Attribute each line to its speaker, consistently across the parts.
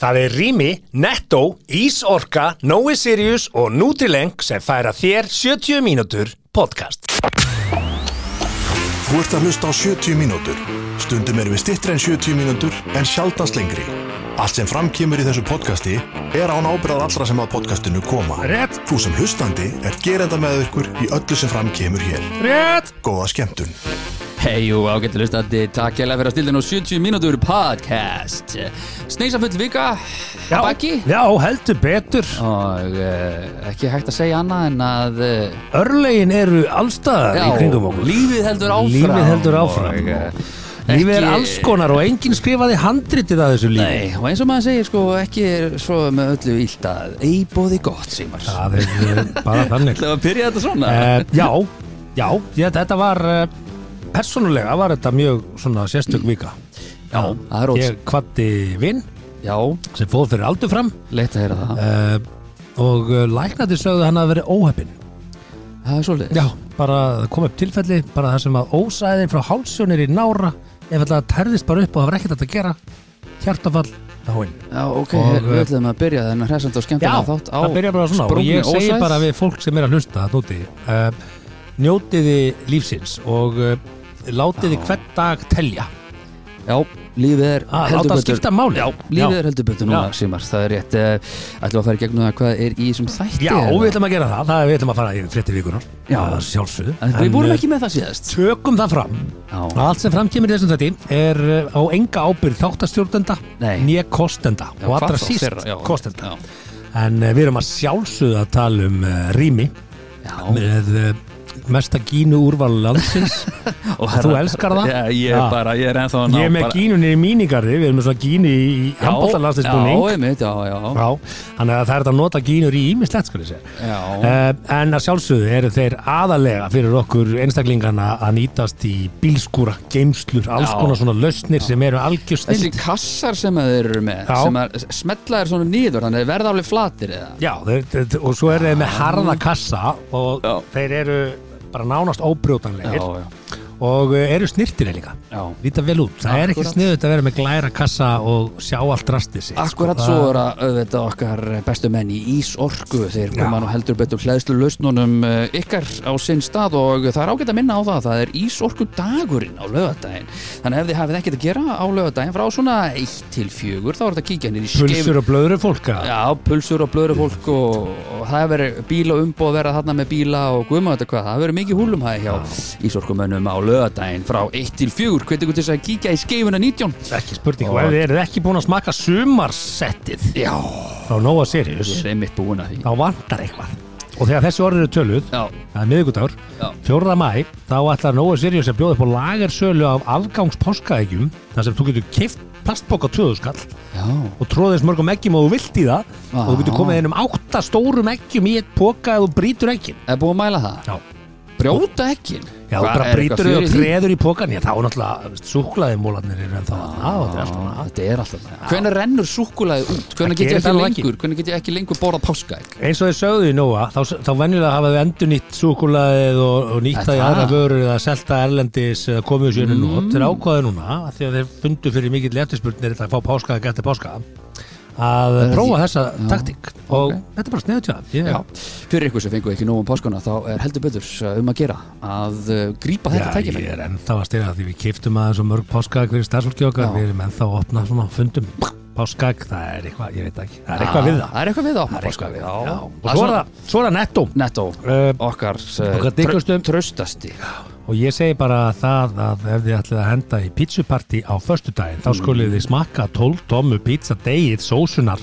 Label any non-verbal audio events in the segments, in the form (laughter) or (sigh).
Speaker 1: Það er Rými, Netto, Ísorka, Nói Sirius og Nutrileng sem færa þér 70 mínútur podcast.
Speaker 2: Þú ert að hlusta á 70 mínútur. Stundum erum við stittri en 70 mínútur en sjaldast lengri. Allt sem framkýmur í þessu podcasti er án ábyrðað allra sem að podcastinu koma.
Speaker 1: Rétt.
Speaker 2: Þú sem hlustandi er gerenda með ykkur í öllu sem framkýmur hér.
Speaker 1: Rétt!
Speaker 2: Góða skemmtun.
Speaker 3: Hei og ágættu hlustandi, takk hérlega fyrir að stilla nú 70 mínútur podcast Sneisafull vika, að baki
Speaker 1: Já, heldur betur.
Speaker 3: Og uh, ekki hægt að segja annað en að uh,
Speaker 1: Örlegin eru allstaðar í kringum okkur.
Speaker 3: lífið heldur áfram
Speaker 1: Lífið heldur áfram.
Speaker 3: og, eh,
Speaker 1: Lífið er
Speaker 3: ekki-
Speaker 1: alls konar og enginn skrifaði handritið að þessu lífi.
Speaker 3: Nei, og eins og maður segir sko, ekki er svo með öllu ílt að Eibóði gott, Simars
Speaker 1: Það er eh, bara þannig.
Speaker 3: (laughs) Það var að byrja þetta svona
Speaker 1: uh, já, já, ég, þetta var uh, persónulega var þetta mjög svona sérstök vika
Speaker 3: Já, það er óts-
Speaker 1: Ég kvatti vinn
Speaker 3: Já,
Speaker 1: sem fóð fyrir aldur fram
Speaker 3: leitt að heyra það
Speaker 1: uh, og uh, læknandi sögðu hann að vera óheppin
Speaker 3: Það er svolítið
Speaker 1: Já, bara það kom upp tilfelli bara það sem að ósæðin frá hálsjónir í nára ef það terðist bara upp og það var ekkert hægt að gera hjartafall náinn
Speaker 3: ok,
Speaker 1: Og,
Speaker 3: við
Speaker 1: eh,
Speaker 3: ætlum að byrja þennan hressandi og
Speaker 1: Já,
Speaker 3: skemmtilega þátt á
Speaker 1: það byrja bara svona og
Speaker 3: sprungni
Speaker 1: ég segi
Speaker 3: ósæðs.
Speaker 1: bara við fólk sem er að hlusta þarna úti uh, njótiði lífsins og uh, látiði
Speaker 3: Já.
Speaker 1: hvern dag telja
Speaker 3: Já, lífið er
Speaker 1: Ah, láta það skipta máli.
Speaker 3: Já, lífið
Speaker 1: Já.
Speaker 3: er heldur betur núna,
Speaker 1: Já.
Speaker 3: Simar Það er rétt, uh, ætlum að fara í gegnum það hvað er í þessum þætti
Speaker 1: Já,
Speaker 3: eða?
Speaker 1: við ætlum að gera það, það er- við ætlum að fara í frétti vikunar
Speaker 3: Já.
Speaker 1: sjálfsögðu
Speaker 3: En Við vorum
Speaker 1: eh,
Speaker 3: ekki með það síðast
Speaker 1: Tökum það fram að
Speaker 3: Já,
Speaker 1: allt sem framkemur í þessum þetta er eh, á enga ábyrð þáttastjórnenda
Speaker 3: Nei.
Speaker 1: nýja kostenda
Speaker 3: Já,
Speaker 1: og
Speaker 3: hvað
Speaker 1: allra
Speaker 3: þá
Speaker 1: síst
Speaker 3: þeirra? Já,
Speaker 1: kostenda
Speaker 3: já.
Speaker 1: En eh, við erum að sjálfsögðu að tala um uh, rými
Speaker 3: já
Speaker 1: með uh, mesta gínu úrval landsins
Speaker 3: og
Speaker 1: þú elskar það?
Speaker 3: Já, ég
Speaker 1: Já.
Speaker 3: er bara, Ah. ég er ennþá að (laughs) ná
Speaker 1: Ég er með
Speaker 3: bara-
Speaker 1: gínunni í mínigarði, við erum með svona gínu í
Speaker 3: Já,
Speaker 1: handbóltalandslisbúning
Speaker 3: Já, einmitt, já, já,
Speaker 1: Já, þannig að það er hægt að nota gínur í ímislegt sko þessi uh,
Speaker 3: já.
Speaker 1: En að sjálfsögðu eru þeir aðalega fyrir okkur einstaklingana að nýtast í bílskúra, geimslur, alls
Speaker 3: Já.
Speaker 1: konar svona lausnir sem eru algjör
Speaker 3: Þessi
Speaker 1: snild
Speaker 3: kassar sem að þeir eru með
Speaker 1: Já.
Speaker 3: sem að smetla þeir svona nýður þannig að þeir verða alveg flatir eða
Speaker 1: Já, þeir, þeir, og svo eru þeir með harða kassa og
Speaker 3: Já.
Speaker 1: þeir eru bara nánast óbrjótanlegir
Speaker 3: já,
Speaker 1: og eh, eru snirtileg líka
Speaker 3: já.
Speaker 1: Líta vel út, það er ekki
Speaker 3: Akkúrat.
Speaker 1: sniðut að vera með glæra kassa og sjá allt rastið sitt sko.
Speaker 3: Akkurat
Speaker 1: Það-
Speaker 3: svo er að auðvitað okkar bestu menn í Ísorku þeir
Speaker 1: Já.
Speaker 3: koma nú heldur betur hlæðslu lausnunum eh, ykkar á sinn stað og það er ágætt að minna á það að það er Ísorku dagurinn á lögadaginn þannig að ef þið hafið ekkert að gera á lögadaginn frá svona 1 til 4 þá er þetta að kíkja henni í
Speaker 1: Pulsur og blöður fólka
Speaker 3: Já, pulsur og blöður fólk og, og það verður bíla umboð verða þarna með bíla og guðma þetta hvað, það verður mikið húlum hæði hjá Ísorkumönnum á lögadaginn frá 1 til 4, hvernig þú til þess að kíkja í skeifuna 19?
Speaker 1: Ekki spurning, og
Speaker 3: Og-
Speaker 1: ef þið eruð ekki búin að smaka sumarsettið
Speaker 3: Já,
Speaker 1: frá Nóa Sirius,
Speaker 3: ég er einmitt búin að því
Speaker 1: þá vantar eitthvað og þegar þessi orðið eru töluð,
Speaker 3: Já,
Speaker 1: það er miðvikudagur
Speaker 3: já
Speaker 1: 4. mæ, þá ætlar Nóa Sirius að bjóða upp á lagersölu af afgangspáskaegjum þar sem þú getur kift plastbóka töðuskall
Speaker 3: Já,
Speaker 1: og tróðist mörgum eggjum og þú vilt í það og þú getur
Speaker 3: Vá.
Speaker 1: komið inn um átta stórum eggjum í eitt póka eða þú brýtur eggjum
Speaker 3: er búið að mæla það?
Speaker 1: Já,
Speaker 3: Brjóta ekkin?
Speaker 1: já þú bara brýtur þau og treður í pókan Já, þá er náttúrulega súklaði mólarnir en þá er
Speaker 3: Ah.
Speaker 1: það er allt annað
Speaker 3: Þetta er alltaf það Hvernig rennur súkkulaði út?
Speaker 1: Það
Speaker 3: Hvernig get ég
Speaker 1: gerir
Speaker 3: ekki
Speaker 1: það nú
Speaker 3: lengur? Hvernig get ég ekki lengur borðað páskaegg?
Speaker 1: eins og þið sögðu í Nóa þá, þá venjulega hafa þið endur nýtt súkulaðið og, og nýtt
Speaker 3: Er
Speaker 1: það í
Speaker 3: það?
Speaker 1: aðra vörur eða selta erlendis eða komið sér mm. nót þeir ákvaðu núna af því að þeir fundu fyrir mikill eftirspurnir að fá páska að geta páska að prófa þessa taktík og
Speaker 3: ok.
Speaker 1: þetta er bara sniðut hjá þeim.
Speaker 3: Já,
Speaker 1: Ég-
Speaker 3: fyrir ykkur sem fengu ekki nóg um páskana þá er heldur betur uh, um að gera að uh, grípa þetta
Speaker 1: Já, ég
Speaker 3: tækifæri
Speaker 1: er ennþá að styrja því við kiptum aðeins og mörg páskaðag fyrir starfsfólki okkar,
Speaker 3: Já.
Speaker 1: við erum ennþá að opna svona fundum páskaðag, það er eitthvað, ég veit það ekki, það er eitthvað
Speaker 3: Já,
Speaker 1: við það,
Speaker 3: Ah, Það er eitthvað við það
Speaker 1: það er eitthvað við það, já. og
Speaker 3: Það
Speaker 1: svo
Speaker 3: er
Speaker 1: er
Speaker 3: svona
Speaker 1: það, svo er það nettó
Speaker 3: Netto,
Speaker 1: Eh,
Speaker 3: okkar
Speaker 1: okkar dyggustu.
Speaker 3: tröstasti
Speaker 1: Og ég segi bara það að ef þið ætlið að henda í pítsuparti á föstudaginn, þá skulið þið smakka 12 tómmu pítsadeigið, sósunar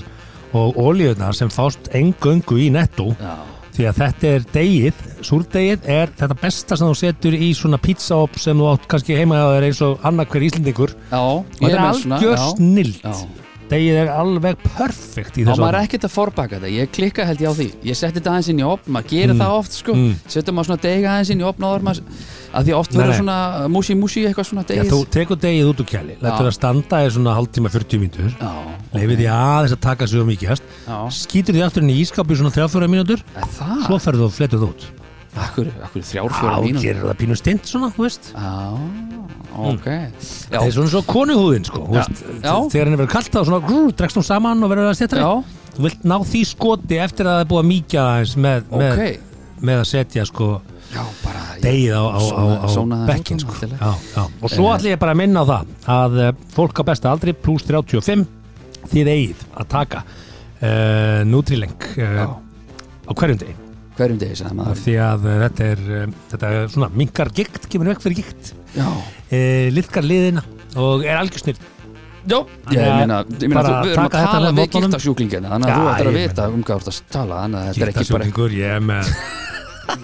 Speaker 1: og ólíunar sem fást engöngu í netto.
Speaker 3: Já,
Speaker 1: Því að þetta er deigið, súrdeigið er þetta besta sem þú setur í svona pítsaop sem þú átt kannski heima hjá þér eins og annarkver íslendingur.
Speaker 3: já
Speaker 1: Og þetta er algjör
Speaker 3: Já.
Speaker 1: snilt. Deigið er alveg perfekt í
Speaker 3: Já,
Speaker 1: þessu.
Speaker 3: maður er
Speaker 1: ofni.
Speaker 3: ekkert að forbaka þetta, ég klikka held ég á því Ég setti þetta aðeins inn í opn, maður gerir það oft sko mm. Settum maður svona degi aðeins inn í opn áður maður að Því oft
Speaker 1: Nei,
Speaker 3: verður
Speaker 1: nei.
Speaker 3: svona músi músi eitthvað svona
Speaker 1: Já,
Speaker 3: degið
Speaker 1: þú tekur deigið út úr kjæli, letur
Speaker 3: Já.
Speaker 1: það standa í svona hálftíma 40 mínútur,
Speaker 3: Já,
Speaker 1: leifir því aðeins að taka sig um íkjast,
Speaker 3: já.
Speaker 1: skýtur því aftur inn í ískapu í svona 3-4 mínútur
Speaker 3: Er Það,
Speaker 1: svo ferðu og fletur þú út
Speaker 3: akkur, akkur þrjár
Speaker 1: á,
Speaker 3: fjóra mínútur
Speaker 1: gerir það pínu stint svona, þú veist
Speaker 3: Já, ok Já,
Speaker 1: Það Mm. er svona svo konuhúðin sko þú
Speaker 3: Já.
Speaker 1: veist,
Speaker 3: Já.
Speaker 1: Þegar henni verður kalt þá svona grú, dregst hún saman og verður það
Speaker 3: já,
Speaker 1: stjættri Þú vilt ná því skoti eftir að það er búið að mýkja það eins með,
Speaker 3: ok
Speaker 1: með, með að setja sko
Speaker 3: Já, bara
Speaker 1: degið á, á, á,
Speaker 3: Sóna-
Speaker 1: á
Speaker 3: sónaði
Speaker 1: bekkin
Speaker 3: út,
Speaker 1: sko.
Speaker 3: náttúrulega.
Speaker 1: já, já. Og svo
Speaker 3: Eh.
Speaker 1: ætlum ég bara að minna á það að eh, fólk á besta aldri pluss 35 þið eigið að taka uh, Nutrilink uh,
Speaker 3: Já,
Speaker 1: á hverjum degi
Speaker 3: hverjum degi sem
Speaker 1: af
Speaker 3: maður
Speaker 1: því að uh, þetta er, uh, þetta er svona minkar gikt, kemur vekk fyrir gikt
Speaker 3: Já,
Speaker 1: uh, liðkar liðina og er algjörsnir
Speaker 3: já, ég
Speaker 1: Þannig að
Speaker 3: meina, ég meina
Speaker 1: bara
Speaker 3: þú, við erum að
Speaker 1: taka þetta
Speaker 3: tala
Speaker 1: með
Speaker 3: við
Speaker 1: mótunum.
Speaker 3: giltasjúklingina þannig
Speaker 1: Já,
Speaker 3: að þú ættir að
Speaker 1: ég
Speaker 3: vita um hvað þú ert að tala þannig að þetta er ekki bara
Speaker 1: Gíktasjúklingur, ég er með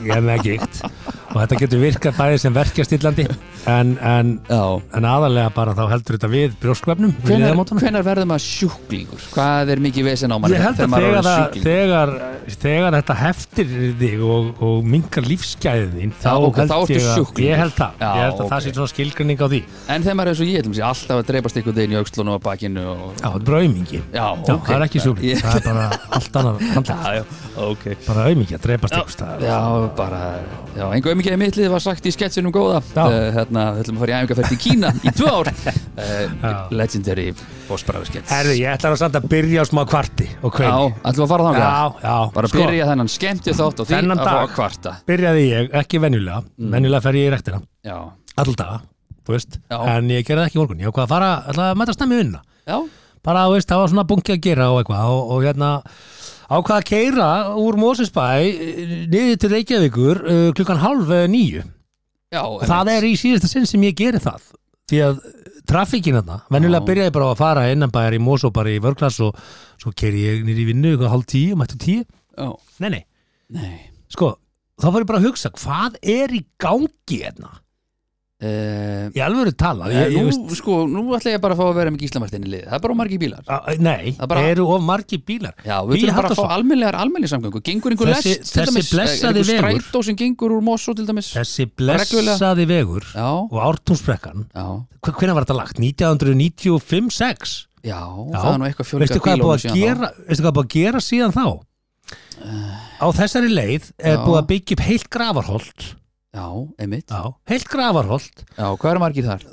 Speaker 1: ég er með gikt og þetta getur virkað bæði sem verkjastillandi en, en,
Speaker 3: Já,
Speaker 1: en aðalega bara þá heldur þetta við brjóskvefnum við
Speaker 3: hvenar,
Speaker 1: liðamótunum.
Speaker 3: hvenar verður maður sjúklingur? Hvað er mikið vesen á manni
Speaker 1: Ég held að
Speaker 3: maður
Speaker 1: þegar,
Speaker 3: er
Speaker 1: það,
Speaker 3: sjúklingur?
Speaker 1: þegar, þegar þetta heftir þig og, og mingar lífsgæðin þín þá
Speaker 3: Já, ok,
Speaker 1: held
Speaker 3: þá ertu
Speaker 1: ég að,
Speaker 3: sjúklingur.
Speaker 1: ég held það
Speaker 3: Já,
Speaker 1: ég held að
Speaker 3: ok.
Speaker 1: það sé svona skilgrinning á því
Speaker 3: En þegar maður er eins og ég, til dæmis, ég alltaf að dreipast ykkur deginn í aukslunum og bakinu og...
Speaker 1: Já, þetta er bara aumingi
Speaker 3: Já, ok.
Speaker 1: það er ekki sjúkling,
Speaker 3: Ég-
Speaker 1: það er bara allt annað handlega,
Speaker 3: já, ok
Speaker 1: bara aumingi að dreipast ykkur staðar
Speaker 3: Já, bara, já, einhver auðmikið í mittlið var sagt í sketsinum góða
Speaker 1: Já.
Speaker 3: uh, Hérna, við ætlum að fara í æfingarferð til Kína í tvö
Speaker 1: (laughs)
Speaker 3: ár uh,
Speaker 1: Já.
Speaker 3: Legendary Bósbræður skets
Speaker 1: Herðu, ég ætlar að samt að byrja á smá kvarti og
Speaker 3: Já,
Speaker 1: kveini
Speaker 3: ætlum að fara þá
Speaker 1: Já, já,
Speaker 3: Bara
Speaker 1: sko.
Speaker 3: byrja þennan skemmti þátt og því
Speaker 1: Þennan
Speaker 3: að fá
Speaker 1: dag.
Speaker 3: að kvarta
Speaker 1: byrjaði ég, ekki venjulega
Speaker 3: Mm.
Speaker 1: venjulega fer ég í rektina,
Speaker 3: Já,
Speaker 1: alltaf þú veist,
Speaker 3: Já.
Speaker 1: en ég gerði það ekki í morgun ég ákvað að fara, alltaf að mæta snemmi í vinna
Speaker 3: já,
Speaker 1: bara, þú veist, það var svona bunki að gera og eitthvað og, og hérna, ákvað að keira úr Mósesbæ eh, niður til Reykjavíkur uh, klukkan halv eh, níu
Speaker 3: já
Speaker 1: og það er í síðasta sinn sem ég geri það því að trafíkin þarna venjulega
Speaker 3: Já.
Speaker 1: byrjaði ég bara á að fara innanbæjar í Mósó bara í vörklass og svo keiri ég niður í vinnu eitthvað halv tíu, mættu tíu
Speaker 3: Já,
Speaker 1: nei, nei,
Speaker 3: nei
Speaker 1: sko, þá var ég bara að hugsa hvað er í gangi hérna
Speaker 3: uh,
Speaker 1: í alvöru tala ég, ég,
Speaker 3: Nú,
Speaker 1: veist,
Speaker 3: sko, nú ætla ég bara að fá að vera með Gíslamartin í liði Það er bara margir bílar
Speaker 1: a, nei,
Speaker 3: Það bara-
Speaker 1: eru of margi bílar
Speaker 3: Já, við
Speaker 1: Hugi
Speaker 3: þurfum bara að
Speaker 1: Halldórsson.
Speaker 3: fá almennilegar almenningssamgöngu Gengur einhver
Speaker 1: Þessi-
Speaker 3: lest til
Speaker 1: þessi
Speaker 3: dæmis eh,
Speaker 1: blessaði
Speaker 3: einhver
Speaker 1: vegur.
Speaker 3: Strætó sem gengur úr Mosso til dæmis Já,
Speaker 1: þessi blessaði vegur
Speaker 3: já,
Speaker 1: og ártúnsbrekkan hvernig var þetta lagt? 1995-6
Speaker 3: já,
Speaker 1: Já.
Speaker 3: það er nú eitthvað fjölga
Speaker 1: veistu hvað er búið að gera veistu hvað er búið að gera síðan þá? á þessari leið er
Speaker 3: Já.
Speaker 1: búið að byggja upp heilt gravarholt
Speaker 3: Já, einmitt
Speaker 1: já, heilt gravarholt
Speaker 3: Já, hvað eru margir þar?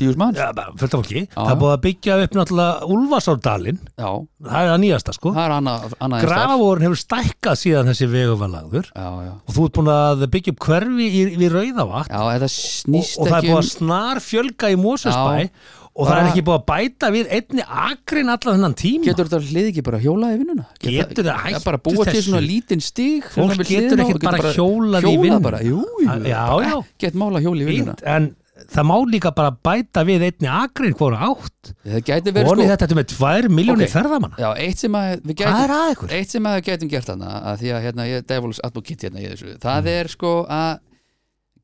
Speaker 3: Tíus mann? Já,
Speaker 1: ja, bara fullt af fólki, það
Speaker 3: já.
Speaker 1: er búið að byggja upp náttúrulega Ulfasárdalinn, það er það nýjasta sko
Speaker 3: það er annað anna
Speaker 1: Grafavórun hefur stækkað síðan þessi vegur var lagður
Speaker 3: Já, já
Speaker 1: og þú ert búin að byggja upp hverfi í, við Rauðavatn
Speaker 3: Já, þetta
Speaker 1: og,
Speaker 3: snýst
Speaker 1: og það er
Speaker 3: ekki um-
Speaker 1: búið að snar fjölga í Mósusbæ
Speaker 3: Já.
Speaker 1: og það er
Speaker 3: Bara-
Speaker 1: ekki búið að bæta við einni akrin allan þennan tíma
Speaker 3: Getur þetta hlið ekki bara hjólaði vinnuna?
Speaker 1: Getur það hætt
Speaker 3: hægt bara búa til
Speaker 1: þessu?
Speaker 3: svona lítinn stig
Speaker 1: Fólk
Speaker 3: svona við
Speaker 1: getur
Speaker 3: hliðina
Speaker 1: ekkert
Speaker 3: og getur
Speaker 1: bara hjólað í vinnuna.
Speaker 3: bara, jú, jú,
Speaker 1: Já,
Speaker 3: bara
Speaker 1: já.
Speaker 3: Ekkert mála hjóli í vinnuna
Speaker 1: fínt, en það má líka bara bæta við einni akrin hvora átt
Speaker 3: Það gæti
Speaker 1: og
Speaker 3: verið
Speaker 1: honið
Speaker 3: sko
Speaker 1: þetta er með 2 miljónir
Speaker 3: Ok.
Speaker 1: ferðamanna
Speaker 3: Já, eitt sem að við
Speaker 1: Hvað er
Speaker 3: gætum
Speaker 1: að ykkur?
Speaker 3: Eitt sem að við gætum gert þarna að Því að hérna, ég er devil's advocate hérna í þessu Það
Speaker 1: Mm.
Speaker 3: er sko að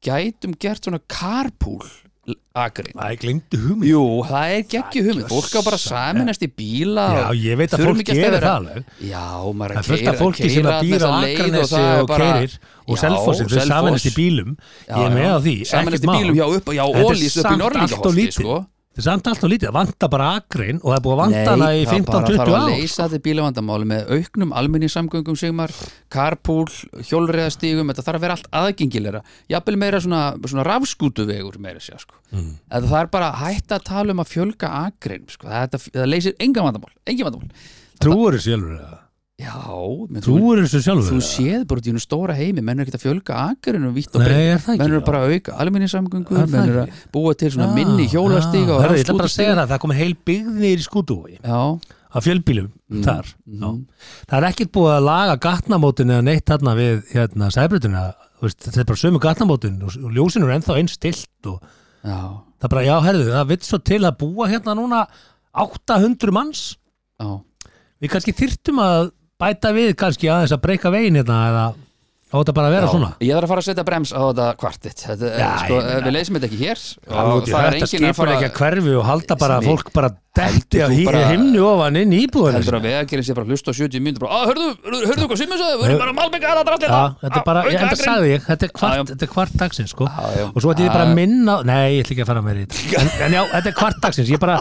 Speaker 3: gætum gert svona carpool agrin
Speaker 1: Það er glimtu hugmynd
Speaker 3: Jú, það er geggju hugmynd Fólk á bara saminast í bíla
Speaker 1: Já,
Speaker 3: og
Speaker 1: ég veit að
Speaker 3: þurfum
Speaker 1: fólk
Speaker 3: ekki alltaf
Speaker 1: gerir
Speaker 3: að vera-
Speaker 1: það alveg.
Speaker 3: Já, maður er
Speaker 1: Það er
Speaker 3: að
Speaker 1: fullt
Speaker 3: keyra
Speaker 1: af fólki sem
Speaker 3: keyra
Speaker 1: að býra á
Speaker 3: þessa leið og
Speaker 1: Akranesi
Speaker 3: það er
Speaker 1: og
Speaker 3: bara-
Speaker 1: keirir og
Speaker 3: Já,
Speaker 1: Selfossi, þau
Speaker 3: Selfoss.
Speaker 1: samanist í bílum
Speaker 3: Já,
Speaker 1: ég er með
Speaker 3: já.
Speaker 1: á því,
Speaker 3: Samanast í bílum, já, upp, já,
Speaker 1: Þetta er
Speaker 3: ólís upp
Speaker 1: samt
Speaker 3: í
Speaker 1: allt og
Speaker 3: Norrlíkaholti,
Speaker 1: lítið.
Speaker 3: sko
Speaker 1: Það er samt allt og lítið, það vantar bara akrin og það er búið að vanta hana í
Speaker 3: Nei, það
Speaker 1: 15-20
Speaker 3: bara þarf að
Speaker 1: ár sko.
Speaker 3: leysa þetta bílavandamáli með auknum almenningssamgöngum sigmar, karpúl, hjólriðastígum þetta þarf að vera allt aðgengilegra jafnvel meira svona, svona rafskútuvegur meira sér sko. Mm. Það er bara að hætta að tala um að fjölga akrein sko. það, það, það leysir engan vandamál, engin vandamál.
Speaker 1: Trúur þessu sjálfur eða?
Speaker 3: Já, menn þú,
Speaker 1: Trúur þessu sjálfur
Speaker 3: þú
Speaker 1: eða?
Speaker 3: séð bara út í einu stóra heimi menn er ekkert að fjölga akreinu vítt og
Speaker 1: Nei,
Speaker 3: breytt
Speaker 1: er það
Speaker 3: menn
Speaker 1: ekki?
Speaker 3: eru bara að auka almenningssamgöngur
Speaker 1: Er það
Speaker 3: menn eru að búa til svona minni
Speaker 1: Ah.
Speaker 3: hjólastíg og
Speaker 1: Það er bara að segja
Speaker 3: rafskútustíga
Speaker 1: það, það komið heil byggðir í skútuvói
Speaker 3: Já,
Speaker 1: á fjölbílum þar já. það er ekkert búið að laga gatnamótin eða neitt þarna við hérna, sæbrutina veist, þetta er bara sömu gatnamótin og, og ljósin eru ennþá einn stilt og
Speaker 3: já,
Speaker 1: það er bara, já, herðu, það vill svo til að búa hérna núna 800 manns
Speaker 3: já
Speaker 1: við kannski þyrtum að bæta við kannski aðeins að breyka vegin hérna eða á þetta bara að vera
Speaker 3: Já,
Speaker 1: svona
Speaker 3: Ég þarf að fara að setja brems á þetta kvartitt þetta,
Speaker 1: Já,
Speaker 3: Já, sko,
Speaker 1: ég meina-
Speaker 3: Við leysum þetta ekki hér
Speaker 1: Alveg út
Speaker 3: og
Speaker 1: í
Speaker 3: það er
Speaker 1: Þetta
Speaker 3: enginn að
Speaker 1: skipur
Speaker 3: fara
Speaker 1: ekki að hverfi og halda bara að
Speaker 3: Sem ég-
Speaker 1: fólk bara detti
Speaker 3: Heldur
Speaker 1: á
Speaker 3: þú
Speaker 1: hí-
Speaker 3: bara-
Speaker 1: himnu ofan inn í
Speaker 3: heldur
Speaker 1: íbúðinu
Speaker 3: að vegagerinn sé bara að hlusta á 70 mínútur bara, "Ah, hörðu, hörðu, hörðu hvað Simmi sagði, við erum bara að malbygga aðra drastlega
Speaker 1: Já, þetta er bara, ég enda sagði ég, þetta er
Speaker 3: Já, já.
Speaker 1: kvart, þetta er kvart dagsins sko
Speaker 3: Já, já.
Speaker 1: og svo ætti ég bara að minna, nei, ég ætla ekki að fara með þetta en, en já, þetta er kvart dagsins, ég bara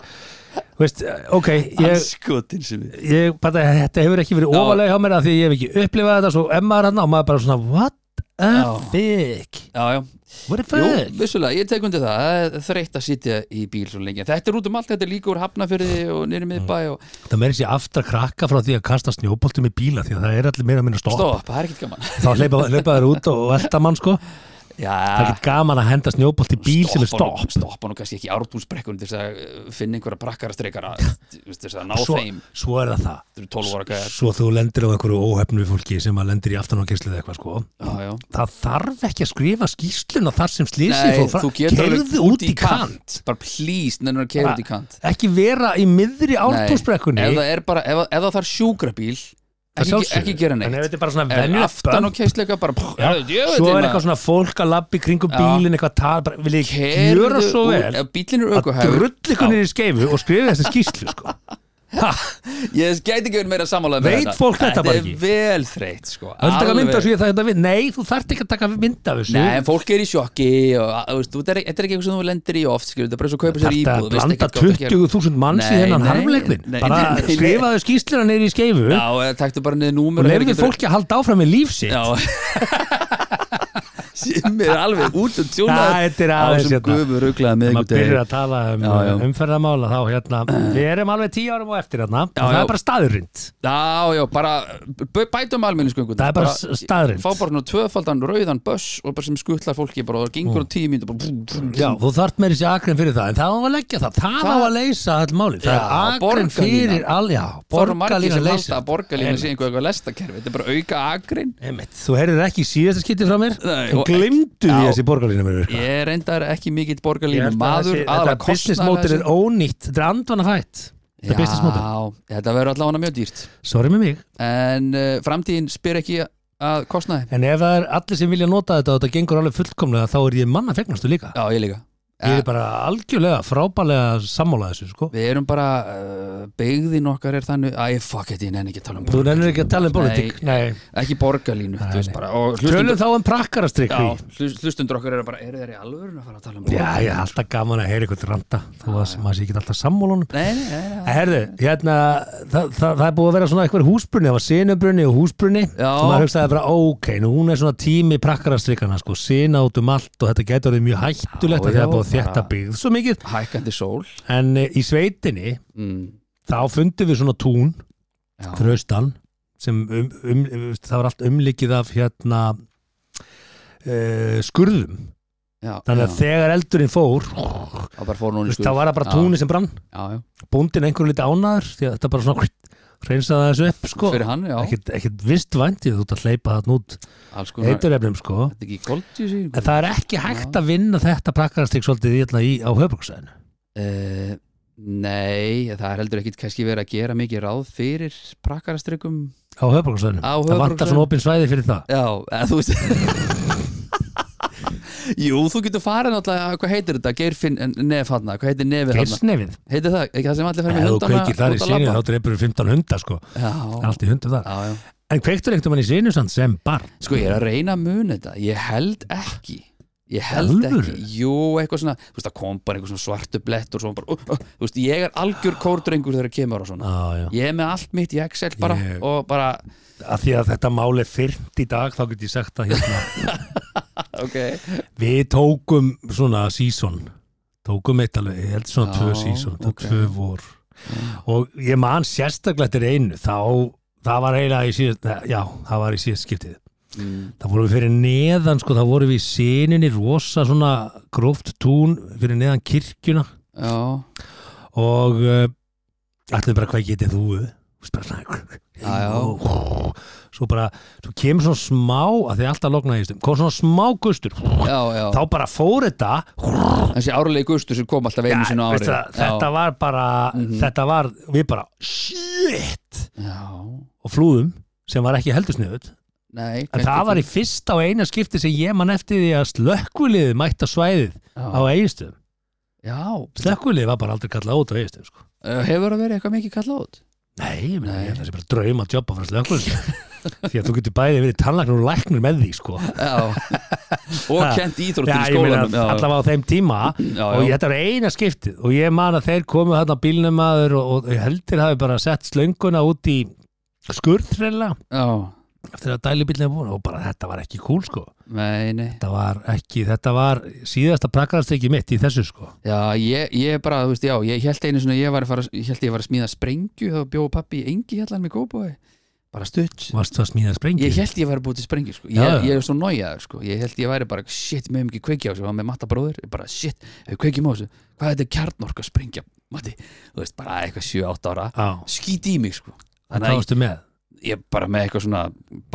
Speaker 1: þú veist, ok, ég,
Speaker 3: Skotin sem við
Speaker 1: ég bara, þetta hefur ekki verið
Speaker 3: Já.
Speaker 1: ofalega hjá mér að því að ég hef ekki upplifað þetta svo emmaður hann og maður bara svona, what a fuck
Speaker 3: já, já,
Speaker 1: What the
Speaker 3: Jú,
Speaker 1: fuck
Speaker 3: vissulega, ég tek undir það Það er þreytt að sitja í bíl svo lengi En Þetta er út um allt, þetta er líka úr hafnafyrði og nýri
Speaker 1: Mm.
Speaker 3: miðbæ og
Speaker 1: Það meiri sér aftur að krakka frá því að kasta snjóboltum í bíla því að það er allir meira að minna stopp
Speaker 3: stopp, það er ekkert gaman
Speaker 1: Þá hleypa hleypa þær út og velta mann sko Það er
Speaker 3: (laughs) Já,
Speaker 1: ekkert gaman að henda snjóbolt í bíl sem er
Speaker 3: stoppa
Speaker 1: stopp
Speaker 3: nú- Stoppa nú kannski ekki árbúnsbrekkun til þess að eh, finna einhverja brakkarastreikara til þess að ná
Speaker 1: svo,
Speaker 3: þeim
Speaker 1: svo er það það
Speaker 3: Þetta eru 12 ára gæðar
Speaker 1: Svo þú lendir á einhverju óhefnu við fólki sem að lendir í aftanákesslu eða eitthvað sko
Speaker 3: Já, já
Speaker 1: Það þarf ekki að skrifa skýrsluna þar sem slýsið
Speaker 3: Nei,
Speaker 1: fór fram
Speaker 3: þú getur alveg
Speaker 1: Keyrðu út í kant
Speaker 3: Bara please, nefnir að keira
Speaker 1: Bara-
Speaker 3: út í kant
Speaker 1: Ekki vera í miðri
Speaker 3: Nei, Ef
Speaker 1: ártúrsbrekkunni
Speaker 3: það er bara, ef, ef það þarf sjúkrabíl ekki, ekki gera
Speaker 1: En ef
Speaker 3: neitt
Speaker 1: þetta er bara svona
Speaker 3: Ef
Speaker 1: venjulegt
Speaker 3: aftan
Speaker 1: bönn,
Speaker 3: og keisleika bara pff,
Speaker 1: Já,
Speaker 3: herðu, djöfull,
Speaker 1: Svo er
Speaker 3: maður.
Speaker 1: eitthvað svona fólk að labba í kringum
Speaker 3: Já.
Speaker 1: bílinn eitthvað tal, bara vil ég
Speaker 3: Keyrðu
Speaker 1: gjöra svo
Speaker 3: úr-
Speaker 1: vel
Speaker 3: ef bíllinn er
Speaker 1: að
Speaker 3: ökuhægur
Speaker 1: drull ykkur niður í skeifu og skrifa þessi skýslu sko. Ha,
Speaker 3: ég gæti ekki verið meira samálað
Speaker 1: Veit fólk þetta bara ekki?
Speaker 3: þetta er vel þreytt sko
Speaker 1: Það er taka
Speaker 3: alveg.
Speaker 1: mynda þessu ég það þetta við Nei, þú þarft ekki að taka mynda þessu
Speaker 3: Nei, en fólk er í sjokki og þú veist, þú- þetta er þetta er ekki eitthvað sem þú lendir í oft skilur, þetta er bara eins og kaupa sér
Speaker 1: Þarft að
Speaker 3: íbúð veist
Speaker 1: blanda
Speaker 3: ekkert hvað þú átt að gera.
Speaker 1: 20.000 manns í
Speaker 3: Nei,
Speaker 1: hennan
Speaker 3: nei,
Speaker 1: harmleikvin
Speaker 3: nei,
Speaker 1: Bara
Speaker 3: nei, nei.
Speaker 1: skrifa þessu skýsluna niður í skeifu
Speaker 3: Já, eða taktu bara niður númur
Speaker 1: og lefðu fólki að halda áfram með líf sitt
Speaker 3: Já (laughs) sem er alveg út og tjónað
Speaker 1: Nei, þetta er
Speaker 3: á
Speaker 1: aðeins
Speaker 3: þessum
Speaker 1: hérna.
Speaker 3: gufu rugglaða
Speaker 1: Þegar maður byrjar
Speaker 3: miðvikudegi
Speaker 1: að tala um
Speaker 3: Já, já.
Speaker 1: umferðamála þá hérna, við erum alveg tíu árum og eftir hérna og
Speaker 3: Já,
Speaker 1: það
Speaker 3: já.
Speaker 1: er bara staðurrind
Speaker 3: Já, já, bara b- bætum almenningsgöngun
Speaker 1: Það er bara staðreynd.
Speaker 3: Fá bara nú tvöfaldan rauðan böss og bara sem skuttlar fólki bara og það gengur á tíu mínútur bara,
Speaker 1: Mm. Já, þú þarft meiri sér akrin fyrir það en það á að leggja það, það,
Speaker 3: Það-
Speaker 1: á að leysa all máli, það
Speaker 3: Já,
Speaker 1: er akrin
Speaker 3: borgarlínan.
Speaker 1: fyrir all, já,
Speaker 3: Það eru
Speaker 1: borgarlína
Speaker 3: margir sem halda
Speaker 1: leysa
Speaker 3: að borgarlína sé einhver eitthvað lestakerfi Þetta er bara auka agrin
Speaker 1: Einmitt, þú heyrir ekki í síðasta skytti frá mér
Speaker 3: Nei,
Speaker 1: þú
Speaker 3: og-
Speaker 1: glimtu því
Speaker 3: Já.
Speaker 1: þessi borgarlína mér
Speaker 3: Ég er reyndar ekki mikill borgarlína maður
Speaker 1: Þetta
Speaker 3: aðalega
Speaker 1: business
Speaker 3: kostnaðarlega
Speaker 1: mótil er ónýtt þetta er andvana fætt, þetta er business mótil
Speaker 3: Já, þetta verður allavega mjög dýrt
Speaker 1: Sorry með mig,
Speaker 3: En uh, framtíðin spyr ekki að kostnaði
Speaker 1: en ef það er allir sem vilja nota þetta og þetta gengur alveg fullkomlega þá er ég manna fegnastu líka
Speaker 3: Já, ég líka
Speaker 1: Ég er bara algjörlega frábælega sammála þessu sko
Speaker 3: Við erum bara, uh, byggðin okkar er þannig Æ, fuck it, ég nenni ekki að tala um
Speaker 1: Þú nennir ekki að tala um pólitík Nei,
Speaker 3: ekki borgarlínu þú veist
Speaker 1: nei.
Speaker 3: bara, og
Speaker 1: tölum
Speaker 3: hlustundur,
Speaker 1: þá um prakkarastrykk
Speaker 3: já, hlust- hlustundur okkar eru bara, eru þeir í alvöru að fara að tala um
Speaker 1: Já, ég er alltaf gaman að heyra eitthvað randa þó að maður sé ekki alltaf sammálunum
Speaker 3: Nei, nei, nei, nei.
Speaker 1: Herðu, hérna, það, það, það er búið að vera svona eitthvað húsbrunni, það var sinubrunni og húsbrunni
Speaker 3: Já.
Speaker 1: og maður hugsaði bara, ok, nú hún er svona tími prakkarastrykana, sko, sina út um allt og þetta getur orðið mjög hættulegt að
Speaker 3: Já,
Speaker 1: það
Speaker 3: já,
Speaker 1: er búið að
Speaker 3: bara-
Speaker 1: þetta byggð svo mikið,
Speaker 3: hækandi sól
Speaker 1: en eh, í sveitinni
Speaker 3: mm.
Speaker 1: þá fundum við svona tún
Speaker 3: já,
Speaker 1: fyrir austan sem um, um, um, það var allt umlikið af hérna uh, skurðum
Speaker 3: já,
Speaker 1: þannig að
Speaker 3: já,
Speaker 1: þegar eldurinn fór
Speaker 3: það bara
Speaker 1: þú
Speaker 3: fór núna í
Speaker 1: veist,
Speaker 3: skuld
Speaker 1: þá var það bara túni sem brann
Speaker 3: já, já,
Speaker 1: bóndin einhverju liti ánæður því að þetta bara svona reynsaði þessu upp sko
Speaker 3: fyrir hann, já,
Speaker 1: ekkert, ekkert vist vænt ég þú ert að hleypa þarna út
Speaker 3: alls konar þetta
Speaker 1: eiturefnum sko
Speaker 3: er ekki koldi
Speaker 1: en það er ekki hægt að vinna þetta prakkarastík svolítið hérna í, á höfbruksæðinu
Speaker 3: uh, nei, það er heldur ekkit kannski verið að gera mikið ráð fyrir prakkarastrykkum
Speaker 1: á höfbruksæðinu,
Speaker 3: Á
Speaker 1: það vantar
Speaker 3: höfuðborgarsvæðinu.
Speaker 1: svona opinn svæði fyrir það
Speaker 3: já, eða, þú veist Jú, þú getur farið náttúrulega, hvað heitir þetta, Geirfinn nef hann, hvað heitir nefið hann
Speaker 1: Geirsnefið,
Speaker 3: heitir það, ekki það sem allir fær
Speaker 1: ef
Speaker 3: með
Speaker 1: þú
Speaker 3: hundana
Speaker 1: kveikir þar í
Speaker 3: út að
Speaker 1: sinni
Speaker 3: labba?
Speaker 1: þá dreipur 15 hunda sko,
Speaker 3: já,
Speaker 1: allt í hundum þar
Speaker 3: já, já.
Speaker 1: En kveiktur einhvern mann í sinusand sem barn
Speaker 3: sko ég er að reyna að muna þetta ég held ekki ég held
Speaker 1: Alvöru?
Speaker 3: ekki, jú eitthvað svona þú veist það kom bara einhver svona svartu blett og svona bara, uh, uh, þú veist ég er algjör kórdrengur þegar það kemur á svona
Speaker 1: ah,
Speaker 3: ég er með allt mitt í Excel bara
Speaker 1: Ég-
Speaker 3: og bara,
Speaker 1: Af því að þetta mál er fyrnt í dag þá get ég sagt að hérna,
Speaker 3: ok
Speaker 1: við tókum svona season tókum eitt alveg, ég held svona
Speaker 3: Já,
Speaker 1: tvö season okay.
Speaker 3: ok. Mm.
Speaker 1: tvö vor og ég man sérstaklega til einu þá, það var eiginlega í síðast ne, já, það var í síðast skiptið
Speaker 3: mm,
Speaker 1: það vorum við fyrir neðan, sko, það vorum við í sininni rosa svona gróft tún fyrir neðan kirkjuna
Speaker 3: já,
Speaker 1: og uh, allir bara hvað getið þú Þú veist, bara svona,
Speaker 3: Já, já.
Speaker 1: og, (laughs) svo bara, svo kemur svona smá að því alltaf loknaði í stum, kom svona smá gustur
Speaker 3: já, já
Speaker 1: þá bara fór þetta
Speaker 3: þessi árlegi gustu sem kom alltaf einu sinu ári
Speaker 1: veistu það, þetta var bara
Speaker 3: Mhm.
Speaker 1: þetta var, við bara shit,
Speaker 3: já, já,
Speaker 1: og flúðum sem var ekki heldur sniðut
Speaker 3: nei
Speaker 1: en það var í fyrsta og eina skipti sem ég man eftir því að slökkvilið mætt á svæðið á
Speaker 3: já,
Speaker 1: eiginstöðum,
Speaker 3: já, Eh,
Speaker 1: slökkvilið var bara aldrei kallað út á eiginstöðum sko.
Speaker 3: hefur það verið eitthvað mikið kallað út
Speaker 1: Nei, ég meina,
Speaker 3: Nei.
Speaker 1: ég held að það sé bara draum að jobba frá (laughs) slökkur því að þú getur bæðið verið tannlagnur og læknir með því, sko
Speaker 3: já,
Speaker 1: (laughs)
Speaker 3: og
Speaker 1: Ha.
Speaker 3: kent íþróttir
Speaker 1: Já,
Speaker 3: í
Speaker 1: ég meina,
Speaker 3: skólanum já, já.
Speaker 1: allavega á þeim tíma
Speaker 3: já,
Speaker 1: og ég, þetta var eina skiptið og ég man að þeir komu þarna bílnum aður og, og ég heldur hafi bara sett slönguna út í skurðrella
Speaker 3: já,
Speaker 1: eftir að dælubillin voru og bara þetta var ekki cool sko
Speaker 3: Nei, nei
Speaker 1: þetta var ekki, þetta var síðasta prakkarastekki mitt í þessu sko
Speaker 3: Já, ég, ég bara, þú veist, já, ég held einu svona, ég var að fara, ég held ég var að smíða sprengju þá bjóðu pappi í engi hérna með góðbói bara stutt
Speaker 1: varst það að smíða sprengi
Speaker 3: Ég held ég væri búið til sprengju sko. ég,
Speaker 1: Já, já.
Speaker 3: ég er svo nájaður sko. Ég held ég væri bara shit, meðum ekki kveikja á þessu og með matta bróður, ég bara shit, ef við kveikjum á þessu hvað er þetta kjarnorka að sprengja, mati þú veist, bara eitthvað 7-8 ára
Speaker 1: á,
Speaker 3: skít í mig, sko
Speaker 1: það
Speaker 3: þannig að
Speaker 1: varstu með
Speaker 3: ég, ég bara með eitthvað svona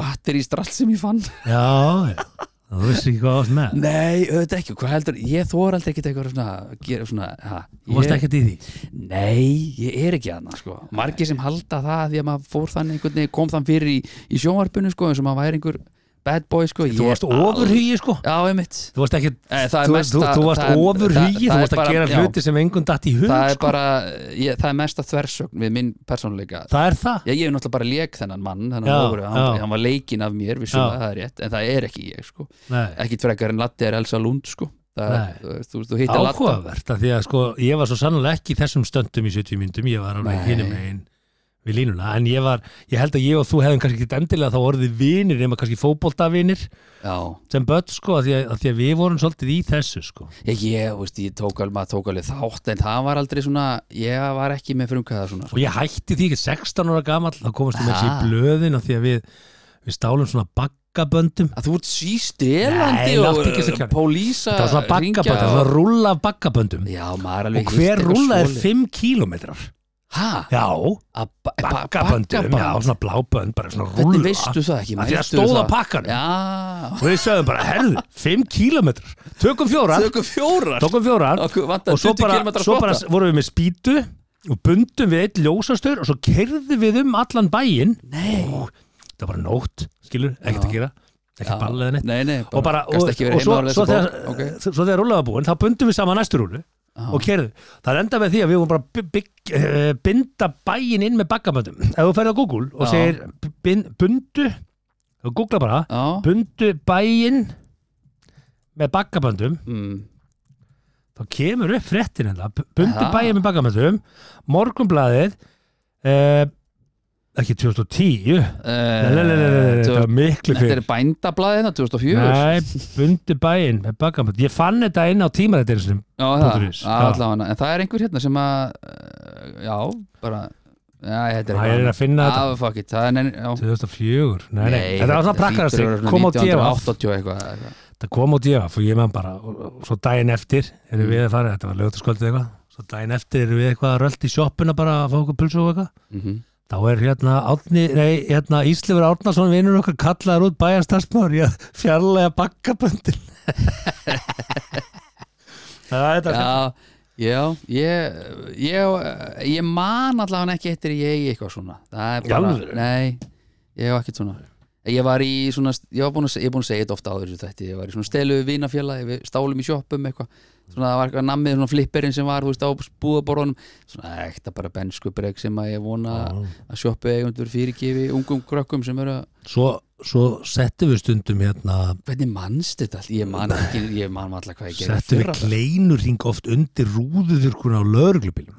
Speaker 3: batterístrall sem ég fann
Speaker 1: já, já. þú vissi ekki hvað þú varst með
Speaker 3: Nei, auðvitað ekki, hvað heldur ég þóra aldrei ekki eitthvað svona, að gera svona ha,
Speaker 1: þú varst
Speaker 3: ég,
Speaker 1: ekkert í því
Speaker 3: Nei, ég er ekki aðna sko. margir sem halda það því að maður fór þann einhvern veginn, kom þann fyrir í, í sjónvarpinu sko, eins og maður væri einhver bad boy sko. Ég
Speaker 1: þú varst
Speaker 3: al-
Speaker 1: ofurhugi sko
Speaker 3: Já, einmitt
Speaker 1: þú varst ekkert
Speaker 3: Eh, það er
Speaker 1: þú,
Speaker 3: mesta-
Speaker 1: þú, þú varst
Speaker 3: það er- það-
Speaker 1: ofurhugi,
Speaker 3: það
Speaker 1: þú
Speaker 3: er
Speaker 1: varst að
Speaker 3: bara-
Speaker 1: gera
Speaker 3: já.
Speaker 1: hluti sem engum datt í hug
Speaker 3: það er
Speaker 1: sko.
Speaker 3: bara, ég, það er mesta þversögn við minn persónuleika
Speaker 1: það er það
Speaker 3: ég, ég hef náttúrulega bara leik þennan mann þannig
Speaker 1: Já,
Speaker 3: að hann,
Speaker 1: já.
Speaker 3: hann var leikin af mér, við
Speaker 1: Já.
Speaker 3: sjöfum það er rétt en það er ekki ég, sko,
Speaker 1: Nei.
Speaker 3: ekkit frekar en Latti er Elsa Lund, sko það,
Speaker 1: Nei.
Speaker 3: þú, veist, þú, þú hittir Latta
Speaker 1: áhugavert af því að sko ég var svo sannlega ekki í þessum stöndum í 70 myndum, ég var alveg
Speaker 3: Nei.
Speaker 1: hinum einn við línuna, en ég var, ég held að ég og þú hefðum kannski ekki endilega þá orðið vinir nema kannski fótboltavinir
Speaker 3: Já,
Speaker 1: sem börn sko, að því að, að því að við vorum svolítið í þessu sko,
Speaker 3: ég, ég, þú veist, ég tók alveg, maður tók alveg þátt en það var aldrei svona, ég var ekki með frumkvæða svona,
Speaker 1: og
Speaker 3: sko.
Speaker 1: ég hætti því ekki 16 ára gamall, þá komast við með sér
Speaker 3: Ha.
Speaker 1: í blöðin af því að við, við stálum svona baggaböndum,
Speaker 3: að þú ert sístelandi
Speaker 1: Nei,
Speaker 3: og
Speaker 1: láttu ekki þessu kjáni.
Speaker 3: pólísa
Speaker 1: það var svona baggabönd það var svona rúlla af baggaböndum
Speaker 3: Já, maður alveg
Speaker 1: og
Speaker 3: hýrt
Speaker 1: hver
Speaker 3: eitthvað
Speaker 1: rúlla er
Speaker 3: svoleið.
Speaker 1: 5 kílómetrar
Speaker 3: Ha?
Speaker 1: já,
Speaker 3: Að ba- ba-
Speaker 1: baggaböndum, já,
Speaker 3: baggabönd?
Speaker 1: svona blábönd bara svona rúlla,
Speaker 3: Hvernig veistu það ekki?
Speaker 1: Af því að
Speaker 3: Veistu
Speaker 1: stóð á
Speaker 3: það?
Speaker 1: pakkanum.
Speaker 3: Já
Speaker 1: og við sögðum bara, herðu, 5 kílómetrar tökum fjórar,
Speaker 3: Tökum fjórar
Speaker 1: tökum fjórar
Speaker 3: Okkur vantar
Speaker 1: og svo
Speaker 3: 20
Speaker 1: bara,
Speaker 3: km að
Speaker 1: svo bara
Speaker 3: spotta.
Speaker 1: vorum við með spýtu og bundum við eitt ljósastaur og svo kerðum við um allan bæin
Speaker 3: Nei
Speaker 1: það var bara nótt, skilur, ekkert
Speaker 3: Já.
Speaker 1: að gera
Speaker 3: Já.
Speaker 1: ekkert ballið neitt
Speaker 3: Nei, nei,
Speaker 1: og, bara, og,
Speaker 3: gast ekki verið
Speaker 1: og svo,
Speaker 3: heima að lesa
Speaker 1: svo, þegar,
Speaker 3: bók. Ok.
Speaker 1: svo þegar rúlega var búin þá bundum við saman næstu rúlu
Speaker 3: Já.
Speaker 1: og kerðum, það enda með því að við vorum bara bygg, bygg, eh, binda bæin inn með bakkaböndum ef þú ferð á Google og
Speaker 3: Já.
Speaker 1: segir bin, bundu og googla bara
Speaker 3: Já
Speaker 1: bundu bæinn með bakkaböndum
Speaker 3: Mm.
Speaker 1: þá kemur upp fréttin enda bundu
Speaker 3: Aha.
Speaker 1: bæinn með bakkaböndum morgunblaðið eh, ekki 2010 Nei, nei, nei, nei, nei, nei,
Speaker 3: Eh,
Speaker 1: þetta var miklu
Speaker 3: Þetta er hérna,
Speaker 1: fyrir
Speaker 3: bændablaðina 2004
Speaker 1: Nei, bundu bæinn með bakkaböndum ég fann þetta inn á tímarættinsinum
Speaker 3: Já, það,
Speaker 1: punktur is, já.
Speaker 3: allavega, en það er einhver hérna sem að, eh, já, bara, já, þetta er
Speaker 1: það er að finna þetta
Speaker 3: Ah, fuck it, það er neina, já.
Speaker 1: 2004 nei, nei, þetta var svona prakkarastig kom á djefa,
Speaker 3: 1980 eitthvað, eitthvað.
Speaker 1: þetta kom á djefa fyrir ég man bara, og, og, og svo daginn eftir erum við að fara, þetta var lögutaskvöldið eitthvað svo daginn eftir erum við eitthvað að rölt í sjoppuna bara að fá okkur pulsu og eitthvað
Speaker 3: Mm
Speaker 1: Þá er hérna, átni, nei, hérna Íslifur Árnason vinnur okkar kallaður út bæjarstarsmaður í að fjarlæga bakkaböndin. það er þetta.
Speaker 3: Já, já, ég, ég, ég man allavega ekki eftir að ég eigi eitthvað svona. Það er
Speaker 1: Í
Speaker 3: bara,
Speaker 1: alvöru?
Speaker 3: nei, ég hef ekkert svona. Ég var í svona, ég var búin að, se- ég er búin að segja þetta ofta áður í þessu þetta, ég var í svona stelu við vinafélagi, við stálum í sjoppum eitthvað, svona það var eitthvað nammið, svona flipperinn sem var, þú veist, á búðaborunum, svona ekta bara benskubreg sem að ég vona að sjoppu eigundur fyrirgefi ungum krökkum sem eru að
Speaker 1: Svo, svo settum við stundum hérna,
Speaker 3: Hvernig mannst þetta allt? Ég man ekki, ég man alltaf hvað ég gerði
Speaker 1: settum við
Speaker 3: fyrra.
Speaker 1: kleinurring oft undir rúðuðurkuna á lögreglubílum.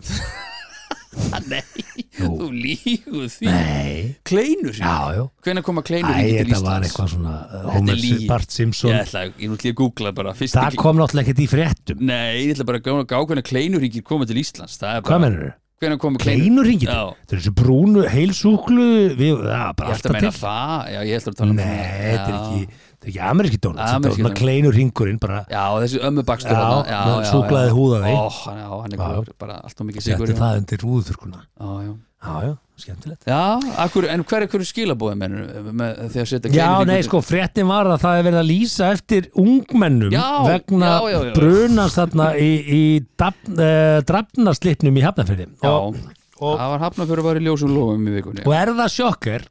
Speaker 1: Jú.
Speaker 3: Þú líguð því
Speaker 1: Nei.
Speaker 3: Kleinur
Speaker 1: Já, já.
Speaker 3: Hvenær koma kleinur
Speaker 1: Æ,
Speaker 3: hingað til
Speaker 1: þetta var
Speaker 3: Íslands?
Speaker 1: eitthvað svona, uh,
Speaker 3: Þetta er
Speaker 1: Homer
Speaker 3: lygi.
Speaker 1: Bart
Speaker 3: Ég
Speaker 1: Simpson.
Speaker 3: ætla, ég nú ætla ég að googla bara fyrst
Speaker 1: Það kom náttúrulega ekkert í fréttum.
Speaker 3: Nei, ég ætla bara að gá- gá hvernig kleinur hingir koma til Íslands Það er
Speaker 1: Hvað
Speaker 3: bara
Speaker 1: mennur þau?
Speaker 3: Hvenær koma kleinur
Speaker 1: Kleinurringin?
Speaker 3: Já.
Speaker 1: Þetta er þessu brúnu, heilsúklu, við, já, bara
Speaker 3: Ég ætla að
Speaker 1: alltaf
Speaker 3: meina
Speaker 1: til.
Speaker 3: það Já, ég ætla að tala um
Speaker 1: Nei,
Speaker 3: svona-
Speaker 1: þetta er
Speaker 3: Já.
Speaker 1: ekki, þetta er ekki ameríski donuts Þetta er
Speaker 3: Ameríski
Speaker 1: svona
Speaker 3: donuts.
Speaker 1: kleinur hringurinn bara
Speaker 3: Já, þessi ömmu bakstur
Speaker 1: Já,
Speaker 3: þarna.
Speaker 1: með súkkulaði húð af því.
Speaker 3: Ó, hann- já, hann er
Speaker 1: Já.
Speaker 3: góður, bara allt og mikið sigur
Speaker 1: Settu það undir rúðuþurkuna
Speaker 3: Já, já
Speaker 1: Já, já, skemmtilegt
Speaker 3: Já, akkur, en hver er hverju skilabóði mennur með því að setja
Speaker 1: Já, nei,
Speaker 3: kleinur hingað til-
Speaker 1: sko, fréttin var að það er verið að lýsa eftir ungmennum
Speaker 3: Já,
Speaker 1: vegna
Speaker 3: já, já, já.
Speaker 1: brunans þarna í, í dafn, eh, drafnarslipnum í Hafnarfyrði
Speaker 3: Já,
Speaker 1: og, og-
Speaker 3: það var hafna fyrir að vera í ljósum lofum í vikunni
Speaker 1: og er það sjokker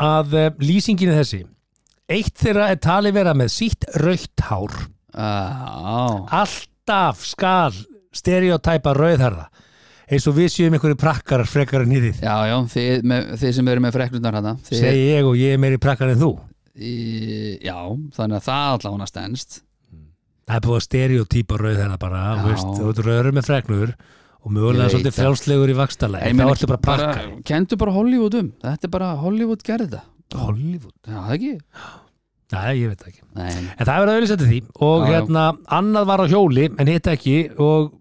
Speaker 1: að eh, lýsingin er þessi Eitt þeirra er talið vera með sítt rautt hár
Speaker 3: Já,
Speaker 1: Alltaf skal stereotæpa rauðharða eins og við séum einhverju prakkarar frekar en nýðið
Speaker 3: já, já, þið, með, þið sem eru með freknundar hana þið,
Speaker 1: segi ég og ég er meiri prakkar en þú
Speaker 3: í, Já, þannig að það allavega stendst
Speaker 1: það er búið að stereotýpa rauð þeirra bara
Speaker 3: Já.
Speaker 1: þú veist, þú ert rauður með fregnur og mögulega
Speaker 3: Ég veit
Speaker 1: svolítið
Speaker 3: það.
Speaker 1: frjálslegur í vakstarlega þá ertu bara prakkar
Speaker 3: Kendu bara Hollywood um, þetta er bara Hollywood gerði það
Speaker 1: Hollywood?
Speaker 3: Já, það ekki?
Speaker 1: Nei, ég veit það ekki.
Speaker 3: Nei,
Speaker 1: En það verður að auðvitað því og
Speaker 3: Já, já.
Speaker 1: hérna, annað var á hjóli en hitt ekki og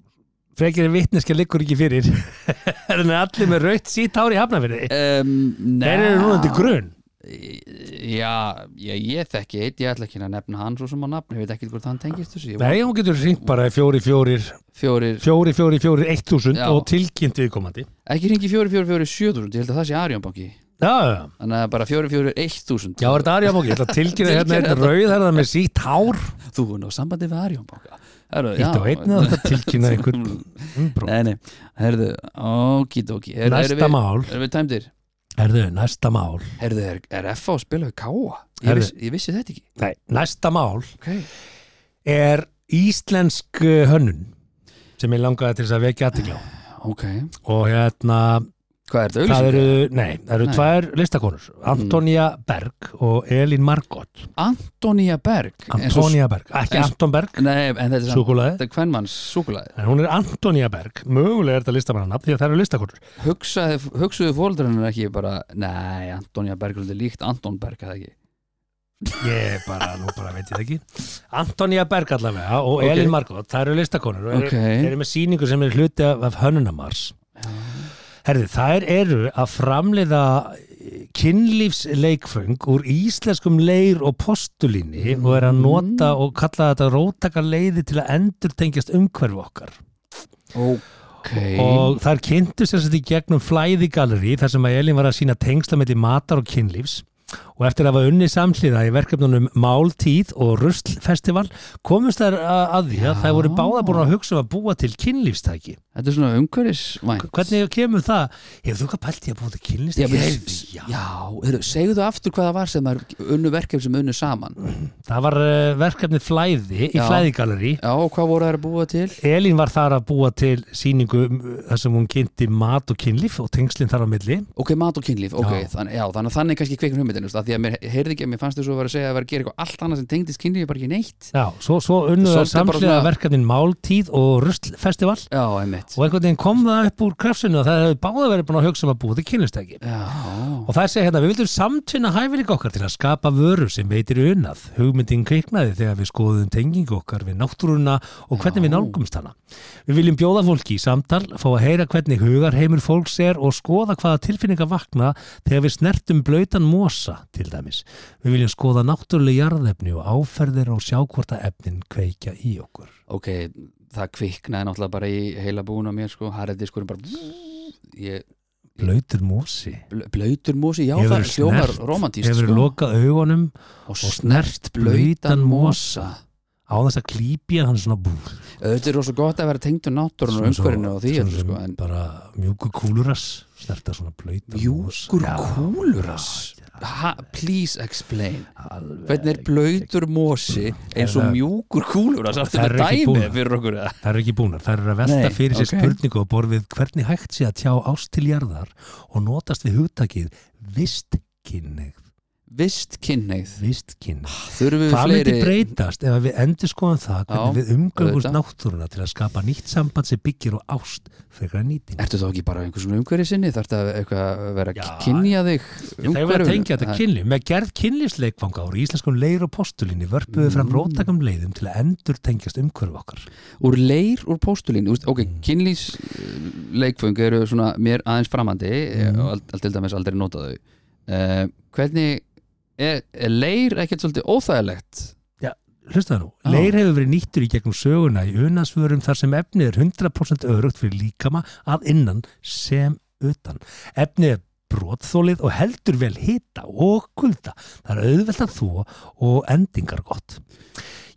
Speaker 1: frekir vitneskja liggur ekki fyrir (laughs) en allir með raut sítt hár í hafnafyrði
Speaker 3: um,
Speaker 1: Þeir eru núna til grun
Speaker 3: Já, ég, ég þekki eitt, ég ætla ekki að nefna hann svo sem á nafn, ég veit ekki hvort hann tengist þessu Ég var
Speaker 1: Nei, hún getur hringt bara í fjóri, fjórir
Speaker 3: Fjórir,
Speaker 1: fjóri, fjóri, fjórir, eitt þúsund
Speaker 3: Já.
Speaker 1: og tilkynnt viðkomandi
Speaker 3: ekki ringi fjórir, fjórir, fjórir, sjöðurund, ég held að það sé Arjónbanki
Speaker 1: Já, já, já.
Speaker 3: Þannig að bara fjórir, fjórir, eitt þúsund
Speaker 1: já, er þetta Arjá Móki, ég ætla að tilkynna hérna
Speaker 3: (laughs) Tilkynna
Speaker 1: einn rauðherða með sítt hár
Speaker 3: Þú er nú á sambandi við Arjónbanka
Speaker 1: Ítt á einn eða
Speaker 3: (laughs)
Speaker 1: þetta tilkynna einhvern umbrú
Speaker 3: Nei, nei, herðu, okidoki er,
Speaker 1: Næsta mál,
Speaker 3: Erum Eh, við tæmdir?
Speaker 1: herðu, næsta mál
Speaker 3: Herðu, er, er FA að spila við K.A.? Ég,
Speaker 1: Heyrðu.
Speaker 3: viss, ég vissi þetta ekki
Speaker 1: Nei, næsta mál
Speaker 3: okay.
Speaker 1: er íslensk uh, hönnun sem ég langaði til þess að vekja aðtikla
Speaker 3: ok,
Speaker 1: og hérna
Speaker 3: hvað er þetta
Speaker 1: það
Speaker 3: auglýsing?
Speaker 1: eru, nei, það eru
Speaker 3: Nei. Mm.
Speaker 1: tvær listakonur Antonía Berg og Elín Margot
Speaker 3: Antonia Berg eins og-
Speaker 1: Antonía Berg, ekki
Speaker 3: eins-
Speaker 1: Anton Berg
Speaker 3: Nei, en þetta er samt-
Speaker 1: súkulaði,
Speaker 3: Þetta er kvenmanns súkulaði
Speaker 1: en hún er Antonía Berg mögulega er þetta listamannanab því að það eru listakonur
Speaker 3: Hugsaði, Hugsuðu fóldrennar ekki bara Nei, Antonia Berg er svolítið líkt Anton Berg eða ekki
Speaker 1: ég bara, nú bara veit ég það ekki Antonía Berg allavega og
Speaker 3: Ok.
Speaker 1: Elín Margot, það eru listakonur og eru,
Speaker 3: Ok.
Speaker 1: eru með sýningu sem er hluti af, af hönnunamars Herði, þær eru að framleiða eh, kynlífsleikföng úr íslenskum leir og postulíni og er að nota
Speaker 3: Mm.
Speaker 1: og kalla þetta róttaka leiði til að endur tengjast umhverfu okkar.
Speaker 3: Ok
Speaker 1: Og þær kynntu sér þetta í gegnum flæðigalleri þar sem að Elin var að sína tengsla melli matar og kynlífs og eftir að hafa unni samhliða í verkefnunum Máltíð og Ruslfestival komust þær að að því að
Speaker 3: Já.
Speaker 1: þær voru báða búin að hugsa um að búa til kynlífstæki.
Speaker 3: Þetta er svona umhverfisvænt
Speaker 1: Hvernig kemur það? Hefur þú hvað pælt ég að búa til kynlífstæki?
Speaker 3: Já, við, já, já segðu aftur hvað það var sem er unnu verkefni sem unnu saman
Speaker 1: Það var uh, verkefnið Flæði í
Speaker 3: Já.
Speaker 1: Flæðigalleri.
Speaker 3: Já, og hvað voru þær að búa til?
Speaker 1: Elín var þar að búa til síningu um, þar sem hún kynnti mat og kynlíf og tengslinn þar á milli.
Speaker 3: Ok, mat og kynlíf, ok,
Speaker 1: Já.
Speaker 3: þannig, já, þannig, að þannig kannski kveikun hugmyndin, þú veist, af því að mér heyrði ekki að mér fannst þess að vera að segja að vera að gera eitthvað allt annað sem tengdist kynlífi, bara ekki neitt
Speaker 1: Já, svo, svo unnuða
Speaker 3: Svolítið bara
Speaker 1: samslega
Speaker 3: svona-
Speaker 1: verkefnin Máltíð og Ruslfestival
Speaker 3: Já, einmitt
Speaker 1: og einhvern veginn kom það upp úr krafsinu og það hefði báða verið búin að hugsa um að búa til kynlistæki.
Speaker 3: Já,
Speaker 1: Og það segja hérna, við vildum samtvinna hæfileika okkar til að skapa vöru sem veitir unnað. Hugmyndin kviknaði þegar við skoðum tengingu okkar við náttúruna og hvernig við
Speaker 3: Já.
Speaker 1: nálgumst hana. Við viljum bjóða fólki í samtal, fá að heyra hvernig hugarheimur fólks er og skoða hvaða tilfinninga vakna þegar við snertum blautan mosa, til dæmis. Við viljum skoða náttúrulega jarðefni og áferðir og sjá hvort að efnin kveikja í okkur.
Speaker 3: ok, það kviknaði náttúrulega bara í heila búin á mér, sko, harðið sko bara, ég,
Speaker 1: Blautur mosi.
Speaker 3: bl- blautur mósi, já,
Speaker 1: Hefurðu
Speaker 3: það hljómar
Speaker 1: snert-
Speaker 3: romantíst,
Speaker 1: Hefur
Speaker 3: sko
Speaker 1: lokað augunum
Speaker 3: og
Speaker 1: og
Speaker 3: snert
Speaker 1: snert blautan mosa á þess að klípja hann svona búr.
Speaker 3: Þetta er rosa gott að vera tengdur náttúrun og
Speaker 1: Svona svo-
Speaker 3: umhverfinu og því,
Speaker 1: svona
Speaker 3: öllu,
Speaker 1: sem
Speaker 3: sko, en
Speaker 1: bara mjúkur kúlurass snerta svona blöytan
Speaker 3: Mjúkur kúlurass? ha, please explain Hvernig er blöytur mosi eins og
Speaker 1: Er það-
Speaker 3: mjúkur kúlur Það
Speaker 1: Það
Speaker 3: er
Speaker 1: er ekki
Speaker 3: ekki
Speaker 1: búnar.
Speaker 3: dæmi fyrir okkur eða?
Speaker 1: það eru ekki búnar, það eru að velta
Speaker 3: Nei,
Speaker 1: fyrir sér
Speaker 3: ok.
Speaker 1: spurningu og borð við hvernig hægt sé að tjá ást til jarðar og notast við hugtakið vistkynnið
Speaker 3: Vist kynneið
Speaker 1: vistkynnið
Speaker 3: Þurfum við
Speaker 1: Hvað myndi
Speaker 3: fleiri
Speaker 1: breytast ef að við endur skoðum það hvernig
Speaker 3: Já,
Speaker 1: við umgöngumst
Speaker 3: auðvitað.
Speaker 1: náttúruna til að skapa nýtt samband sem byggir á ást fyrir að nýting?
Speaker 3: Ertu þá ekki bara einhvers svona umhverfi sinni Þarf það eitthvað að vera
Speaker 1: Já.
Speaker 3: að kynja þig
Speaker 1: Það er verið að
Speaker 3: umhverfinu?
Speaker 1: tengja þetta
Speaker 3: Það-
Speaker 1: kynlíf. Með gerð kynlífsleikfanga úr íslenskum leir og postulinni vörpuðu fram
Speaker 3: Mm.
Speaker 1: róttakum leiðum til að endur tengjast umhverfu okkar.
Speaker 3: Úr leir, úr postulín úst, Ok,
Speaker 1: Mm.
Speaker 3: kynlýs leikfung eru svona mér aðeins framandi
Speaker 1: Mm.
Speaker 3: mm. og allt- allt til dæmis aldrei nota þau uh, Hvernig er, er leir ekkert svolítið óþægilegt
Speaker 1: Hlustaðu nú,
Speaker 3: Já.
Speaker 1: leir hefur verið nýttur í gegnum söguna í unasvörum þar sem efnið er 100% örugt fyrir líkama að innan sem utan. Efnið er brotþólið og heldur vel hita og kulda. Það er auðvelt að þó og endingar gott.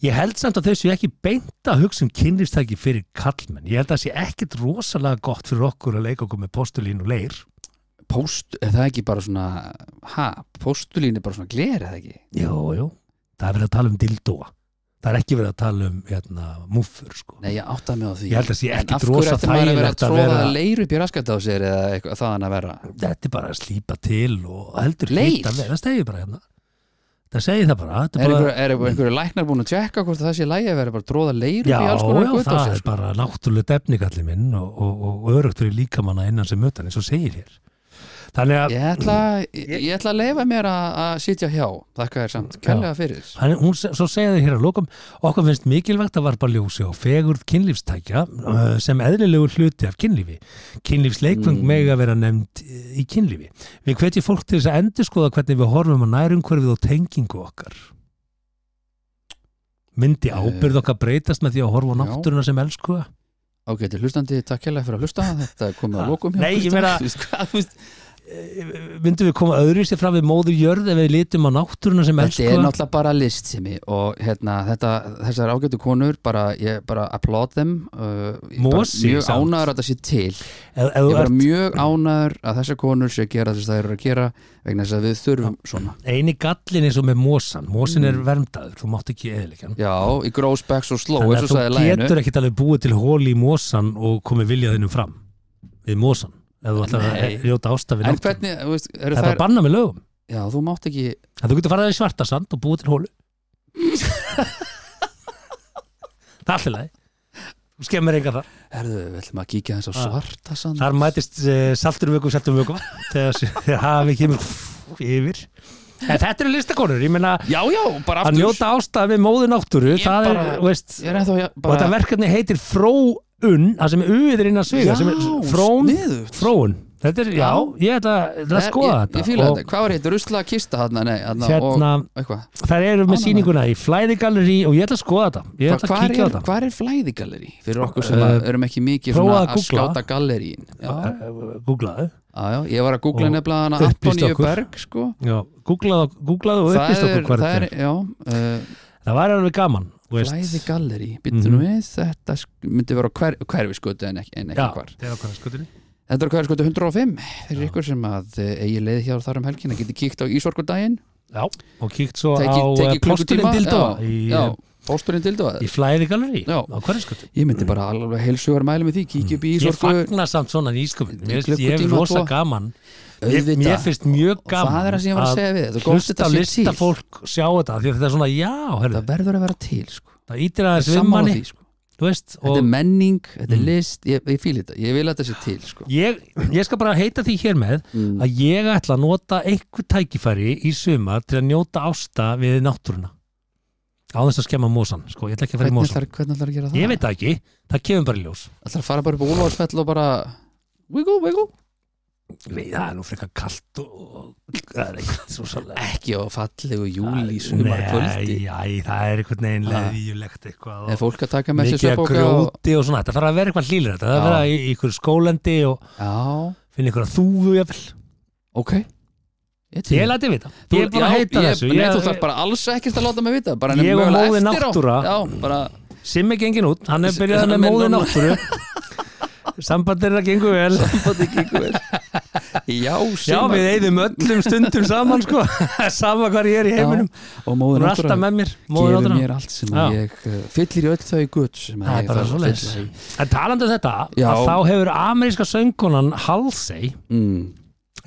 Speaker 1: Ég held samt að þau séu ekki beint að hugsa um kynlýfstæki fyrir kallmenn. Ég held að það sé ekkit rosalega gott fyrir okkur að leika okkur með postulín og leir.
Speaker 3: Post, er það ekki bara svona ha, postulín er bara svona gler eða ekki
Speaker 1: Jú, jú. Það er verið að tala um dildóa. Það er ekki verið að tala um hérna, múffur, sko.
Speaker 3: Nei, ég átta mig á því
Speaker 1: Ég held að sé
Speaker 3: En
Speaker 1: ekkit
Speaker 3: af hverju
Speaker 1: rosa
Speaker 3: ætti maður að vera
Speaker 1: þægilegt að
Speaker 3: að tróða
Speaker 1: vera-
Speaker 3: leir upp í raskat á sér eða eitthvað þaðan að vera
Speaker 1: Þetta er bara að slípa til og heldur
Speaker 3: Leir?
Speaker 1: hitt að vera. Það segir bara hérna. Það segir það bara. Þetta
Speaker 3: Er
Speaker 1: er
Speaker 3: einhverju
Speaker 1: bara
Speaker 3: einhver, einhver læknar búin að tjekka hvort það sé lægi að vera bara að tróða leir upp
Speaker 1: Já,
Speaker 3: í alls
Speaker 1: já,
Speaker 3: konar gutt á
Speaker 1: það
Speaker 3: sér sko?
Speaker 1: er bara náttúrulega defnikallið minn og, og, og örugtur í líkamanna innan sem mötan eins og segir hér. þannig að
Speaker 3: Ég ætla, ég, ég ætla að leifa mér að, að sitja hjá, þakka þér samt, kærlega fyrir
Speaker 1: Hann, hún, se- svo segja þið hér að lokum okkur finnst mikilvægt að varpa ljósi og fegurð kynlífstækja uh, sem eðlilegur hluti af kynlífi kynlífsleikfung mm. mega vera nefnd eh, í kynlífi. Við hvetjum fólk til þess að endurskoða hvernig við horfum að nærumhverfið og tengingu okkar myndi ábyrð okkar breytast með því að horfa á
Speaker 3: Eh. Já.
Speaker 1: náttúruna sem elskuða
Speaker 3: Ágæti hlustandi, takk kærlega fyrir að hlusta Þetta er komið að lokum hjá
Speaker 1: Nei, ég
Speaker 3: Kristján.
Speaker 1: meina-
Speaker 3: Þú veist hvað, þú veist,
Speaker 1: myndum við koma öðru sér fram við móður jörð ef við litum á náttúruna sem
Speaker 3: Þetta er
Speaker 1: elskuða
Speaker 3: náttúrulega bara list sem ég og hérna, þetta, þessar ágætu konur bara, ég bara applaud þeim uh, ég bara
Speaker 1: Mosi,
Speaker 3: Mjög
Speaker 1: samt.
Speaker 3: ánæður að þetta sé til
Speaker 1: Ef- ef
Speaker 3: Ég
Speaker 1: þú
Speaker 3: er bara
Speaker 1: ert-
Speaker 3: mjög ánæður að þessar konur sé að gera þess að það eru að gera vegna þess að við þurfum svona
Speaker 1: eini gallin eins og með mósan
Speaker 3: Mm.
Speaker 1: mósin er verndaður, þú mátt ekki eðilegja hann
Speaker 3: Já, í Grósbecks og Slow, eins
Speaker 1: Þannig
Speaker 3: og sagði
Speaker 1: að þú
Speaker 3: læginu
Speaker 1: getur ekkit alveg búið til hóli í mósan og komið viljaðinum fram við mósan ef þú ætlar
Speaker 3: Nei.
Speaker 1: að ljóta ástafið
Speaker 3: En
Speaker 1: náttúrunni.
Speaker 3: hvernig, þú veist, eru
Speaker 1: Það er bara
Speaker 3: þær
Speaker 1: banna með lögum
Speaker 3: Já, þú mátt ekki
Speaker 1: en þú getur farað í svartasand og búið til hólu Það er allir leið Þú skemmir enga þar
Speaker 3: Herðu, við ætlum að kíkja þess á
Speaker 1: Ah.
Speaker 3: svarta sand
Speaker 1: Þar mætist uh, saltur vöku, saltur vöku þegar s- þegar hafi kemur yfir En þetta eru listakonur, ég meina
Speaker 3: Já, já, bara
Speaker 1: að
Speaker 3: aftur
Speaker 1: njóta ástafið við móðu náttúru
Speaker 3: Ég
Speaker 1: það er,
Speaker 3: bara-
Speaker 1: þú veist,
Speaker 3: Ég er ennþá, já,
Speaker 1: og þetta
Speaker 3: bara
Speaker 1: verkefni heitir Fróun það sem uður innan sviga sem er Frón,
Speaker 3: sniðugt.
Speaker 1: Fróun þetta er, já, ég ætla ætla að
Speaker 3: Ég-
Speaker 1: skoða
Speaker 3: ég-
Speaker 1: þetta
Speaker 3: Ég fíla
Speaker 1: Og
Speaker 3: þetta, hvað var hitt, rusla kista hann, nei, hann
Speaker 1: Hérna,
Speaker 3: og eitthvað
Speaker 1: þær eru með
Speaker 3: Ánægðar.
Speaker 1: sýninguna í flæðigalleri og ég ætla að skoða þetta ég ætla að
Speaker 3: Hvar
Speaker 1: kíkja á
Speaker 3: er,
Speaker 1: þetta
Speaker 3: hvar er flæðigalleri fyrir okkur sem uh, erum ekki mikið
Speaker 1: prófaðu
Speaker 3: svona
Speaker 1: að
Speaker 3: að
Speaker 1: googla.
Speaker 3: skáta gallerín já, já,
Speaker 1: eh, googlaðu
Speaker 3: já, ég var að googla
Speaker 1: Og
Speaker 3: nefnilega hana
Speaker 1: upplýstu
Speaker 3: Antoníu
Speaker 1: okkur.
Speaker 3: Berg sko.
Speaker 1: já, googlaðu, googlaðu og upplýst okkur hvað þetta
Speaker 3: það er,
Speaker 1: er
Speaker 3: já uh,
Speaker 1: það væri alveg gaman þú veist. Mhm.
Speaker 3: flæðigalleri, byttu nú við þetta sk- myndi vera á hver, hverfi en ekki, en ekki
Speaker 1: já,
Speaker 3: hvar
Speaker 1: það er okkur skutinni
Speaker 3: Þetta er hverfi 105 fyrir ykkur sem að eh, eigi leið hjá þar um helgina geti kíkt á Ísorkudaginn
Speaker 1: já, og kíkt svo
Speaker 3: teki,
Speaker 1: á eh,
Speaker 3: teki klukkutíma
Speaker 1: plosturinn dildóa
Speaker 3: já,
Speaker 1: í, eh,
Speaker 3: já, pósturinn dildóa
Speaker 1: í flæðigalleri
Speaker 3: Já.
Speaker 1: á hverju skutinni
Speaker 3: Ég myndi bara alveg heilsugar mæli með því kíkja upp í
Speaker 1: ég
Speaker 3: Ísorku
Speaker 1: fagna samt svona nýskuminn mér finnst ég
Speaker 3: Klukkutíma,
Speaker 1: rosa
Speaker 3: tvo.
Speaker 1: gaman Mér, mér finnst mjög
Speaker 3: Og
Speaker 1: gaman
Speaker 3: það er það sem ég var að segja við þér. Þú
Speaker 1: að
Speaker 3: gott
Speaker 1: hlusta
Speaker 3: þetta sé
Speaker 1: lista
Speaker 3: til.
Speaker 1: fólk sjá þetta því að þetta er svona, já, herðu,
Speaker 3: það verður að vera til sko.
Speaker 1: það ítir aðeins við
Speaker 3: sammála
Speaker 1: manni
Speaker 3: því sko.
Speaker 1: þú veist,
Speaker 3: þetta
Speaker 1: og Mm.
Speaker 3: er menning, þetta er list ég, ég fíl þetta, ég vil að þetta sé til sko.
Speaker 1: ég, ég skal bara heita því hér með að Mm. ég ætla að nota einhver tækifæri í sumar til að njóta ásta við náttúruna á þess að skemma mósan, sko, ég ætla ekki að fara í
Speaker 3: hvernig
Speaker 1: mósan
Speaker 3: ætlar það að gera það?
Speaker 1: ég veit það ekki, það kemur bara í ljós
Speaker 3: ætlar að fara bara upp á Úlfarsfell og bara wiggle, wiggle
Speaker 1: Ég veit, það er nú frekar kalt og, og það er eitthvað svo svolítið
Speaker 3: ekki á fallegu júli í sumar kvöldi
Speaker 1: Nei, það er einhvern veginn
Speaker 3: Ha.
Speaker 1: leðjulegt eitthvað og-
Speaker 3: er fólk að taka með
Speaker 1: mikið
Speaker 3: sér
Speaker 1: að
Speaker 3: svefbóka og...
Speaker 1: grjóti og svona þetta þarf að vera eitthvað hlýlir þetta þarf að
Speaker 3: Já.
Speaker 1: vera í, í ykkur skólandi og
Speaker 3: já,
Speaker 1: finna ykkur að þúfu jafnvel
Speaker 3: ok ég, til.
Speaker 1: ég læti vita,
Speaker 3: Þú-
Speaker 1: ég er bara
Speaker 3: já,
Speaker 1: að heita
Speaker 3: ég-
Speaker 1: þessu
Speaker 3: nei,
Speaker 1: ég,
Speaker 3: þú þarf bara alls ekkert að láta mig vita bara
Speaker 1: Ég og
Speaker 3: mögulega
Speaker 1: móðir
Speaker 3: eftir á.
Speaker 1: náttúra.
Speaker 3: já, bara
Speaker 1: Simmi gengin út, hann er
Speaker 3: Þessi-
Speaker 1: byrjað
Speaker 3: hann er
Speaker 1: með
Speaker 3: með
Speaker 1: móði
Speaker 3: núna.
Speaker 1: náttúru sambandir að gengu vel
Speaker 3: Sambandið gengur vel. Já,
Speaker 1: já
Speaker 3: Sigmar.
Speaker 1: við eyðum öllum stundum saman sko,
Speaker 3: (laughs)
Speaker 1: sama hvað ég er í heiminum
Speaker 3: Já, og móður
Speaker 1: hún er alltaf með mér móðir
Speaker 3: gefur
Speaker 1: náttúra.
Speaker 3: mér allt sem að
Speaker 1: Já.
Speaker 3: ég uh, fyllir í öll þau gutt sem að
Speaker 1: það
Speaker 3: ég
Speaker 1: er bara
Speaker 3: þarf
Speaker 1: svo
Speaker 3: að
Speaker 1: leis
Speaker 3: fylla í.
Speaker 1: en talandi um þetta,
Speaker 3: Já.
Speaker 1: að þá hefur ameríska söngkonan Halsey
Speaker 3: mm.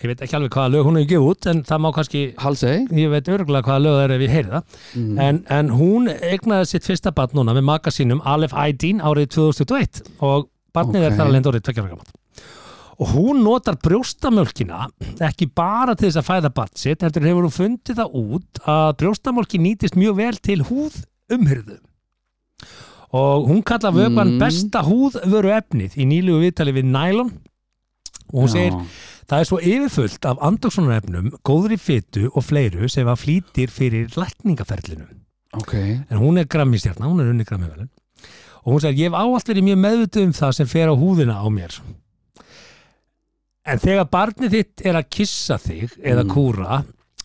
Speaker 1: ég veit ekki alveg hvaða lög hún hefur gefið út en það má kannski
Speaker 3: Halsey
Speaker 1: ég veit örgulega hvaða lög það er ef ég heyri það en, en hún egnaði sitt fyrsta barn núna með maka sínum Aleph Aydin árið 2021 og barnið
Speaker 3: Ok.
Speaker 1: er þar alveg orðið tveggjára gaman og hún notar brjóstamjölkina ekki bara til þess að fæða barn sitt heldur hefur hún fundið það út að brjóstamjölkin nýtist mjög vel til húð umhyrðu og hún kalla vögvan
Speaker 3: Mm.
Speaker 1: besta húðvöru efnið í nýlugu viðtali við Nylon og hún segir Það er svo yfirfullt af andoksunarefnum, góðri fytu og fleiru sem að flýtir fyrir lækningaferlinu.
Speaker 3: ok,
Speaker 1: En hún er grammistjarna, hún er unni grammivelin. Og hún segir, ég hef áallt verið mjög meðvituð um það sem fer á húðina á mér. En þegar barnið þitt er að kissa þig eða
Speaker 3: Mm.
Speaker 1: kúra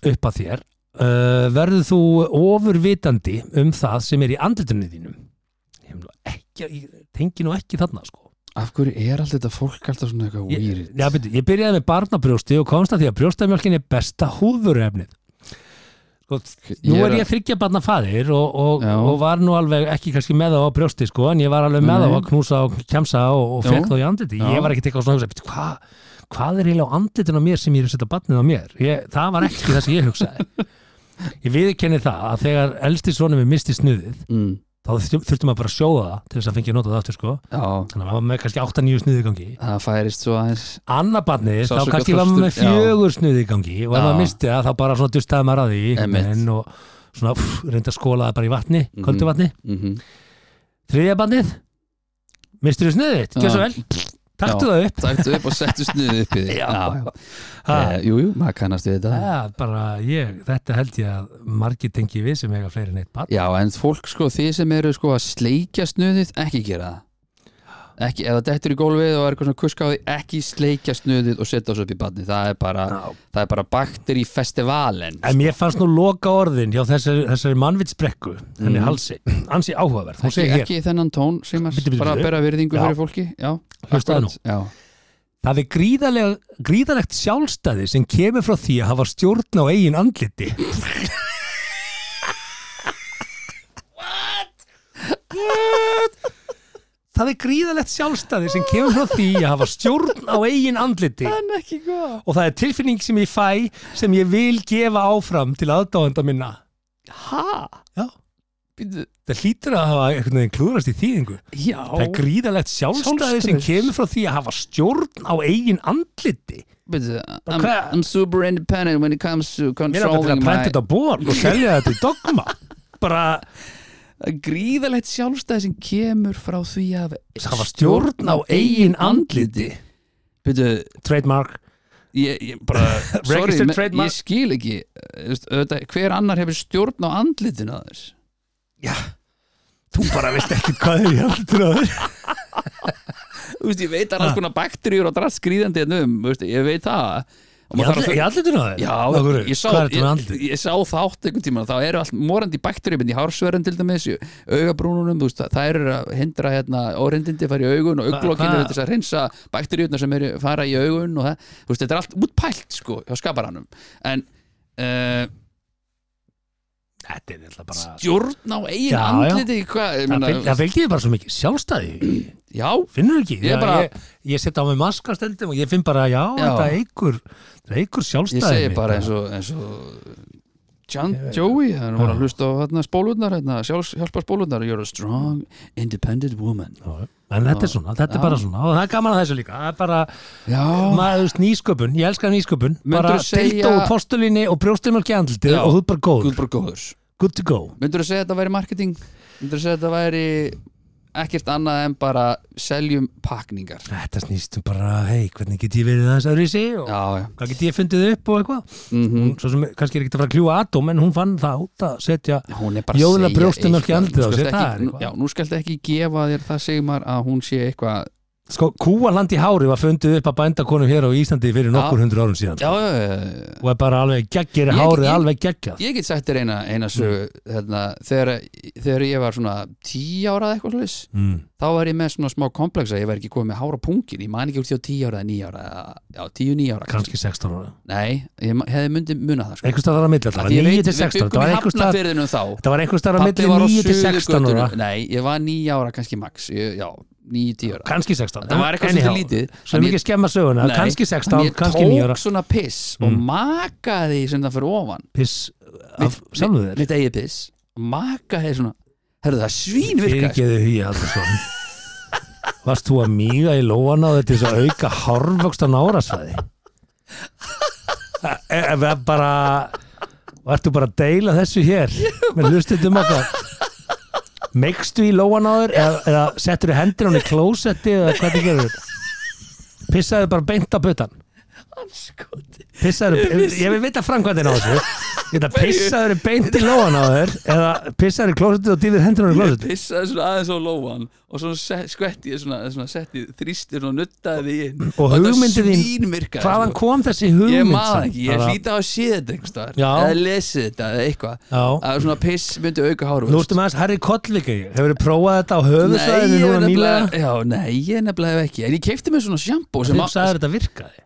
Speaker 1: upp að þér, uh, verður þú ofurvitandi um það sem er í andlutunni þínum. Ég, hef nú ekki, ég tengi nú ekki þarna, sko.
Speaker 3: af hverju er allt þetta fólk alltaf svona eitthvað
Speaker 1: Ég,
Speaker 3: weird
Speaker 1: já, byrju, ég byrjaði með barnabrjósti og komst að því að brjóstamjölkin er besta húðvöruefnið sko, Nú
Speaker 3: Ég er
Speaker 1: er
Speaker 3: að-
Speaker 1: ég þryggja barna faðir og, og,
Speaker 3: Já.
Speaker 1: og var nú alveg ekki kannski með þá á brjósti sko, en ég var alveg með
Speaker 3: Nei.
Speaker 1: þá að knúsa og kjamsa og, og
Speaker 3: Já.
Speaker 1: fekk þá í andliti
Speaker 3: Já.
Speaker 1: Ég var ekki tekað svona að hugsa, "Bíddu, hvað hvað er eiginlega á andlitin á mér sem ég er að setja barnið á mér ég, það var ekki það sem ég hugsaði Ég viðkenni það að þegar elsti sonum er misti snuðið
Speaker 3: mm.
Speaker 1: þá þá þur- þurfti maður bara að sjóða það til þess að fengi að nota það aftur sko
Speaker 3: Já,
Speaker 1: þannig að maður var með kannski 8-9 snuði í gangi
Speaker 3: það færist svo aðeins
Speaker 1: Anna barnið, þá
Speaker 3: Sársauka
Speaker 1: kannski var maður með
Speaker 3: þröstur, já.
Speaker 1: fjögur snuði í gangi og ef
Speaker 3: Já.
Speaker 1: maður misti það þá bara svona dustaði maður að því einhvern
Speaker 3: Einmitt.
Speaker 1: veginn og svona pff, reyndi að skóla það bara í vatni, köldu vatni
Speaker 3: mm
Speaker 1: Þriðja barnið, mistur þú snuðið þitt, gjör svo
Speaker 3: Já.
Speaker 1: vel, taktu það upp
Speaker 3: Taktu upp og settu snuðið upp í því
Speaker 1: Já, já.
Speaker 3: Eh,
Speaker 1: Það-
Speaker 3: Jú, jú, maður kannast við þetta
Speaker 1: það er bara ég, þetta held ég að margir tengi við sem eiga fleiri en eitt barn
Speaker 3: Já, en fólk sko, þið sem eru sko að sleikja snuðið, ekki gera það ekki, ef það dettur í gólfið og er eitthvað svona kuska á því, ekki sleikja snuðið og setja þessu upp í badni, það er bara
Speaker 1: Já.
Speaker 3: það er bara bakter í festivalen
Speaker 1: En mér fannst nú loka orðin hjá þessari, þessari mannvitsbrekku, henni
Speaker 3: Mhm.
Speaker 1: halsi, ansi áhugaverð, hún
Speaker 3: ekki,
Speaker 1: segir hér,
Speaker 3: ekki þennan tón sem er
Speaker 1: Bíddu, bíddu,
Speaker 3: bara
Speaker 1: bíddu.
Speaker 3: að bera virðingu
Speaker 1: Já.
Speaker 3: fyrir fólki já,
Speaker 1: Hlustaðu
Speaker 3: akkurat, já.
Speaker 1: það er gríðalega, gríðalegt sjálfstæði sem kemur frá því að hafa stjórn á eigin andliti. What? Það er gríðalegt sjálfstæði sem kemur frá því að hafa stjórn á eigin andliti
Speaker 3: en ekki góð
Speaker 1: og það er tilfinning sem ég fæ sem ég vil gefa áfram til aðdáðanda minna.
Speaker 3: ha,
Speaker 1: Já,
Speaker 3: býtu,
Speaker 1: það hlýtur að hafa einhvern veginn klúðrast í þýðingu.
Speaker 3: já
Speaker 1: Það er gríðalegt sjálfstæði sem
Speaker 3: Sjálfstraust.
Speaker 1: kemur frá því að hafa stjórn á eigin andliti.
Speaker 3: býtu, I'm,
Speaker 1: hvað-
Speaker 3: I'm super independent when it comes to
Speaker 1: Mér er alltaf til að
Speaker 3: controlling my
Speaker 1: prenta þetta á borð og selja þetta í dogma. Bara
Speaker 3: Það er gríðalegt sjálfstæði sem kemur frá því að
Speaker 1: hafa stjórn á eigin andliti.
Speaker 3: býtu,
Speaker 1: Trademark.
Speaker 3: ég, ég bara sorry,
Speaker 1: (laughs) Registered
Speaker 3: men-
Speaker 1: trademark.
Speaker 3: ég skil ekki eh, veist, auðvitað, hver annar hefur stjórn á andlitin að þess
Speaker 1: Þú bara veist ekki hvað er í andlitinu á þér.
Speaker 3: veist, ég veit að
Speaker 1: Ah.
Speaker 3: alls konar bakteríur og drast skrýðandi hérna um, veist, ég veit það og
Speaker 1: Í
Speaker 3: maður
Speaker 1: andli-
Speaker 3: þarf
Speaker 1: Í
Speaker 3: að
Speaker 1: andlitinu á þér?
Speaker 3: Já,
Speaker 1: Af hverju?
Speaker 3: ég sá,
Speaker 1: Hvað er
Speaker 3: ég,
Speaker 1: þetta með andlit?
Speaker 3: ég sá þátt einhvern tímann þá eru allt morandi bakterjuminn í hársverðin til dæmis, í augabrúnunum þú veist, það- það eru að hindra hérna órindindi fara í augun og auglokkinu
Speaker 1: hva-
Speaker 3: til þess að reynsa bakterjurnar sem eru fara í augun og það, þú veist, þetta er allt útpælt sko, hjá skaparanum en uh,
Speaker 1: Þetta er alltaf bara...
Speaker 3: stjórn á eigin
Speaker 1: Já, já.
Speaker 3: andliti hvað, ég
Speaker 1: Það
Speaker 3: meina,
Speaker 1: fylg- Það fylgir þér bara svo mikið sjálfstæði.
Speaker 3: já,
Speaker 1: Finnur ekki?
Speaker 3: Ég
Speaker 1: Já,
Speaker 3: bara-
Speaker 1: Ég, ég setja á mig maska stundum og ég finn bara, já,
Speaker 3: Já.
Speaker 1: þetta eigur, þetta eigur
Speaker 3: ég
Speaker 1: sjálfstæði.
Speaker 3: segi
Speaker 1: mitt.
Speaker 3: bara eins og, eins og John Joey, hann var að hlusta á hérna, spólurnar, hérna, sjálfs, hjálpa spólurnar You're a strong, independent woman
Speaker 1: Já, En þetta er svona, þetta er bara svona og það er gaman að þessu líka, það er bara
Speaker 3: Já,
Speaker 1: maður, þú veist, nýsköpun, ég elska nýsköpun bara
Speaker 3: Myndirðu segja-
Speaker 1: dildo og postulíni og brjóstumjálki andlitið
Speaker 3: Já.
Speaker 1: og þú er bara góð,
Speaker 3: Guð bara góður
Speaker 1: good to go
Speaker 3: Myndur þú segja að þetta væri marketing? Myndur þú segja að þetta væri ekkert annað en bara seljum pakningar?
Speaker 1: Þetta snýstum bara, hei, hvernig get ég verið þess aðri sig og
Speaker 3: Já, já
Speaker 1: hvað get ég fundið upp og eitthvað
Speaker 3: Mhm.
Speaker 1: mm. svo sem kannski er ekkert að fara að kljúa atom en hún fann það út að setja
Speaker 3: Hún er bara
Speaker 1: Jóla
Speaker 3: að segja
Speaker 1: brjóstin
Speaker 3: eitthvað.
Speaker 1: ekki andlitið á
Speaker 3: Nú skaltu
Speaker 1: sér, það er
Speaker 3: ekki-
Speaker 1: eitthvað.
Speaker 3: Já, nú skaltu ekki gefa þér það segmar að hún sé eitthvað
Speaker 1: sko, kúaland í hári var fundið upp að bændakonum hér á Íslandi fyrir nokkur hundru árum síðan
Speaker 3: Já, já, já
Speaker 1: og er bara alveg geggjir
Speaker 3: Ég-
Speaker 1: hárið,
Speaker 3: ég-
Speaker 1: alveg geggjað
Speaker 3: Ég get sagt þér eina, eina sögu hérna, þegar, þegar ég var svona tíu ára eða eitthvað slags
Speaker 1: mm.
Speaker 3: þá var ég með svona smá komplexa ég var ekki komið með hára pungin ég man ekki úr því á tíu ára eða níu ára eða- já, tíu níu ára
Speaker 1: kannski 16 ára,
Speaker 3: Nei, ég ma- hefði myndið munað það sko.
Speaker 1: einhvers staðar á milli
Speaker 3: Af
Speaker 1: allavega,
Speaker 3: því ég
Speaker 1: 9
Speaker 3: veit,
Speaker 1: til
Speaker 3: við
Speaker 1: 16
Speaker 3: byggum
Speaker 1: það
Speaker 3: í
Speaker 1: var einhvers staðar-
Speaker 3: hafnafyrðinum þá
Speaker 1: þetta var einhvers staðar á
Speaker 3: Pabbi
Speaker 1: milli
Speaker 3: var á
Speaker 1: 9 til 16 ára
Speaker 3: Suðurgötunni. Nei, ég var 9 ára, kannski max ég, Já, 9-10 ára
Speaker 1: kannski 16
Speaker 3: Það var eitthvað
Speaker 1: Anyhow,
Speaker 3: svolítið lítið.
Speaker 1: svo
Speaker 3: En
Speaker 1: mikið skemma söguna,
Speaker 3: Nei,
Speaker 1: kannski
Speaker 3: en
Speaker 1: 16,
Speaker 3: Ég
Speaker 1: kannski 9 ára Mm.
Speaker 3: tók svona piss og makaði sem það fyrir ofan
Speaker 1: piss af sjálfu þér
Speaker 3: Mitt eigið piss Makaði svona Herðu það svín virka
Speaker 1: fyrirgeðu hugi Haldursson varst þú að míga í lóan á þetta til þess að auka hárvöxt á nárasvæði E- ef það bara vartu bara að deila þessu hér með hlustutum okkar meikstu í lóan á þér eða, eða settur þú hendur hún í klósetti eða hvað þið gerur pissaðu bara beint á butan pissaður, ég vil vita framkvæmdina á þessu ég veit að pissaður beint í lóan á þér eða pissaður í klósetið og dýfið hendur á
Speaker 3: Ég
Speaker 1: klósetið
Speaker 3: pissaði svona aðeins á lóan og svona se- skvetti ég svona, svona setti þrýsti svona nuttaði því inn
Speaker 1: og hugmyndin þín,
Speaker 3: virka
Speaker 1: hvaðan kom þessi
Speaker 3: sko. Ég
Speaker 1: hugmynd
Speaker 3: maður
Speaker 1: samt?
Speaker 3: ekki, ég
Speaker 1: Bara-
Speaker 3: hlýta á að sé þetta einhvers staðar
Speaker 1: Já.
Speaker 3: eða lesið þetta eða eitthvað
Speaker 1: Já.
Speaker 3: að svona piss myndi auka háruvöxt
Speaker 1: nú ertu með þess Harry Kollvika hefur þið prófað þetta á
Speaker 3: Nei,
Speaker 1: höfusvæðinu
Speaker 3: ég
Speaker 1: núna nýlega
Speaker 3: nefnilega Já, nei, ég nefnilega hef ekki En ég keipti mér svona sjampó sem
Speaker 1: þú
Speaker 3: að-
Speaker 1: sagður þetta virkaði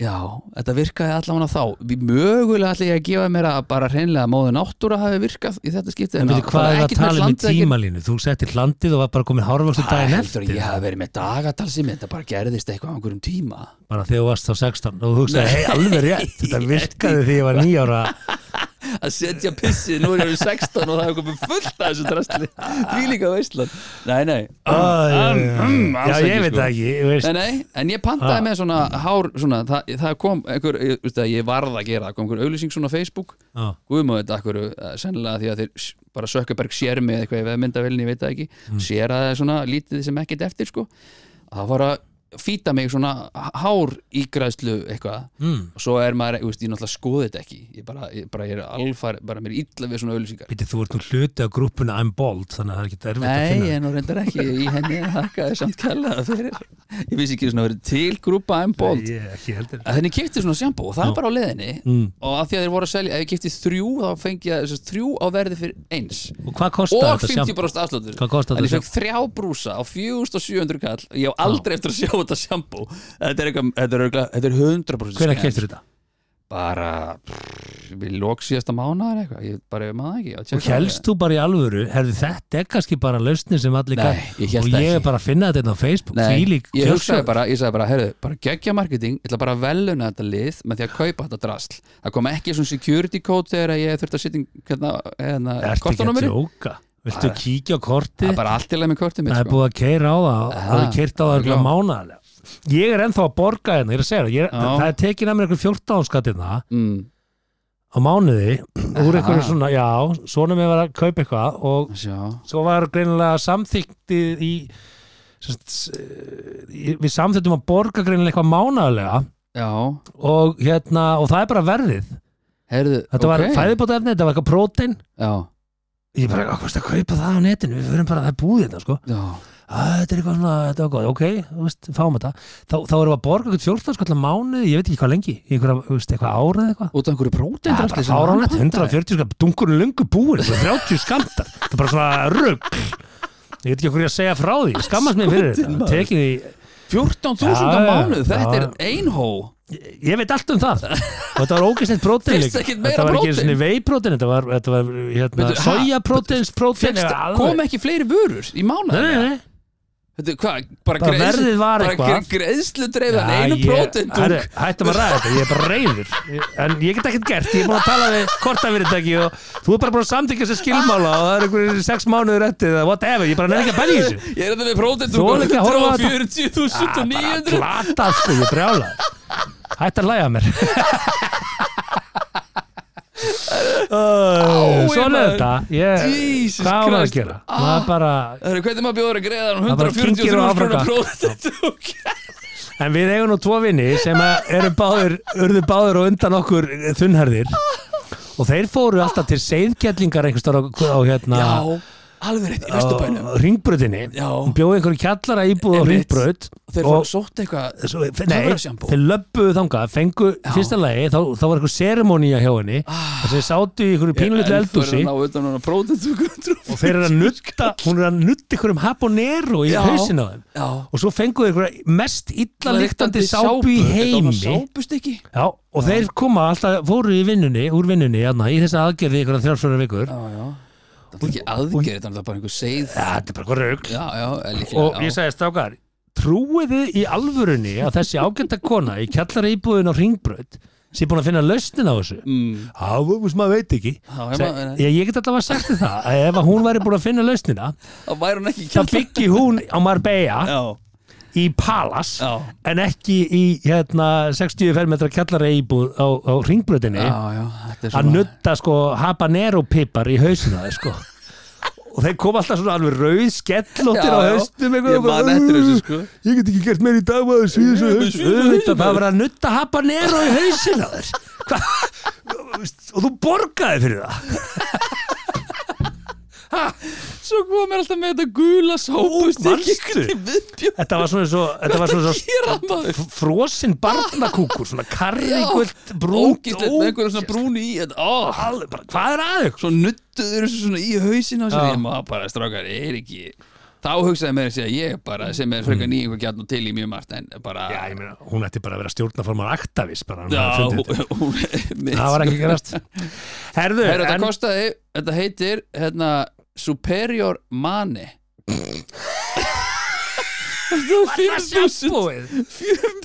Speaker 3: Já, þetta virkaði allavega þá Við mögulega ætla ég að gefa mér að bara hreinlega móðu náttúra hafi virkað í þetta skipti
Speaker 1: en veitir hvað
Speaker 3: það
Speaker 1: er
Speaker 3: er
Speaker 1: það að
Speaker 3: ekkert með
Speaker 1: tala um í
Speaker 3: landið að gera.
Speaker 1: tímalínu þú settir landið og var bara komin hárvöxt
Speaker 3: Það
Speaker 1: daginn
Speaker 3: heldur að
Speaker 1: eftir
Speaker 3: ég hafi verið með dagatal sem þetta bara gerðist eitthvað á einhverjum tíma (laughs)
Speaker 1: bara þegar þú varst á 16 og þú hugsaði hei alveg rétt þetta
Speaker 3: Ég-
Speaker 1: virkaði því ég var nýjára
Speaker 3: að setja pissið, nú er ég orðinn 16 og það er komið fullt af þessu drastli því líka veistlan nei, nei,
Speaker 1: Ah. Æ,
Speaker 3: Mm, (laughs) alls
Speaker 1: Já, ég
Speaker 3: ekki,
Speaker 1: veit
Speaker 3: sko.
Speaker 1: það ekki þú veist.
Speaker 3: nei, nei en ég pantaði með svona hár svona, það, það kom einhver, ég, veist það, ég varð að gera það kom einhver auðlýsing svona á Facebook
Speaker 1: Já.
Speaker 3: guðum að þetta akkur eh, sennilega því að þeir s- bara Sökkaberg sér mig eitthvað ef það mynda velni, ég veit það ekki sér að það er svona lítið sem ekkert eftir sko það var að fýta mig svona hár ígræðslu eitthvað
Speaker 1: Mm.
Speaker 3: og svo er maður, ég veist, ég náttúrulega skoði þetta ekki ég bara, ég, bara, ég er alfar, bara mér er illa við svona auðlýsingar
Speaker 1: Býttu, þú ert nú hluti af grúppuna I'm Bold þannig að það er ekki erfitt að
Speaker 3: Nei,
Speaker 1: finna
Speaker 3: ég er nú reyndar ekki í henni að þakka þér samt kærlega fyrir Ég vissi ekki svona verið til grúpa I'm Bold
Speaker 1: Nei, ég ekki heldur
Speaker 3: að henni kipti svona sjambó og það er bara á leiðinni
Speaker 1: Mm.
Speaker 3: og að því að þeir voru að selja, ef ég kipti þrjú þá fengi ég þessi, þrjú á verði fyrir eins
Speaker 1: Og hvað kostar
Speaker 3: og
Speaker 1: þetta sjamp?
Speaker 3: 50% afsláttur
Speaker 1: Hvað kostar
Speaker 3: en ég
Speaker 1: þetta
Speaker 3: fekk þrjá brúsa á 4700 kall ég á aldrei eftir að sjá þetta sjambó þetta er, eitthvað, þetta er, eitthvað, þetta er 100%
Speaker 1: Hvernig
Speaker 3: skemmt.
Speaker 1: keftur þetta?
Speaker 3: bara pff, við lók síðasta mánar eitthvað ég bara maður það ekki að
Speaker 1: Og
Speaker 3: tjekka
Speaker 1: helst þú bara í alvöru, herðu þetta er kannski bara lausni sem allir
Speaker 3: Nei,
Speaker 1: kann
Speaker 3: ég hélt
Speaker 1: og ég er
Speaker 3: ekki.
Speaker 1: bara að finna þetta hérna á Facebook
Speaker 3: Nei,
Speaker 1: Fílík
Speaker 3: ég hugsaði bara, ég sagði bara, heyrðu, bara geggja marketing, ég ætla bara að veluna þetta lið með því að kaupa þetta drasl. Það kom ekki svona security code þegar ég þurfti að sitja í- hérna, hérna,
Speaker 1: Ertu ekki að
Speaker 3: kortanúmeri.
Speaker 1: tjóka? Viltu
Speaker 3: Bara-
Speaker 1: kíkja á kortið?
Speaker 3: Það er bara allt í leið með kortið mitt,
Speaker 1: Það er
Speaker 3: sko.
Speaker 1: búið að keira á það
Speaker 3: Aha,
Speaker 1: Það er keirt á það
Speaker 3: glá.
Speaker 1: eitthvað mánaðarlega Ég er ennþá að borga hérna, ég er að segja það ég er,
Speaker 3: Já.
Speaker 1: Það er tekin að mér einhver 14 skattina
Speaker 3: Mm,
Speaker 1: á mánuði úr
Speaker 3: Aha.
Speaker 1: einhverju svona, já, svona mér var að kaupa eitthvað og
Speaker 3: sjá.
Speaker 1: svo var greinilega samþykti í, sem sagt, í við samþyktum að borga greinilega eitthvað mánaðarlega
Speaker 3: Já,
Speaker 1: og hérna, og það er bara verðið
Speaker 3: heyrðu,
Speaker 1: Þetta var fæðibóta efni, þetta var eitthvað prótein
Speaker 3: Já,
Speaker 1: Ég bara, hvað kosti að kaupa það á netinu við verðum bara, það er búið þetta, sko
Speaker 3: já,
Speaker 1: að þetta er eitthvað svona, þetta var góð, ok þú veist, fáum þetta, þá, þá erum við að borga eitthvað 14 skallar mánuði, ég veit ekki hvað lengi í einhverja, þú veist, eitthvað árið eitthvað
Speaker 3: út af einhverju prótein
Speaker 1: Það er bara fáránlegt, 140 skallar, dungurinn lungu búin eitthvað 30 skamtar, það er bara svona rugg ég veit ekki hvað ég að segja frá því ég skammast mér fyrir
Speaker 3: Skotin,
Speaker 1: þetta,
Speaker 3: maður.
Speaker 1: tekið því
Speaker 3: 14.000
Speaker 1: Já,
Speaker 3: á
Speaker 1: já,
Speaker 3: mánuð, þetta
Speaker 1: já.
Speaker 3: er einhó.
Speaker 1: ég, ég veit allt um það og þetta var ógeðslegt prótein
Speaker 3: Finnst
Speaker 1: líka.
Speaker 3: ekkert meira
Speaker 1: þetta var ekki
Speaker 3: prótein.
Speaker 1: svona veiprótein, þetta var, þetta var hérna,
Speaker 3: Veitu, ha?
Speaker 1: sojapróteins prótein
Speaker 3: Fékkst- Kom ekki fleiri vörur í mánuð?
Speaker 1: Nei, nei, nei,
Speaker 3: Þetta, hvað, bara,
Speaker 1: Bara verðið var eitthvað.
Speaker 3: greiðslu dreifðan,
Speaker 1: Já,
Speaker 3: einu
Speaker 1: ég-
Speaker 3: prótendung
Speaker 1: Herru, Hættum að ræða þetta, ég er bara reyður En ég get ekkert gert, ég er búin að tala við kortafyrirtæki og þú er bara búin að samþykja þessi skilmála og það er einhverjir sex mánuður eftir eða whatever, ég bara nefnir ekki að bæla í þessu
Speaker 3: Ég er um þetta með prótendung
Speaker 1: Þolir ekki að horfa á þetta. Ah,
Speaker 3: 140.900
Speaker 1: Glata sko, ég brjála Hætt að læja mér Æ, Svona er
Speaker 3: maður.
Speaker 1: þetta ég,
Speaker 3: Jesus
Speaker 1: Hvað á maður að
Speaker 3: Christ. Ah.
Speaker 1: gera? Það er bara
Speaker 3: Það eru hvernig maður bjóður að greiða hann
Speaker 1: Það bara kyngir á
Speaker 3: 143
Speaker 1: Afríka.
Speaker 3: krónar prótendung
Speaker 1: En við eigum nú tvo vini sem að eru báður, urðu báður og undan okkur eh, þunnherðir og þeir fóru alltaf til seiðkjallingar einhverstað á, á hérna
Speaker 3: Já, alveg rétt, í Vesturbænum
Speaker 1: ringbröðinni
Speaker 3: Já.
Speaker 1: hún bjóði einhverju kjallara íbúð á
Speaker 3: Einmitt.
Speaker 1: ringbröð
Speaker 3: Þeir fóru sótt eitthvað
Speaker 1: svo, nei,
Speaker 3: töfrasjampó.
Speaker 1: þeir löbbuðu þangað fengu fyrsta lagi, þá, þá var eitthvað seremónía hjá henni þess að þeir sátu í einhverju pínlítið eldúsi
Speaker 3: Það eru hann á prótendung
Speaker 1: og þeir eru að nutta hún er að nutta einhverjum habanero í
Speaker 3: Já.
Speaker 1: hausin á þeim
Speaker 3: Já
Speaker 1: og svo fenguðu einhverja mest illa lyktandi sápu í heimi
Speaker 3: Sápust ekki
Speaker 1: Já, og þeir koma alltaf, fóru í vinnunni, úr vinnunni, hérna, í þessa aðgerði ykkur að þrjálfsfjörður vikur.
Speaker 3: Já, já Það er ekki aðgerð, þannig að það er bara einhver seið
Speaker 1: Já, þetta er bara hvað raugl.
Speaker 3: Já, já, eða
Speaker 1: Og
Speaker 3: líklega
Speaker 1: ég
Speaker 3: já.
Speaker 1: sagði, strákar, trúið þið í alvörunni að þessi ágæta kona í kjallara íbúðin á ringbröð sé búin að finna lausnin á þessu?
Speaker 3: Mm.
Speaker 1: Já, þú veist maður veit ekki.
Speaker 3: Já, ég
Speaker 1: Seg,
Speaker 3: maður-
Speaker 1: ég, ég get alltaf að sagt þið það, að ef að hún væri búin að finna lausnina,
Speaker 3: Það væri hún ekki
Speaker 1: þá
Speaker 3: kjallar
Speaker 1: byggi hún á Marbella
Speaker 3: Já,
Speaker 1: í Palas
Speaker 3: já,
Speaker 1: en ekki í hérna, 60 fermetra kjallara íbúð á, á ringbröðinni.
Speaker 3: já, já Þetta er
Speaker 1: að
Speaker 3: svona
Speaker 1: nutta sko habanero pipar í hausina þeir sko og þeir kom alltaf svona alveg rauð skellóttir
Speaker 3: Já,
Speaker 1: á
Speaker 3: já.
Speaker 1: haustum eitthvað
Speaker 3: Ég man eftir þessu, sko.
Speaker 1: ég get ekki gert meir í dag maður svíðu svo haust
Speaker 3: svíður svo
Speaker 1: Auðvitað,
Speaker 3: hausinn,
Speaker 1: það var að nutta habanero í hausina þeir Hva? og þú borgaði fyrir það
Speaker 3: Svo kom mér alltaf með þetta gula sápust
Speaker 1: manstu?
Speaker 3: til viðbjörn
Speaker 1: þetta var svona svo, þetta var svona svo
Speaker 3: Hér að maður
Speaker 1: frosin barnakúkur svona karrigult brúnt
Speaker 3: Ógillett með einhverjum svona brúni í þetta Ó,
Speaker 1: Alveg bara, hvað er aðeins?
Speaker 3: Svo nuttuður þessu svona í hausin á sér
Speaker 1: Já.
Speaker 3: Ég maður bara strákar, er ekki Þá hugsaði mér að segja ég bara sem er frekar ný einhver gjarn og til í mjög margt en bara
Speaker 1: Mm. Já, ég meina, hún ætti bara að vera stjórnaformar aktavis bara, hún
Speaker 3: Já,
Speaker 1: hafði fundið þetta.
Speaker 3: (laughs) hún mitt,
Speaker 1: það var ekki
Speaker 3: sko.
Speaker 1: (laughs) gerast Herðu, en
Speaker 3: Herra, þetta kostaði, þetta heitir hérna, Superior Mani
Speaker 1: (laughs)
Speaker 3: Þú
Speaker 1: sjampóið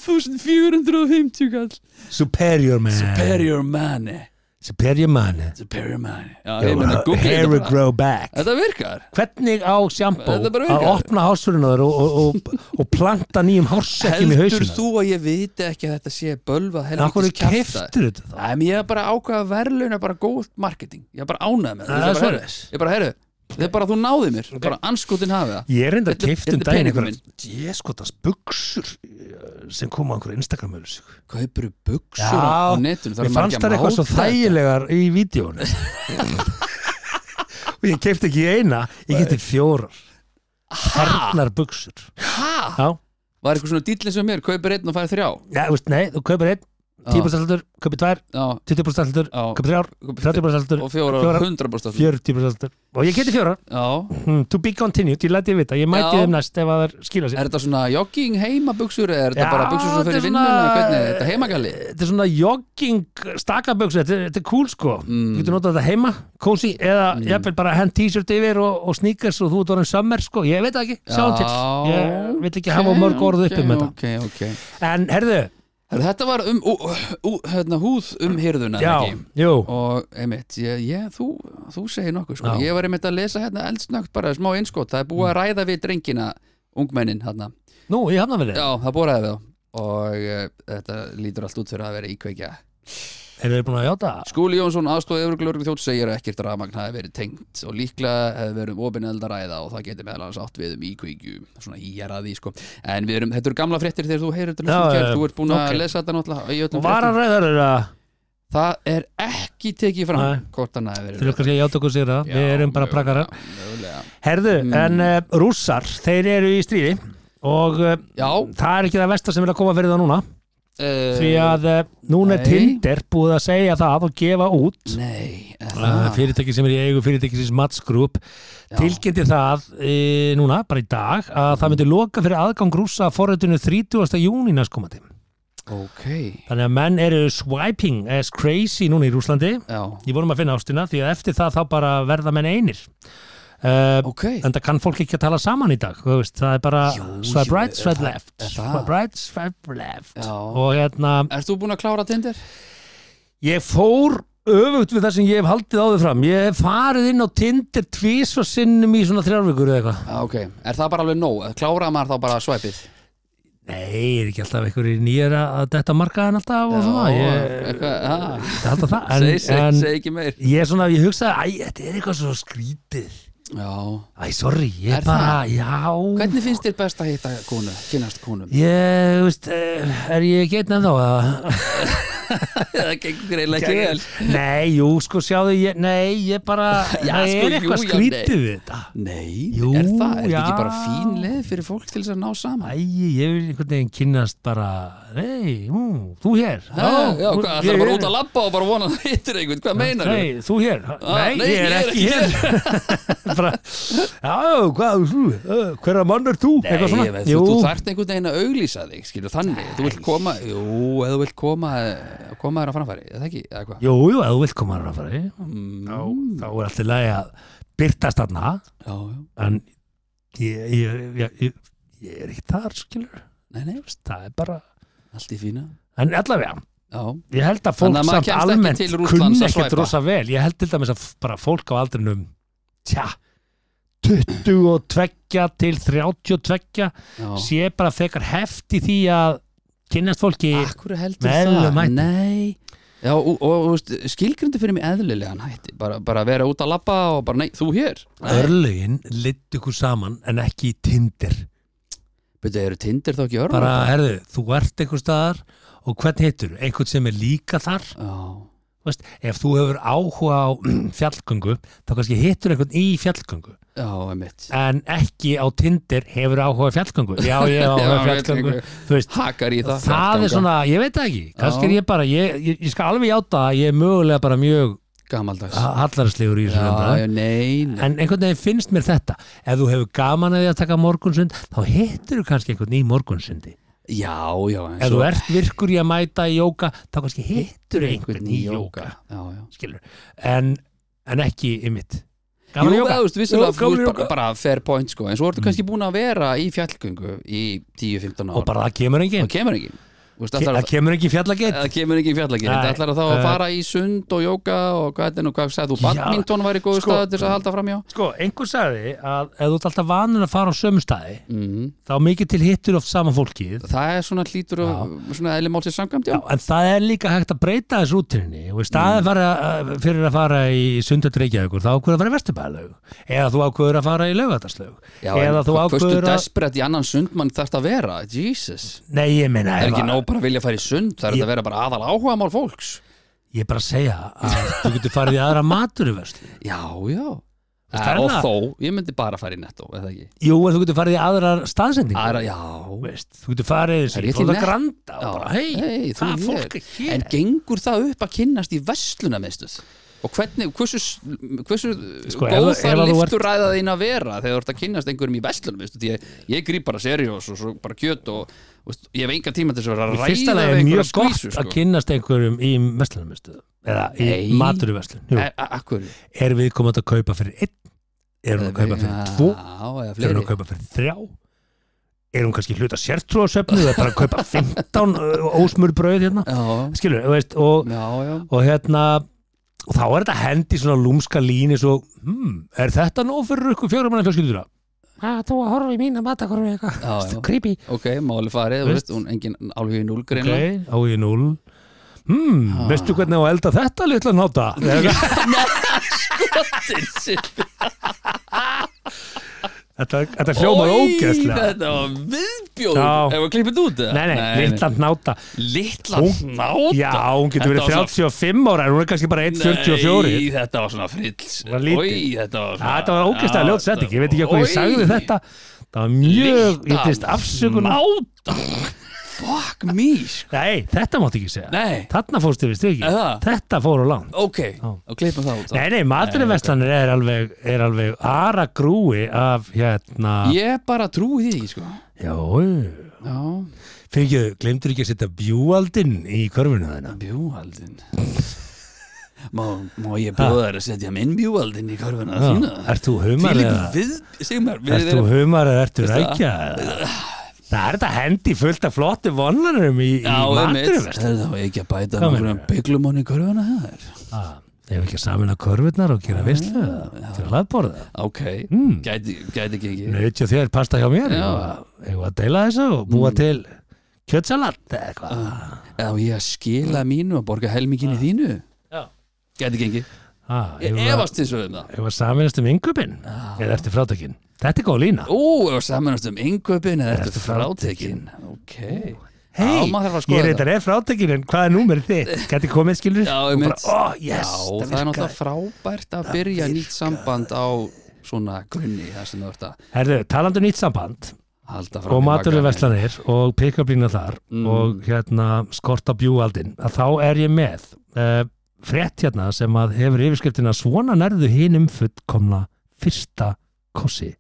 Speaker 3: 5450 kall
Speaker 1: Superior man Eh.
Speaker 3: Superior Mani
Speaker 1: Superior Money
Speaker 3: Superior Man Já, ég myndi að googla
Speaker 1: Hair
Speaker 3: þetta
Speaker 1: will
Speaker 3: bara.
Speaker 1: grow back
Speaker 3: Þetta virkar
Speaker 1: Hvernig á sjampó
Speaker 3: Þetta bara virkar.
Speaker 1: að opna hásfurinn á þér og, og, og, og planta nýjum hársekkjum í
Speaker 3: Heldur
Speaker 1: hausinu
Speaker 3: þú að ég viti ekki að þetta sé bölvað
Speaker 1: En af hverju
Speaker 3: helvitis kjafta
Speaker 1: keftur þetta þá?
Speaker 3: Nei, menn ég hef bara ákvaða verðlauna bara góð marketing Ég hef bara ánæði með
Speaker 1: Það er
Speaker 3: Ég bara,
Speaker 1: svoleiðis.
Speaker 3: heyrðu, Ég bara, heyrðu, þetta er bara að þú náði mér Bara anskotin hafi það
Speaker 1: Ég er enda
Speaker 3: Þetta-
Speaker 1: keftum
Speaker 3: þetta er
Speaker 1: daginn
Speaker 3: peningurinn
Speaker 1: einhverjum Jéskotast buksur eh, sem koma á einhverju Instagram-ölsíku
Speaker 3: Kaupur buksur á, á
Speaker 1: Já,
Speaker 3: netinu
Speaker 1: mér fannst það eitthvað svo þægilegar í vídjónu (laughs) og ég kefti ekki eina ég geti fjórar harnar buksur
Speaker 3: Hæ?
Speaker 1: já,
Speaker 3: Var eitthvað svona dýllin sem mér, kaupir einn og fær þrjá
Speaker 1: já veist, nei, þú kaupir einn 10% aldur, kaupir tvær,
Speaker 3: Já,
Speaker 1: 20% aldur
Speaker 3: Já.
Speaker 1: kaupir þrjár, 30% aldur
Speaker 3: og fjóra,
Speaker 1: Fjórar.
Speaker 3: hundra búrstafn
Speaker 1: 40% aldur og ég geti fjórar,
Speaker 3: Já,
Speaker 1: hmm, to be continued ég læti þið vita, ég mæti
Speaker 3: Já.
Speaker 1: þeim næst ef að það skila sér
Speaker 3: er þetta svona jogging heimabuxur eða er þetta
Speaker 1: Já,
Speaker 3: bara buxur sem
Speaker 1: þetta
Speaker 3: fyrir
Speaker 1: er
Speaker 3: vinnuna,
Speaker 1: svona-
Speaker 3: hvernig, er þetta heimagalli
Speaker 1: þetta er svona jogging stakaböksu, þetta, er- þetta er cool sko
Speaker 3: Mm.
Speaker 1: þú getur notað þetta heima, cozy eða jafnvel bara hend t-shirt yfir og, og sneakers og þú ert orðin summer sko, ég veit það ekki, sjáum til
Speaker 3: Já,
Speaker 1: ég vil ekki
Speaker 3: ok,
Speaker 1: hafa mörg orð um
Speaker 3: ok,
Speaker 1: uppi með
Speaker 3: ok, ok.
Speaker 1: þetta en herðu,
Speaker 3: Herra, Þetta var um, ú, ú, hérna, húð um hirðuna
Speaker 1: já,
Speaker 3: ekki?
Speaker 1: jú
Speaker 3: og einmitt, ég, ég, þú, þú segir nokkuð sko.
Speaker 1: Já. Mm.
Speaker 3: ég var einmitt að lesa hérna eldsnögt bara smá einskot, það er búið að ræða við drengina ungmennin hérna,
Speaker 1: nú, ég hafna við
Speaker 3: já, það er búið að ræða við þá og uh, þetta lítur allt út fyrir að vera íkveikja
Speaker 1: þeir eru búin að játa
Speaker 3: Skúli Jónsson aðstóð öfruglörglu þjótt segir að ekkert rafmagn hafi verið tengt og líklega hefði verið um opin eld að ræða og það getur meðal annars átt við um íkvíkju svona íjar að því sko en við erum, þetta eru gamla fréttir þegar þú heyrir þetta
Speaker 1: Já,
Speaker 3: lesum
Speaker 1: já,
Speaker 3: kjær,
Speaker 1: já.
Speaker 3: þú ert búin
Speaker 1: Ok.
Speaker 3: að lesa þetta náttúrulega í öllum
Speaker 1: og var
Speaker 3: fréttum.
Speaker 1: að ræða þeirra
Speaker 3: það er ekki tekið fram
Speaker 1: Nei.
Speaker 3: hvort hann hafi
Speaker 1: þeir eru
Speaker 3: verið
Speaker 1: kannski að játa okkur sigra,
Speaker 3: Já, Mm.
Speaker 1: við erum bara
Speaker 3: mögulega,
Speaker 1: prakarar
Speaker 3: mögulega.
Speaker 1: herðu, en uh, rússar, þeir eru í stríði og uh,
Speaker 3: Já,
Speaker 1: það er ekki það vestar sem er að koma fyrir það núna
Speaker 3: uh,
Speaker 1: því að uh, núna er
Speaker 3: nei.
Speaker 1: Tinder búið að segja það og gefa út
Speaker 3: Nei, er
Speaker 1: uh,
Speaker 3: það
Speaker 1: fyrirtæki sem er í eigu fyrirtækisins Mats Group
Speaker 3: Já.
Speaker 1: tilkynnti það e, núna, bara í dag að það myndi loka fyrir aðgang rússa að forritinu 30. júni næstkomandi
Speaker 3: Ok,
Speaker 1: þannig að menn eru swiping as crazy núna í Rúslandi
Speaker 3: já,
Speaker 1: ég vorum að finna ástina því að eftir það þá bara verða menn einir uh,
Speaker 3: ok
Speaker 1: en það kann fólk ekki að tala saman í dag þú veist, það er bara
Speaker 3: Jú,
Speaker 1: swipe
Speaker 3: jú,
Speaker 1: right,
Speaker 3: er
Speaker 1: swipe
Speaker 3: það-
Speaker 1: left
Speaker 3: er það?
Speaker 1: swipe right, swipe left
Speaker 3: Já.
Speaker 1: og hérna
Speaker 3: Ert þú búin að klára Tinder?
Speaker 1: Ég fór öfugt við það sem ég hef haldið áður fram Ég hef farið inn á Tinder tvísvar sinnum í svona þrjárvíkur eða eitthvað
Speaker 3: Já, Ah, ok, er það bara alveg nóg? Kláraði maður þá bara svæpið?
Speaker 1: Nei, er ekki alltaf einhverjir nýjar að detta markaðan alltaf og svona Ah, Ég
Speaker 3: eitthvað, ah.
Speaker 1: ég held að það en,
Speaker 3: segi, segi,
Speaker 1: en
Speaker 3: segi ekki meir
Speaker 1: ég svona, ég hugsaði, æ, þetta er eitthvað svo skrítið
Speaker 3: Já,
Speaker 1: Æ, sorry, ég
Speaker 3: Er
Speaker 1: bara, já
Speaker 3: hvernig finnst þér best að hitta konu, kynast konum?
Speaker 1: Ég, þú veist, eh, er ég ekki einn ennþá að
Speaker 3: (laughs) það gengur greinlega
Speaker 1: (laughs)
Speaker 3: ekki vel
Speaker 1: Nei, jú, sko, sjáðu, ég, nei, ég bara
Speaker 3: (laughs) Já,
Speaker 1: Það
Speaker 3: sko,
Speaker 1: er eitthvað
Speaker 3: jú, já,
Speaker 1: skrítið við þetta
Speaker 3: Nei,
Speaker 1: Jú,
Speaker 3: er það, er þetta
Speaker 1: já.
Speaker 3: ekki bara fín leið fyrir fólk til þess að ná saman?
Speaker 1: Æ, ég vil einhvern veginn kynnast bara Nei, ú, þú hér
Speaker 3: Já, Eh, já, hvað, það er bara út að labba og bara vona að þú hittir einhvern, hvað meinar þú? Ah,
Speaker 1: Nei, þú hér Nei,
Speaker 3: nei,
Speaker 1: ég er ekki hér (laughs) bara, Já, hvað, þú, uh, hverra mann er þú?
Speaker 3: Nei,
Speaker 1: Eitthvað svona.
Speaker 3: ég veit, þú,
Speaker 1: Jú,
Speaker 3: þú þarft einhvern veginn að auglýsa þig, skilur þannig, þú vilt koma, jú, eða þú vilt koma, koma þér á framfæri, eða ekki, eða hvað? Mm,
Speaker 1: jú, jú, ef þú vilt koma að rafari þá, Mm. þá er allt í lagi að byrtast þarna
Speaker 3: Já, já,
Speaker 1: en ég, ég, ég, ég, ég er ekki þar, skilur
Speaker 3: nei, nei,
Speaker 1: það er bara
Speaker 3: allt í fína,
Speaker 1: En allavega,
Speaker 3: já,
Speaker 1: ég held að
Speaker 3: Þannig
Speaker 1: fólk
Speaker 3: að maður
Speaker 1: samt
Speaker 3: kemst ekki
Speaker 1: almennt
Speaker 3: til Rússlands
Speaker 1: kunni
Speaker 3: að
Speaker 1: ekkert
Speaker 3: swipa.
Speaker 1: rosa vel ég held til dæmis að f- bara fólk á aldrinum tja 22 til 32
Speaker 3: já.
Speaker 1: sé bara fekar heft í því að kynnast fólki
Speaker 3: Akkur heldur
Speaker 1: Með
Speaker 3: það?
Speaker 1: eðlilegum hætti.
Speaker 3: Nei Já, og, og, og skilgrindi fyrir mig eðlilegan hætti bara, bara vera út að labba og bara, nei, þú hér
Speaker 1: örlögin litt ykkur saman en ekki í Tinder
Speaker 3: Betur, eru tindir þá ekki örn?
Speaker 1: bara herðu, þú ert einhver staðar og hvern hittur, einhvern sem er líka þar
Speaker 3: Já,
Speaker 1: Þú veist, ef þú hefur áhuga á (clears throat) fjallgöngu þá kannski hittur einhvern í fjallgöngu
Speaker 3: já, emitt
Speaker 1: en ekki á Tinder hefur áhuga á fjallgöngu já ég
Speaker 3: (laughs)
Speaker 1: hef áhuga
Speaker 3: Já,
Speaker 1: á
Speaker 3: ég veit
Speaker 1: fjallgöngu
Speaker 3: ekki.
Speaker 1: þú veist,
Speaker 3: Hakar í það
Speaker 1: það er svona, ég veit það ekki kannski er ég bara, ég, ég, ég skal alveg játa að ég er mögulega bara mjög
Speaker 3: Gamaldags
Speaker 1: hallarslegur í
Speaker 3: Já,
Speaker 1: þessu umræðu.
Speaker 3: já, nei, nei
Speaker 1: en einhvern veginn finnst mér þetta ef þú hefur gaman að því að taka morgunsund þá hittur þú kannski einhvern í morgunsundi
Speaker 3: Já, já, en
Speaker 1: ef
Speaker 3: svo-
Speaker 1: þú ert virkur í að mæta í jóka þá kannski hittur einhvern í jóka
Speaker 3: Já, já
Speaker 1: skilur, en, en ekki í mitt
Speaker 3: Jú,
Speaker 1: gaman í jóka
Speaker 3: það, þú veist, vissulega,
Speaker 1: Jú,
Speaker 3: þú
Speaker 1: gaman í
Speaker 3: veist, bara,
Speaker 1: jóka.
Speaker 3: bara fair point, sko En svo ertu kannski búin að vera í fjallgöngu í 10-15 ára
Speaker 1: og bara það kemur
Speaker 3: Það
Speaker 1: enginn
Speaker 3: kemur ekki Þú veist, ætlar
Speaker 1: Það
Speaker 3: að-
Speaker 1: kemur ekki í fjallageitt
Speaker 3: Það kemur ekki í fjallagir,
Speaker 1: Nei,
Speaker 3: þetta ætlar að þá að
Speaker 1: eh,
Speaker 3: fara í sund og jóka og hvað er nú, hvað sagði þú,
Speaker 1: Já,
Speaker 3: badminton væri góðu
Speaker 1: sko-
Speaker 3: sko, til þess að halda fram hjá
Speaker 1: Sko, einhver sagði að ef þú ert alltaf vanur að fara á sömu staði
Speaker 3: mm.
Speaker 1: þá mikið til hittur oft saman fólkið
Speaker 3: Það er svona hlýtur og svona eðli málsins samkvæmt, já,
Speaker 1: Já, en það er líka hægt að breyta þessu útrinni og í
Speaker 3: Mhm.
Speaker 1: staði fara, eh, fyrir að fara í sundat reykjaðugur þá ákveður að fara í vesturbæðlaug eða þú ákveður að fara í laugardaslaug eða þú
Speaker 3: Föstu
Speaker 1: ákveður að
Speaker 3: desperate í annan sundmann þarf það að vera, Jesus
Speaker 1: Nei, ég meina,
Speaker 3: Það er
Speaker 1: ef
Speaker 3: ekki
Speaker 1: að-
Speaker 3: nóg bara að vilja fara í sund, það er
Speaker 1: Ég-
Speaker 3: þetta að vera bara aðal áhuga mál fólks
Speaker 1: ég er bara að segja að þú getur farið í aðra maturverslu
Speaker 3: Já, já
Speaker 1: Það er
Speaker 3: Eh, Og
Speaker 1: það.
Speaker 3: þó, ég myndi bara fara í netto, eða ekki
Speaker 1: Jú, en þú getur farið í aðrar staðsendingu
Speaker 3: Aðra, já
Speaker 1: veist, Þú getur farið
Speaker 3: Það
Speaker 1: í
Speaker 3: er ég til
Speaker 1: Flóta
Speaker 3: net-
Speaker 1: Granda
Speaker 3: Já,
Speaker 1: og bara, hei,
Speaker 3: hey, þú
Speaker 1: það
Speaker 3: ég.
Speaker 1: fólk er hér
Speaker 3: En gengur það upp að kynnast í vestluna Og hvernig, hversu, hversu
Speaker 1: Sko,
Speaker 3: góð
Speaker 1: ef- ef
Speaker 3: það
Speaker 1: að þú
Speaker 3: liftur ræða þín að vera þegar þú ert að kynnast einhverjum í vestlunum veistu, því ég, ég grýp bara seriós og svo bara kjöt og veist, ég hef engan tíma til þess að vera
Speaker 1: Í
Speaker 3: að
Speaker 1: fyrsta
Speaker 3: ræða
Speaker 1: lagi
Speaker 3: við
Speaker 1: er
Speaker 3: einhverja
Speaker 1: mjög gott
Speaker 3: skvísu, sko.
Speaker 1: að kynnast einhverjum í vestlunarmiðstöðu eða í
Speaker 3: Nei.
Speaker 1: maturverslun Jú,
Speaker 3: E- a- Akkur
Speaker 1: er við komandi að kaupa fyrir einn er hún að kaupa fyrir tvo
Speaker 3: Já, eða
Speaker 1: er hún
Speaker 3: fleiri
Speaker 1: að kaupa fyrir þrjá er hún kannski hluta sértrúasöfnu eða bara að kaupa 15 ósmur brauð hérna
Speaker 3: Já,
Speaker 1: skilur, þú veist, og,
Speaker 3: já, já
Speaker 1: og hérna og þá er þetta hendi svona lúmska líni svo, hmm, er þetta nóg fyrir ykkur fjórum manna fjölskyldura? Það þú að horfa í mína matakorfi
Speaker 3: Já, já.
Speaker 1: eitthvað, creepy
Speaker 3: Ok, máli farið, þú
Speaker 1: Veist.
Speaker 3: veist, hún engin alveg í núlgrein okay.
Speaker 1: ok, á ég núl hmm,
Speaker 3: Ah.
Speaker 1: veistu hvernig á að elda þetta litla
Speaker 3: (laughs)
Speaker 1: náta þetta þetta (laughs) hljómar ógeðslega
Speaker 3: Þetta var viðbjóð
Speaker 1: Já.
Speaker 3: Ef við klippið út það
Speaker 1: nei, nei, litla náta
Speaker 3: Litla
Speaker 1: Hún-
Speaker 3: náta
Speaker 1: já, hún getur verið
Speaker 3: Þetta var
Speaker 1: 35 ára en hún er kannski bara
Speaker 3: svona-
Speaker 1: 1,44
Speaker 3: Nei, þetta var svona frills
Speaker 1: Var lítið.
Speaker 3: Oj, þetta var
Speaker 1: Ja,
Speaker 3: svona
Speaker 1: þetta var ógeðslega
Speaker 3: Já,
Speaker 1: ljótt setting ég veit ekki hvað ég
Speaker 3: Oj,
Speaker 1: sagði þetta það var mjög, ég
Speaker 3: litla
Speaker 1: týst afsökun
Speaker 3: Náta Fuck me sko.
Speaker 1: nei, þetta mátt ekki segja
Speaker 3: Nei,
Speaker 1: þarna fórstu við stegi,
Speaker 3: Eða?
Speaker 1: þetta fór á langt
Speaker 3: ok,
Speaker 1: Já.
Speaker 3: og klippum það út þá.
Speaker 1: nei, nei, maturverslanir er alveg er alveg ara grúi af hérna,
Speaker 3: Ég bara trúi því ekki, sko
Speaker 1: já,
Speaker 3: Já,
Speaker 1: Fyrir ekki, glemdur ekki að setja bjúaldinn í körfuna þeina?
Speaker 3: bjúhaldin (laughs) Má, má ég bjóða þær að setja minn bjúhaldin í korfuna þína
Speaker 1: Ert þú humar
Speaker 3: Fílip
Speaker 1: eða?
Speaker 3: við, segjum mér
Speaker 1: Ert þú humar eða ertu rækja? eða? Það er þetta hendi fullt af flottu vonlarum í, í
Speaker 3: Já, einmitt,
Speaker 1: maturverð.
Speaker 3: það var ekki að bæta
Speaker 1: Hvað
Speaker 3: með einhverjum bygglum hann í körfuna þar
Speaker 1: Ef Ah, ekki að samina körfurnar og gera visslu til að laðborða.
Speaker 3: Ok,
Speaker 1: Hmm.
Speaker 3: gæti, gæti ekki ekki
Speaker 1: Nautja þér pasta hjá mér.
Speaker 3: Já. Mm.
Speaker 1: Ég var að deila þessu og búa til kjötsalat eða eitthvað.
Speaker 3: Ah. Eða á ég að skila mínu og borga helminginni þínu
Speaker 1: Ah. Já.
Speaker 3: Gæti ekki ekki
Speaker 1: Ah,
Speaker 3: Ég
Speaker 1: Ég var
Speaker 3: efast eins og um það
Speaker 1: að saminast um yngupinn eða ertu frátökinn. Þetta er góð lína.
Speaker 3: Ú, ef að samanast um yngöpin eða ertu frátekin Ok
Speaker 1: hei,
Speaker 3: Já, maður þarf að
Speaker 1: ég
Speaker 3: skoða Eh.
Speaker 1: reyndar er frátekin en hvað er númer þitt? Gæti komið skilur?
Speaker 3: Já,
Speaker 1: og
Speaker 3: einmitt.
Speaker 1: bara, ó, oh,
Speaker 3: Já,
Speaker 1: yes,
Speaker 3: það, er
Speaker 1: virkaði.
Speaker 3: náttúrulega frábært að byrja nýtt samband á svona grunni þar sem þú ert að
Speaker 1: Herðu, talandi um nýtt samband
Speaker 3: halda fram
Speaker 1: og
Speaker 3: í vagninn.
Speaker 1: maturverslanir og pick-up-lína þar
Speaker 3: Mm.
Speaker 1: og hérna skorta bjúaldin að þá er ég með uh, frétt hérna sem að hefur yfirskriftina svona nærðu hinn um fullkomna fyrsta kossi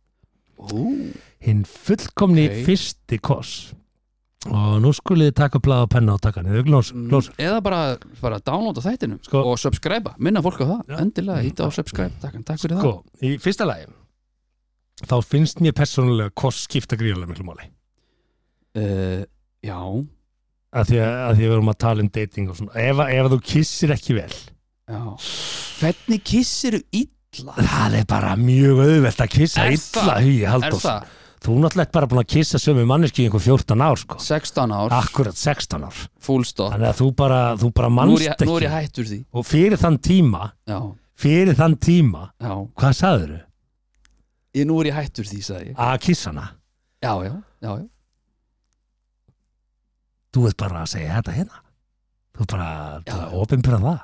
Speaker 3: Mm. Ú,
Speaker 1: hinn fullkomni
Speaker 3: Ok.
Speaker 1: fyrsti koss og nú skuliði taka blaða og penna og taka niður glós, glós.
Speaker 3: Mm. eða bara, bara downloada þættinum
Speaker 1: Sko.
Speaker 3: og subscribe, minna fólk á það
Speaker 1: Já. Mm.
Speaker 3: endilega hýta á subscribe, takk, takk fyrir
Speaker 1: Sko, í fyrsta lagi þá finnst mér persónulega koss skipta gríðarlega miklu máli
Speaker 3: það uh, já,
Speaker 1: að því að, að því að við erum að tala um dating og svona, ef, að- ef að þú kissir ekki vel
Speaker 3: já hvernig kissir þú illa
Speaker 1: það er bara mjög auðvelt að kissa
Speaker 3: Er
Speaker 1: illa
Speaker 3: það?
Speaker 1: hugi
Speaker 3: er
Speaker 1: Halldórs
Speaker 3: það
Speaker 1: þú náttúrulega ert bara búin að kissa sömu manneski í einhver 14 ár sko
Speaker 3: 16 ár,
Speaker 1: akkurat 16 ár
Speaker 3: full stop
Speaker 1: þannig að þú bara, þú bara
Speaker 3: nú er,
Speaker 1: manst
Speaker 3: ég,
Speaker 1: ekki
Speaker 3: nú er ég hættur því
Speaker 1: og fyrir þann tíma
Speaker 3: já,
Speaker 1: fyrir þann tíma
Speaker 3: já,
Speaker 1: hvað sagður þau?
Speaker 3: ég, nú er ég hættur því sagði ég,
Speaker 1: að kissa hana
Speaker 3: já, já, já, já.
Speaker 1: þú ert bara að segja þetta hérna þú ert bara
Speaker 3: Já.
Speaker 1: að opinbyrja það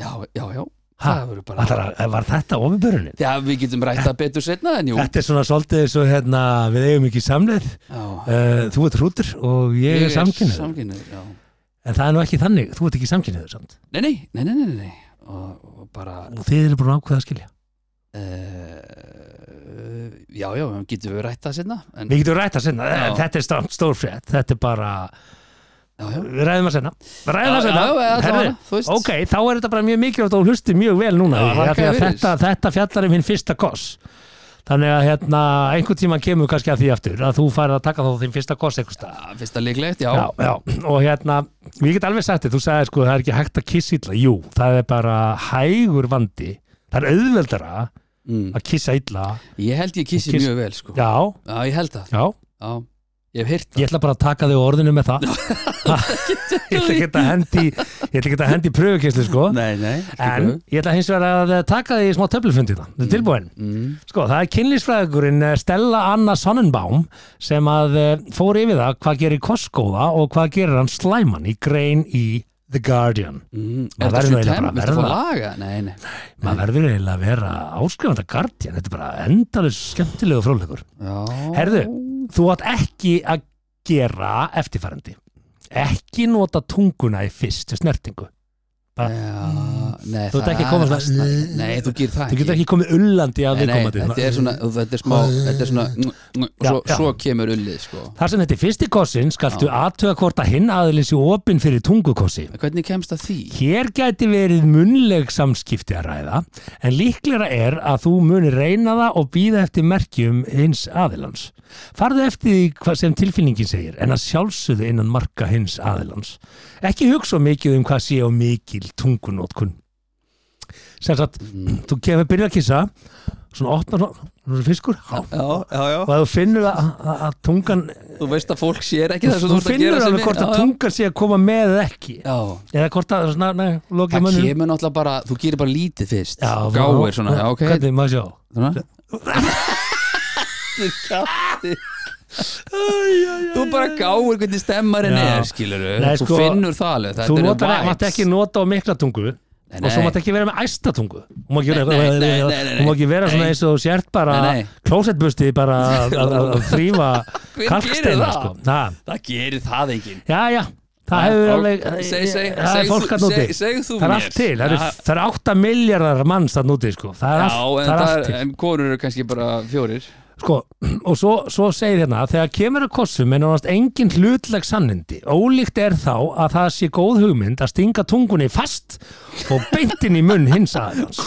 Speaker 3: já, já, já.
Speaker 1: ha,
Speaker 3: það verður bara
Speaker 1: var, var þetta opinbyrjunin?
Speaker 3: já, við getum rætta betur setna en jú já,
Speaker 1: Þetta er svona svolítið eins og hérna, við eigum ekki samleið, uh, þú ert hrútur og ég, er samkynniður.
Speaker 3: samkynniður, já
Speaker 1: En það er nú ekki þannig, þú ert ekki samkynniður samt.
Speaker 3: nei, nei, nei, nei, nei, nei. Og, og bara
Speaker 1: Og þið eru búin að ákveða að skilja.
Speaker 3: Uh, já, já, getum við rætt það sinna en,
Speaker 1: Við getum rætt að senna,
Speaker 3: Já.
Speaker 1: þetta er stór, stór frétt, þetta er bara,
Speaker 3: já, já,
Speaker 1: við ræðum að senna. Við ræðum
Speaker 3: já,
Speaker 1: að senna.
Speaker 3: já, já,
Speaker 1: Herðu,
Speaker 3: já, þú veist
Speaker 1: ok, þá er þetta bara mjög mikilvægt og hlusti mjög vel núna.
Speaker 3: Já,
Speaker 1: því, af því
Speaker 3: þakka
Speaker 1: að
Speaker 3: fyrir.
Speaker 1: þetta, þetta fjallar um hinn fyrsta koss. þannig að hérna, einhvern tíma kemur kannski að því aftur að þú færð að taka þá þinn fyrsta kost einhvers stað
Speaker 3: Já, fyrsta líklegt, já,
Speaker 1: já, já, og hérna, ég get alveg sagt þér, þú sagði sko það er ekki hægt að kissa illa, jú, það er bara hægur vandi, það er auðveldara
Speaker 3: Mm.
Speaker 1: að kissa illa,
Speaker 3: Ég held ég kissi
Speaker 1: Kiss-
Speaker 3: mjög vel, sko Já,
Speaker 1: já,
Speaker 3: ég held það,
Speaker 1: já
Speaker 3: já Ég hef heyrt það
Speaker 1: ég ætla bara að taka þig á orðinu með
Speaker 3: (laughs)
Speaker 1: það ég ætla ekki að hendi ég ætla ekki að hendi pröfukynslu sko
Speaker 3: Nei, nei,
Speaker 1: en
Speaker 3: skilur.
Speaker 1: ég ætla hins vegar að taka þig í smá töflufundina, þetta er tilbúin
Speaker 3: mm.
Speaker 1: Sko, það er kynlýsfræðugurinn eh, Stella Anna Sonnenbaum sem að eh, fór yfir það hvað gerir Koskóða og hvað gerir hann slæman í grein í The Guardian.
Speaker 3: Mm.
Speaker 1: Maður
Speaker 3: Er það
Speaker 1: verður
Speaker 3: svo
Speaker 1: eiginlega bara
Speaker 3: tæm,
Speaker 1: að
Speaker 3: viltu fá
Speaker 1: verða.
Speaker 3: laga? Nei, nei,
Speaker 1: Maður verður eiginlega að vera áskrifanda Guardian, þetta er bara endalus skemmtilegu fróðleikur.
Speaker 3: já
Speaker 1: Herðu, þú átt ekki að gera eftirfærandi. Ekki nota tunguna í fyrstu snertingu. bara-
Speaker 3: Já, nei,
Speaker 1: Þú ert
Speaker 3: það
Speaker 1: ekki að koma
Speaker 3: er
Speaker 1: svona-
Speaker 3: asnalegt. Nei, þú gerir það
Speaker 1: Þú getur ekki komið ullandi að
Speaker 3: Nei, nei,
Speaker 1: viðkomandi.
Speaker 3: þetta er svona, þetta er smá þetta er svona, og
Speaker 1: Já,
Speaker 3: svo,
Speaker 1: já.
Speaker 3: svo kemur ullið sko.
Speaker 1: Þar sem þetta er fyrsti kossin skaltu
Speaker 3: Já.
Speaker 1: aðtöga hvort að hinn aðlins í opinn fyrir tungukossi.
Speaker 3: hvernig kemst það því?
Speaker 1: Hér gæti verið munleg samskipti að ræða, en líklega er að þú munir reyna það og býða eftir merkjum hins aðilans. Farðu eftir því hvað sem tilfinningin segir, en að sjálfsögðu innan marka hins aðilans. Ekki hugsa of mikið um hvað sé á mikil tungunótkun. Sem sagt, þú kemur að byrja að kissa, svona opnar svona, svona fiskur, há,
Speaker 3: Já, já, já,
Speaker 1: og að þú finnur að, að, að tungan,
Speaker 3: þú veist að fólk sér ekki
Speaker 1: þú,
Speaker 3: það sem þú ert að
Speaker 1: finnur
Speaker 3: gera sem
Speaker 1: alveg
Speaker 3: við-
Speaker 1: hvort að
Speaker 3: já,
Speaker 1: tungan sé að koma með eða ekki.
Speaker 3: já.
Speaker 1: Eða hvort að, svona, nei,
Speaker 3: Já,
Speaker 1: lokið
Speaker 3: það
Speaker 1: mönnum.
Speaker 3: kemur náttúrulega bara, þú gerir bara lítið fyrst
Speaker 1: Já,
Speaker 3: og gáir svona, já, ok
Speaker 1: Hvernig, maður sjá
Speaker 3: svona. Þú bara gáir hvernig stemmarinn
Speaker 1: Já.
Speaker 3: er, skilur
Speaker 1: Nei,
Speaker 3: Þú
Speaker 1: sko,
Speaker 3: finnur það alveg,
Speaker 1: Þú
Speaker 3: þetta eru
Speaker 1: notar ekki, mátt
Speaker 3: vibes.
Speaker 1: ekki nota á mikla tungu og svo
Speaker 3: nei.
Speaker 1: mátt ekki vera með æsta tungu Þú má ekki vera-
Speaker 3: Nei, nei, nei, nei, nei, nei.
Speaker 1: þú má ekki vera svona
Speaker 3: Nei.
Speaker 1: eins og þú sért bara
Speaker 3: Nei, nei.
Speaker 1: klósettbusti
Speaker 3: (laughs)
Speaker 1: bara að- að að- að þrýfa
Speaker 3: Hver gerir
Speaker 1: kalksteina
Speaker 3: það?
Speaker 1: sko. Ha,
Speaker 3: Það gerir það enginn
Speaker 1: Já, já, það hefur
Speaker 3: Já,
Speaker 1: alveg
Speaker 3: seg- seg-
Speaker 1: það er
Speaker 3: seg
Speaker 1: fólk
Speaker 3: þú-
Speaker 1: að núti
Speaker 3: seg- seg þú
Speaker 1: Það er
Speaker 3: mér.
Speaker 1: allt til, það eru-
Speaker 3: Já.
Speaker 1: það eru 8 miljardar manns að núti sko. Það er
Speaker 3: Já,
Speaker 1: allt-
Speaker 3: en,
Speaker 1: það er
Speaker 3: það
Speaker 1: allt
Speaker 3: er,
Speaker 1: til
Speaker 3: en konur eru kannski bara fjórir
Speaker 1: Sko, og svo, svo segir hérna að þegar kemur að kossum er náttúrulega engin hlutleg sannindi. Ólíkt er þá að það sé góð hugmynd að stinga tungunni fast og beintin í munn hins aðeins.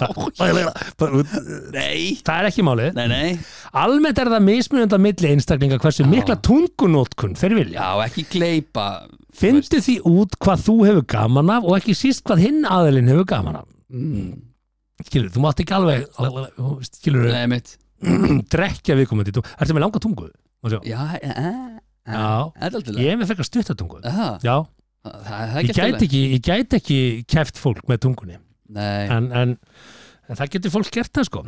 Speaker 1: Það
Speaker 3: Nei,
Speaker 1: er ekki málið.
Speaker 3: nei, nei
Speaker 1: Almennt er það mismunandi að milli einstaklinga hversu mikla tungunótkun þeir vilja.
Speaker 3: Já, ekki gleypa
Speaker 1: Findu því út hvað þú hefur gaman af og ekki síst hvað hinn aðeilin hefur gaman af. Skilur, þú mátt ekki alveg, skilur, (clears throat)
Speaker 3: Nei, mitt
Speaker 1: drekja viðkomandi. Þú ertu með langa tungu? Má sjá.
Speaker 3: Já, já, já
Speaker 1: Já.
Speaker 3: Það er aldrei
Speaker 1: Ég er með frekar stuttatungu
Speaker 3: Það
Speaker 1: Já,
Speaker 3: Eh, það er
Speaker 1: ég
Speaker 3: ekki
Speaker 1: gæti
Speaker 3: allt í lagi.
Speaker 1: ekki, ég gæti ekki kæft fólk með tungunni
Speaker 3: Nei,
Speaker 1: en, en, en það getur fólk gert það sko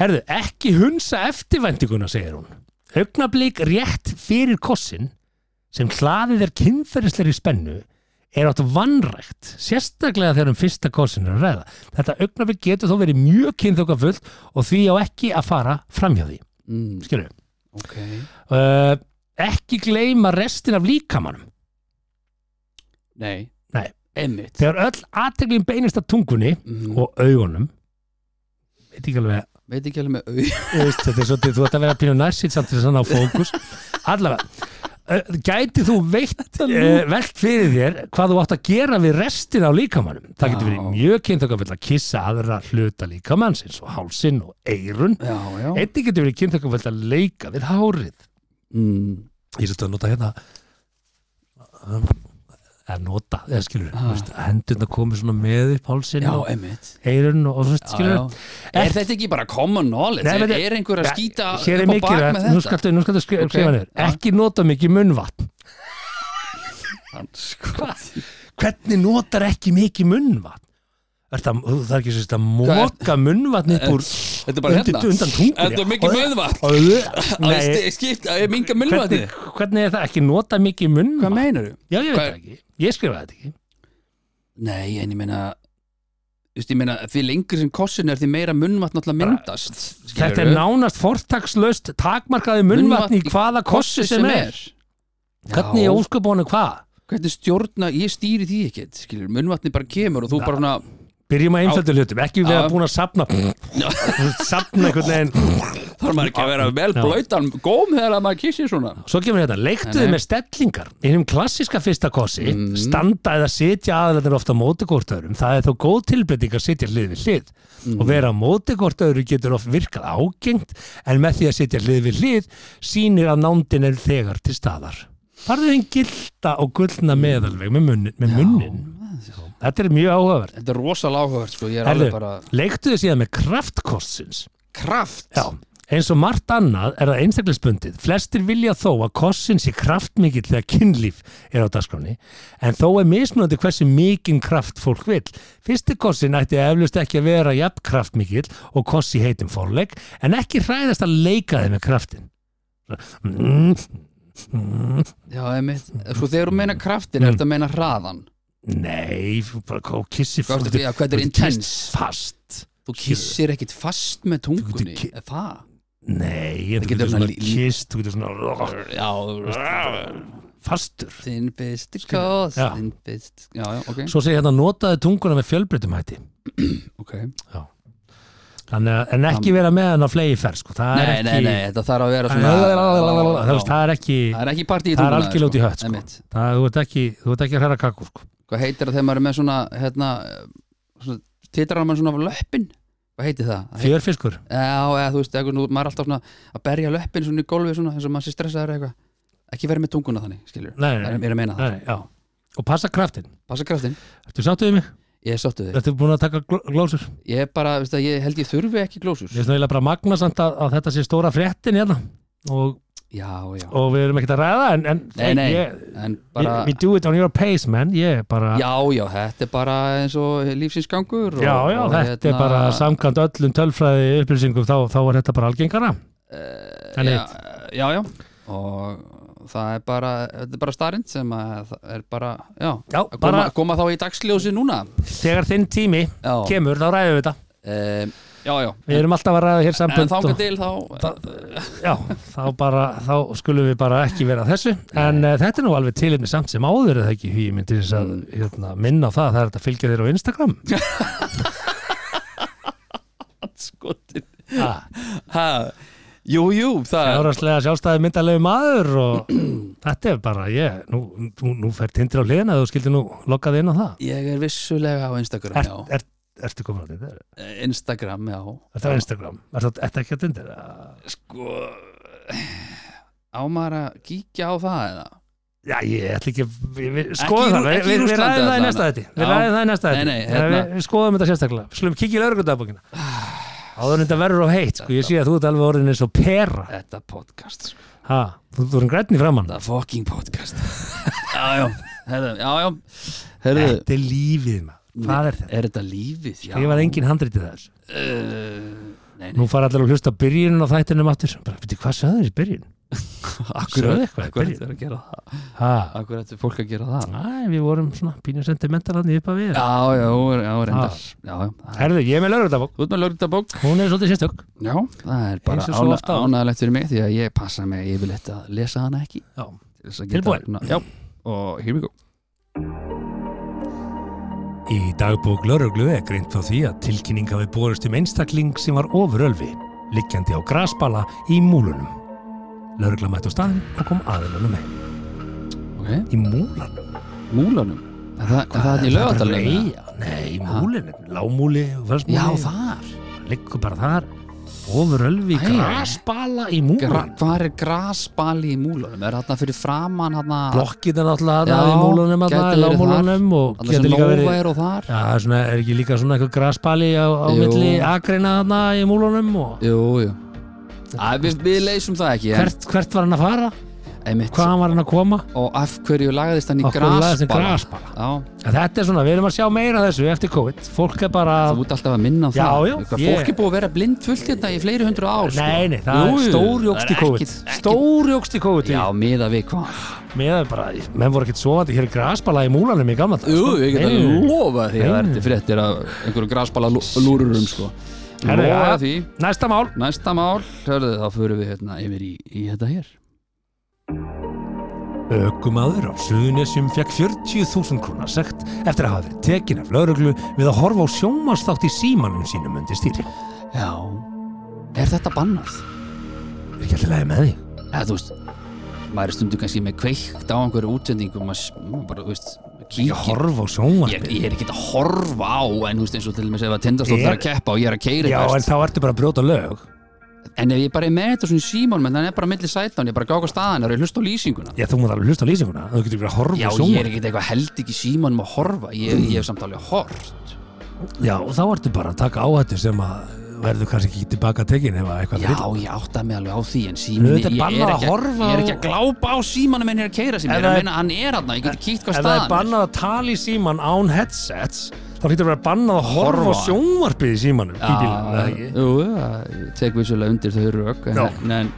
Speaker 1: Herðu, ekki hunsa eftirvæntinguna segir hún Augnablík rétt fyrir kossin sem hlaðið er kynferðislegri spennu er átt vannrægt sérstaklega þegar um fyrsta kossin er að ræða Þetta augnablík getur þó verið mjög kynþókafullt og því á ekki að fara framhjá því
Speaker 3: mm,
Speaker 1: Skilju
Speaker 3: ok
Speaker 1: uh, Ekki gleyma restin af líkamanum
Speaker 3: Nei,
Speaker 1: Nei.
Speaker 3: Einmitt
Speaker 1: Þegar öll aðteglin beinist að tungunni
Speaker 3: mm,
Speaker 1: og augunum veit ekki alveg
Speaker 3: Veit ekki alveg með
Speaker 1: (laughs)
Speaker 3: au
Speaker 1: þú veist, þetta er svo, þú ætti að vera pínu nærsinn samt til þess að ná fókus allavega uh, gæti þú veitt uh, velt fyrir þér hvað þú átt að gera við restin á líkamannum það getur verið
Speaker 3: Já.
Speaker 1: mjög kynþökkafull að kissa aðra hluta líkamannsins og hálsin og eirun
Speaker 3: Já, já
Speaker 1: einnig getur verið kynþökkafull að leika við hárið
Speaker 3: mm,
Speaker 1: ég svolítið að nota hérna um, að nota, eða skilur
Speaker 3: Ah.
Speaker 1: ah. hendurna komið svona með upp hálsin
Speaker 3: Já,
Speaker 1: og
Speaker 3: einmitt
Speaker 1: eirun og þú veist,
Speaker 3: Já,
Speaker 1: skilur
Speaker 3: já. Er þetta ekki bara common knowledge?
Speaker 1: Nei,
Speaker 3: er,
Speaker 1: veit-
Speaker 3: er einhver að
Speaker 1: Ja,
Speaker 3: skýta
Speaker 1: hér er
Speaker 3: upp á bak
Speaker 1: mikilvægt,
Speaker 3: með
Speaker 1: nú
Speaker 3: þetta?
Speaker 1: skaltu, nú skaltu skrifa,
Speaker 3: Ok,
Speaker 1: skrifa niður
Speaker 3: já.
Speaker 1: ekki nota mikið munnvatn
Speaker 3: Hans, (laughs) hvað?
Speaker 1: hvernig notar ekki mikið munnvatn Er það, það er ekki sérst að móka munnvatn upp úr
Speaker 3: (laughs) Þetta er bara
Speaker 1: undir-
Speaker 3: hérna
Speaker 1: undan tungunni.
Speaker 3: Þetta er mikið munnvatn
Speaker 1: Og-
Speaker 3: Að
Speaker 1: Nei,
Speaker 3: ég skipt, að ég minga munnvatni
Speaker 1: hvernig, hvernig er það ekki nota mikið
Speaker 3: Hvað
Speaker 1: munnvatn
Speaker 3: meinar þú?
Speaker 1: já ég veit
Speaker 3: Hvað-
Speaker 1: það ekki, ég skrifaði þetta ekki
Speaker 3: Nei, en ég meina Þú veist, ég meina, því lengri sem kossin er því meira munnvatn alltaf myndast skilurðu?
Speaker 1: þetta er nánast fortakslaust takmarkaði munnvatn í
Speaker 3: Munnvatn í
Speaker 1: hvaða kossi sem er hvernig
Speaker 3: Já,
Speaker 1: ég ósköpunum hvað
Speaker 3: hvernig stjórna, ég stýri því ekkert skilur, munnvatni bara kemur og þú bara svona
Speaker 1: byrjum að einföldu hlutum, ekki við
Speaker 3: (laughs) Já.
Speaker 1: að búin að sapna sapna einhvern veginn
Speaker 3: þarf maður ekki að vera vel blöytan góm þegar að maður kissir svona
Speaker 1: Svo kemur hérna, leiktuðu með stellingar í hennum klassiska fyrsta kossi standa eða sitja aðalendur ofta mótikortöðurum, það er þó góð tilbreyting að sitja hlið við hlið og vera mótikortöðuru getur oft virkað ágengt en með því að sitja hlið við hlið sýnir að nándin er þegar til staðar. Farðu þinn gilda og gullna meðalveg með munnin, með munnin. Þetta er mjög áhugavert.
Speaker 3: Þetta er rosalega áhugavert sko, ég er
Speaker 1: Herðu,
Speaker 3: alveg bara
Speaker 1: leiktuðu síðan með kraftkossins
Speaker 3: kraft
Speaker 1: Já, eins og margt annað er það einstaklisbundið. Flestir vilja þó að kossin sé kraftmikill þegar kynlíf er á dagskráni, en þó er mismunandi hversu mikinn kraft fólk vill. Fyrsti kossin ætti eflust ekki að vera jafn kraftmikill og kossi heitum forleik, en ekki hræðast að leika þeim með kraftin. Mm,
Speaker 3: Já, einmitt. Sko þegar þú meina kraftin, er þetta að meina hraðan
Speaker 1: nei, bara kó- kissi
Speaker 3: Hvað ertu að segja? Hvað þetta er
Speaker 1: þú kiss
Speaker 3: intense?
Speaker 1: Fast.
Speaker 3: Þú kissir ekkit fast með tungunni
Speaker 1: ki-
Speaker 3: Er Það
Speaker 1: Nei, en
Speaker 3: Það
Speaker 1: þú
Speaker 3: getur
Speaker 1: getur
Speaker 3: svona
Speaker 1: svona
Speaker 3: lí-
Speaker 1: kiss, þú getur svona
Speaker 3: Já, þú veist,
Speaker 1: fastur.
Speaker 3: þinn besti kós
Speaker 1: Já.
Speaker 3: Þinn besti Já, já, ok,
Speaker 1: Svo segir hérna notaði tunguna með fjölbreytum hætti.
Speaker 3: ok
Speaker 1: Þannig að, en ekki vera með hann á flegi fer, sko. Það er
Speaker 3: Nei,
Speaker 1: ekki...
Speaker 3: nei, nei, þetta þarf að vera
Speaker 1: Það
Speaker 3: svona
Speaker 1: veist, það er ekki...
Speaker 3: Það er ekki partí
Speaker 1: Það
Speaker 3: í
Speaker 1: er
Speaker 3: tungunni,
Speaker 1: algjörlega út í
Speaker 3: sko.
Speaker 1: hött,
Speaker 3: Einmitt.
Speaker 1: sko. Það, þú ert ekki, þú ert ekki að hræra kakku, sko.
Speaker 3: Hvað heitir það þegar maður er með svona hérna, svona, titrar maður svona af löppin Hvað heitir það? það? heit-
Speaker 1: Fjörfiskur.
Speaker 3: Já, eða þú veist, eða, nú, maður er alltaf svona að berja löppin svona í gólfi svona eins og maður sé stressaður eða eitthvað Ekki verið með tunguna þannig, skilur
Speaker 1: Nei, nei,
Speaker 3: Ég er að meina það
Speaker 1: Nei, já. Og passa kraftin.
Speaker 3: Passa kraftin,
Speaker 1: Ertu sáttuðið mig?
Speaker 3: ég er sáttu þig
Speaker 1: Ertu búin að taka gló- glósur?
Speaker 3: Ég er bara, veist það, ég held ég þurfi ekki glósur
Speaker 1: Ég er svona eiginlega bara magna samt að, að þetta sé stóra fréttin hérna. Og,
Speaker 3: Já, já
Speaker 1: og við erum ekkert að ræða, en, en
Speaker 3: Nei, nei,
Speaker 1: ég,
Speaker 3: en bara
Speaker 1: we do it on your pace, man. Ég er bara...
Speaker 3: Já, já, þetta er bara eins og lífsins gangur og,
Speaker 1: Já, já,
Speaker 3: og
Speaker 1: þetta er
Speaker 3: hérna,
Speaker 1: bara samkvæmt öllum tölfræði upplýsingum þá, þá er þetta bara algengara en
Speaker 3: Eh, já, já, já og það er bara, þetta er bara starind sem að það er bara, já,
Speaker 1: Já,
Speaker 3: að
Speaker 1: bara-
Speaker 3: koma, koma þá í dagsljósi núna
Speaker 1: þegar þinn tími
Speaker 3: Já,
Speaker 1: kemur þá ræðum við þetta
Speaker 3: um, já, já
Speaker 1: við erum alltaf að ræða hér
Speaker 3: En
Speaker 1: sambönd
Speaker 3: þangað
Speaker 1: og,
Speaker 3: til þá
Speaker 1: já, þá, bara, þá skulum við bara ekki vera að þessu en uh, þetta er nú alveg tilefni samt sem áður er það ekki hugi minn til þess að
Speaker 3: Mm.
Speaker 1: hérna, minna á það það er þetta að fylgja þér á Instagram
Speaker 3: (laughs) skotin
Speaker 1: Ha,
Speaker 3: ha, Jú, jú, það
Speaker 1: Ah, fjárhagslega sjálfstæði myndalegu maður
Speaker 3: (clears throat)
Speaker 1: og þetta er bara ég, nú, nú, nú fer tindir á hliðina ef þú skildir nú lokkaði inn á það
Speaker 3: Ég er vissulega á Instagram,
Speaker 1: er,
Speaker 3: já
Speaker 1: er, ertu komin á þetta?
Speaker 3: Instagram, já
Speaker 1: Þetta er Instagram, er þetta ertu ekki að tindir?
Speaker 3: Sko Á maður að kíkja á það eða?
Speaker 1: Já, ég ætla ekki að við- við-
Speaker 3: Ekki
Speaker 1: skoðum
Speaker 3: í
Speaker 1: það,
Speaker 3: Rú-
Speaker 1: við,
Speaker 3: ekki í
Speaker 1: við, við
Speaker 3: Rússlandi
Speaker 1: ræðum það í
Speaker 3: allavega.
Speaker 1: næsta þetta Við
Speaker 3: Já.
Speaker 1: ræðum það í næsta
Speaker 3: Nei,
Speaker 1: þetta
Speaker 3: nei, hérna.
Speaker 1: við, við skoðum þetta sérstaklega, slum kikið í laurugundabókina Áður en þetta verður á heitt, sko, ég sé að þú ert alveg orðin eins og pera
Speaker 3: Þetta podcast, sko.
Speaker 1: ha, Þú þú erum grænni framann
Speaker 3: þetta fucking podcast (laughs) Já, já, herðu, já, já Herðu,
Speaker 1: Þetta er lífið maður, hvað er þetta?
Speaker 3: er þetta lífið? Já.
Speaker 1: Ég var engin handrítið þess
Speaker 3: uh, Nei, nei,
Speaker 1: Nú fara allir að hlusta á byrjunin á þættinum aftur Bara, veitir, hvað sagður í byrjun? sögðu eitthvað í
Speaker 3: akkurat
Speaker 1: byrjun.
Speaker 3: er að gera það
Speaker 1: Ha,
Speaker 3: Akkurat er fólk að gera það
Speaker 1: Æ, við vorum svona pínu sentimentalarni upp að við
Speaker 3: Já, já, já, já
Speaker 1: Ah.
Speaker 3: reyndar Já, já, það er-
Speaker 1: Herðu, ég er með laurugundabók,
Speaker 3: Þú ert með lögritabók
Speaker 1: hún er svolítið sérstök
Speaker 3: Já, það er bara
Speaker 1: Eins og svo
Speaker 3: ána-
Speaker 1: oft áður.
Speaker 3: ánægilegt fyrir mig því að ég passa mig yfirleitt að lesa hana ekki
Speaker 1: Já,
Speaker 3: til þess að geta-
Speaker 1: Tilbúin.
Speaker 3: Já, og here we go
Speaker 1: Í dagbók lauruglu er greint frá því að tilkynning hafi borist um einstakling sem var ofurölfi, liggjandi á grasbala í múlunum. Laurugla mætti á staðinn og kom aðilunum með.
Speaker 3: Ok,
Speaker 1: Í múlanum?
Speaker 3: múlanum Er það, er það í lögatalum?
Speaker 1: Nei, í múlinum. Lámúli og felsmúli.
Speaker 3: Já, þar
Speaker 1: Liggur bara þar. Ofurölfi,
Speaker 3: Æ.
Speaker 1: grasbala í múlunum.
Speaker 3: Hvað er grasbali í múlanum? Er þarna fyrir framann þarna
Speaker 1: Blokkið er náttúrulega
Speaker 3: Já,
Speaker 1: þarna í múlunum, þarna
Speaker 3: gæti
Speaker 1: í
Speaker 3: verið
Speaker 1: lámúlunum og
Speaker 3: Þarna
Speaker 1: getur
Speaker 3: sem
Speaker 1: líka
Speaker 3: Nova
Speaker 1: verið...
Speaker 3: er og þar
Speaker 1: Já, það er svona, er ekki líka svona eitthvað grasbali á, á
Speaker 3: Jú.
Speaker 1: milli akreina þarna í múlunum og...
Speaker 3: Jú, jú Æ, við, við leysum það ekki en,
Speaker 1: hvert, hvert var hann að fara
Speaker 3: einmitt,
Speaker 1: hvaðan var hann að koma
Speaker 3: Og af hverju lagðist hann í
Speaker 1: Af hverju lagðist hann í
Speaker 3: grasbala
Speaker 1: grasbala?
Speaker 3: Já,
Speaker 1: En þetta er svona, við erum að sjá meira af þessu eftir COVID fólk er bara
Speaker 3: þú ert alltaf að minna á
Speaker 1: Já,
Speaker 3: það
Speaker 1: já,
Speaker 3: Eitthvað,
Speaker 1: ég-
Speaker 3: Fólk er búið að vera blind fullt hérna í fleiri hundru ár
Speaker 1: nei, nei, það
Speaker 3: Jú,
Speaker 1: er
Speaker 3: jú,
Speaker 1: stórjókst í
Speaker 3: það er
Speaker 1: COVID
Speaker 3: ekkit- ekkit-
Speaker 1: stórjókst í COVID Sko,
Speaker 3: Já,
Speaker 1: já.
Speaker 3: miða við hvað
Speaker 1: meðan bara, menn voru ekkert sofandi hér er grasbala í múlanum í gamla dag
Speaker 3: Jú, ég get alveg
Speaker 1: Nei.
Speaker 3: lofa því að það
Speaker 1: Nei.
Speaker 3: ertu fréttir af einhverjum grasbala lúrurum sko.
Speaker 1: Herðu,
Speaker 3: Lofa
Speaker 1: já.
Speaker 3: því
Speaker 1: næsta mál
Speaker 3: Næsta mál, hörðu, þá förum við hérna yfir í, í þetta hér
Speaker 1: Ökumadur á Suðunesjum fekk 40.000 krónar sekt eftir að hafa verið tekin af lauruglu við að horfa á sjómasþátt í símanum sínum undir stýri
Speaker 3: Já Er þetta bannað?
Speaker 1: er ekki alltaf með því
Speaker 3: eða þú veist maður er stundu kannski með kveikt á einhverju útsendingum maður, maður bara, þú veist
Speaker 1: Ég
Speaker 3: kíkir
Speaker 1: horfa á
Speaker 3: ég,
Speaker 1: sjónvarpið
Speaker 3: ég er ekki að horfa á en þú veist eins og til og með að tindastótt er
Speaker 1: Er-
Speaker 3: að keppa og ég er að keira
Speaker 1: Já, en þá ertu bara að brjóta lög
Speaker 3: en ef ég bara er með þetta svona í símón menn þannig er bara milli sætán, ég er bara að gáka staðan og ég hlusta á lýsinguna
Speaker 1: Já, þú múið alveg hlusta á lýsinguna Þú getur ekki verið að horfa
Speaker 3: já,
Speaker 1: á
Speaker 3: ég er
Speaker 1: sjónvarpið
Speaker 3: ekki eitthvað held ekki í símanum að horfa ég, ég hef samt alveg hort
Speaker 1: Já, og þá ertu bara að taka áhættu sem að verður kannski ekki tilbaka tekin ef að eitthvað
Speaker 3: já,
Speaker 1: fyrir
Speaker 3: ég átta mig alveg á því en
Speaker 1: Þú
Speaker 3: símin,
Speaker 1: veit,
Speaker 3: ég,
Speaker 1: er
Speaker 3: ég,
Speaker 1: bannað
Speaker 3: er
Speaker 1: að
Speaker 3: ekki,
Speaker 1: horfa
Speaker 3: ég er
Speaker 1: á-
Speaker 3: ekki að glápa á símanum en ég er að keira sem
Speaker 1: Ef
Speaker 3: ég er
Speaker 1: það
Speaker 3: að
Speaker 1: er-
Speaker 3: meina, hann er hann, ég get kíkt
Speaker 1: Ef
Speaker 3: hvað
Speaker 1: það er
Speaker 3: staðan er.
Speaker 1: bannað að tala í síman án headsets þá hlýtur að vera bannað að horfa, á
Speaker 3: Horfa.
Speaker 1: sjónvarpið í símanum í bílnum, eða
Speaker 3: Já,
Speaker 1: ekki?
Speaker 3: jú, já, ég tek vissulega undir þau rauk en,
Speaker 1: Já.
Speaker 3: en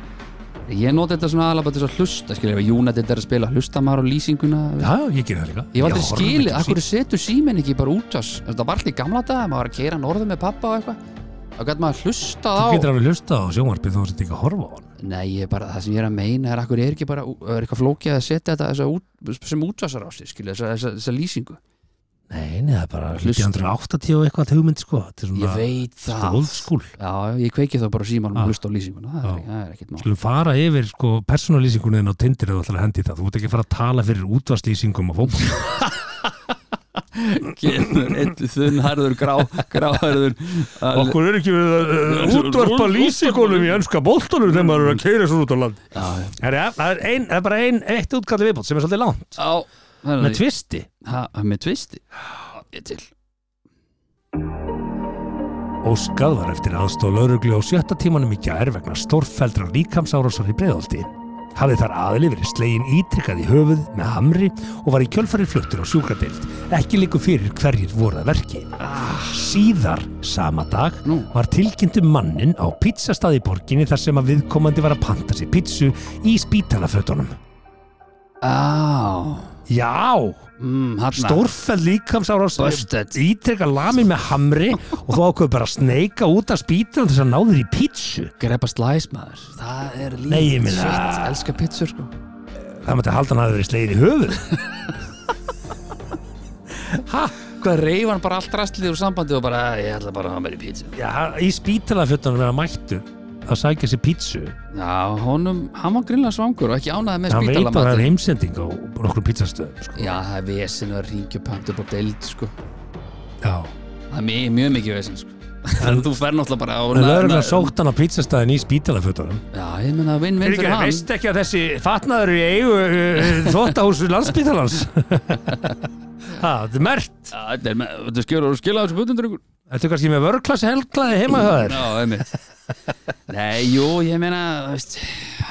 Speaker 3: ég noti þetta svona aðlega bara til þess að hlusta skilja, ef United er að spila, hlusta maður á lýsinguna
Speaker 1: Já, ég ger það líka
Speaker 3: ég var aldrei
Speaker 1: horfi
Speaker 3: skilið,
Speaker 1: ekki á
Speaker 3: af
Speaker 1: símann.
Speaker 3: hverju setur síminn ekki bara út ás, þetta var alltaf í gamla dag maður var að keira norðu með pappa og eitthvað þá gæti maður hlusta á
Speaker 1: Þú getur alveg hlusta á sjónvarpið þó þú sett ekki að horfa á hann
Speaker 3: nei, ég er bara, það sem ég er að meina er akkur er ekki bara, er eitthvað flókið að setja þetta þessa út, sem útásar á sig, skilja þessa, þessa, þessa lýsingu,
Speaker 1: Nei, nei, það er bara
Speaker 3: Hlusta.
Speaker 1: 1980 og eitthvað hugmynd sko Þetta er
Speaker 3: ég
Speaker 1: svona
Speaker 3: veit það
Speaker 1: stóðskúl
Speaker 3: já, já, ég kveiki þá bara símanum
Speaker 1: Ah.
Speaker 3: og hlusta á lýsinguna það
Speaker 1: Já.
Speaker 3: er, það er ekkert mál
Speaker 1: Skulum fara yfir sko personalýsingunin á Tinder eða þú ætlar að hendi það Þú ert ekki að fara að tala fyrir útvarslýsingum og fólk
Speaker 3: kemur einn þunnharður grá, gráharður al-
Speaker 1: Okkur er ekki við að uh, útvarpa lýsingunum í ennska boltanum þegar maður er að keira svo út á land
Speaker 3: Já,
Speaker 1: Herra, Það er, ein, það er bara ein, eitt útkalli viðbótt sem er svolítið langt
Speaker 3: á þannig
Speaker 1: Með
Speaker 3: að-
Speaker 1: tvisti
Speaker 3: Ha, með tvisti ég til
Speaker 1: Óskað var eftir aðstóð lauruglu á sjötta tímanum í gær vegna stórfældra líkamsárásar í breiðolti. Hafði þar aðli verið slegin ítrykkað í höfuð með hamri og var í kjölfarið fluttur á sjúkradeild. Ekki líku fyrir hverjir voru að verki. Síðar, sama dag,
Speaker 3: Ah. Nú.
Speaker 1: var tilkynntu mannin á pítsastað í borginni þar sem að viðkomandi var að panta sér pítsu í spítalafötunum.
Speaker 3: á
Speaker 1: Já,
Speaker 3: mm, hann
Speaker 1: stórfæld líkamsárásar
Speaker 3: Busted.
Speaker 1: ítrekka lamin með hamri og þú ákveður bara að sneika út af spítalum þess að ná þér í pítsu.
Speaker 3: grepa slæs maður það er líf
Speaker 1: Nei, ég meina-
Speaker 3: Shit, elska pizzur sko
Speaker 1: Það mætti að halda hann að það verið slegir í höfuð Ha?
Speaker 3: hvað reyf hann bara allt rastlið úr sambandi og bara ég ætla bara að hafa mér í pizza
Speaker 1: Já, í spítalafjötunum er hann mættur að sækja sér pítsu
Speaker 3: já, honum, hann var grillan svangur og ekki ánaði með
Speaker 1: Hann veit að það er
Speaker 3: spítalamati
Speaker 1: heimsending á nokkur pítsastöðum sko.
Speaker 3: já, það er vesinu að ringja pönt upp á deild sko
Speaker 1: Já
Speaker 3: það er mjög, mjög mikið vesinu sko
Speaker 1: En-
Speaker 3: (laughs) þú fer náttúrulega bara á
Speaker 1: Það er
Speaker 3: na-
Speaker 1: að sótt hann á pítsastöðin í spítalafjötunum
Speaker 3: já, ég meina vinn-vinn fyrir hann
Speaker 1: ekki að þessi fatnaður í eigu eh, þóttahúsu (laughs) landsbítalans Ha, þetta er mert
Speaker 3: Já, Þetta er með- þetta skilur og skilur þessu butundur ykkur
Speaker 1: Þetta er kannski með vörklassi helglaði heima hjá þér
Speaker 3: Já,
Speaker 1: (laughs)
Speaker 3: einmitt Nei, jú, ég meina þú veist,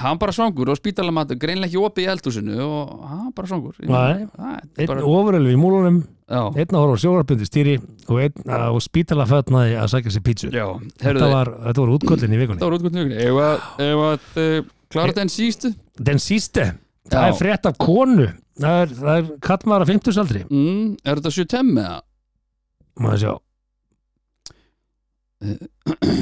Speaker 3: hann bara svangur og spítalamat greinlega ekki opið í eldhúsinu og hann bara svangur Ég meina,
Speaker 1: Nei.
Speaker 3: það er
Speaker 1: Einn
Speaker 3: bara,
Speaker 1: ofurölvi í múlunum,
Speaker 3: já,
Speaker 1: einn að horfa á sjóvarpindi stýri og einn á spítalafjötnaði að sækja sér pítsu
Speaker 3: já,
Speaker 1: Þetta
Speaker 3: heyrðu þið
Speaker 1: var, þetta var útköllin í
Speaker 3: Þetta
Speaker 1: vikunni.
Speaker 3: var útgótt njögni Ef að, ef að eh, klára þetta en sístu
Speaker 1: Den síste, það
Speaker 3: Já.
Speaker 1: er frétt af konu. Það er, það er kallmaður á 50 aldri.
Speaker 3: mm, Er þetta 7 með það?
Speaker 1: Má það sjá.
Speaker 3: Øh.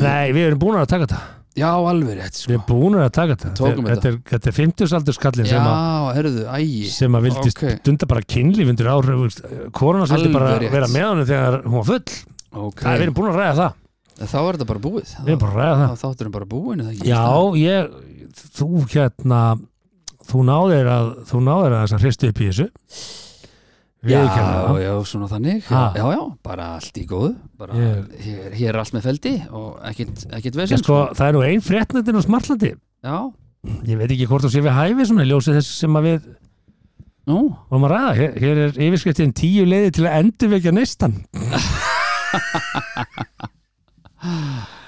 Speaker 1: Nei, við erum búin að taka þetta.
Speaker 3: Já, alveg rétt
Speaker 1: Við
Speaker 3: sko.
Speaker 1: erum búin að taka þetta.
Speaker 3: Tókum
Speaker 1: Þetta er, þetta er 50 aldur skallin
Speaker 3: Já,
Speaker 1: sem að
Speaker 3: heyrðu, ægi
Speaker 1: sem að vildi
Speaker 3: Ókei.
Speaker 1: stunda bara kynlíf undir áhrif, korona vildi
Speaker 3: Alveg
Speaker 1: bara
Speaker 3: rétt.
Speaker 1: vera með honum þegar hún var full það, við
Speaker 3: okay.
Speaker 1: erum búin að ræða það,
Speaker 3: Þá er þetta bara búið
Speaker 1: við erum
Speaker 3: Þá
Speaker 1: búin að ræða það
Speaker 3: þátturum bara búin er það ekki?
Speaker 1: já, ég, þú hérna þú náðir að þú náðir að þess að hristu upp í þessu við
Speaker 3: Já,
Speaker 1: erum það
Speaker 3: já, svona þannig
Speaker 1: Ha.
Speaker 3: já, já, já, bara allt í góðu bara,
Speaker 1: Ég-
Speaker 3: hér, hér er allt með feldi og ekkit, ekkit
Speaker 1: Já,
Speaker 3: vesens
Speaker 1: sko, það er nú ein fréttnættin á Smartlandi
Speaker 3: Já,
Speaker 1: ég veit ekki hvort þú sé við hæfi svona í ljósi þess sem að við
Speaker 3: nú,
Speaker 1: vorum að ræða, hér, hér er yfirskriftin tíu leiði til að endurvekja neistan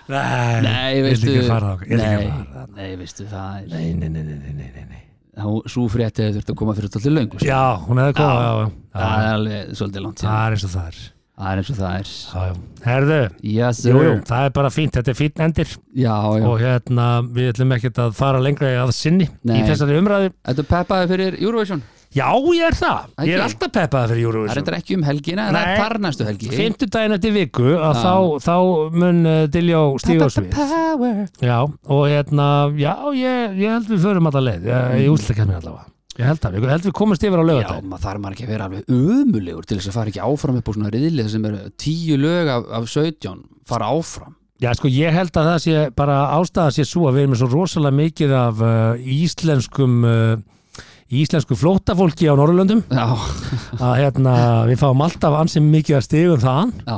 Speaker 1: Nei,
Speaker 3: Nei,
Speaker 1: ég
Speaker 3: veistu-
Speaker 1: vil ekki fara þangað, ég vil ekki
Speaker 3: Nei.
Speaker 1: fara þangað.
Speaker 3: nei, veistu það
Speaker 1: Nei, nei, nei, nei, nei, nei, nei, nei.
Speaker 3: er Svo frétti þau þurft að koma fyrir tóttir löngu sko.
Speaker 1: Já, hún hefði komið
Speaker 3: Já.
Speaker 1: já, já,
Speaker 3: Það
Speaker 1: já.
Speaker 3: er alveg svolítið langt síðan.
Speaker 1: Það er eins og það er já,
Speaker 3: Það er eins og það er
Speaker 1: já. Herðu,
Speaker 3: Yes, sir
Speaker 1: jú, jú, það er bara fínt, þetta er fínt endir
Speaker 3: Já, já,
Speaker 1: og hérna, við ætlum ekkert að fara lengra í að sinni
Speaker 3: Nei.
Speaker 1: í þessari umræðu
Speaker 3: Þetta peppaði fyrir Eurovision
Speaker 1: Já, ég er það, ég er
Speaker 3: Ekki?
Speaker 1: alltaf peppað fyrir
Speaker 3: Það
Speaker 1: Eurovision
Speaker 3: er þetta ekki um helgina, en það
Speaker 1: Nei.
Speaker 3: er þar næstu helgi
Speaker 1: Fymtudaginn eftir viku að
Speaker 3: Já.
Speaker 1: þá, þá mun uh, Diljó stíga á svið
Speaker 3: Power
Speaker 1: Já, og hérna, já, ég, ég held við förum alltaf leið, ég, ég útlika mér allavega Ég held það, ég held við komumst yfir á
Speaker 3: Mm. Já,
Speaker 1: lögadaginn
Speaker 3: maður þarf maður ekki að vera alveg ömulegur til þess að fara ekki áfram upp á svona riðlið sem eru tíu lög af, af 17 fara áfram
Speaker 1: Já, sko, ég held að það sé bara ástæða sé svo að við erum með svo rosalega mikið af uh, íslenskum uh, íslensku flóttafólki á Norrlöndum
Speaker 3: Já,
Speaker 1: að hérna, við fáum alltaf ansið mikið að stigum þaðan
Speaker 3: já,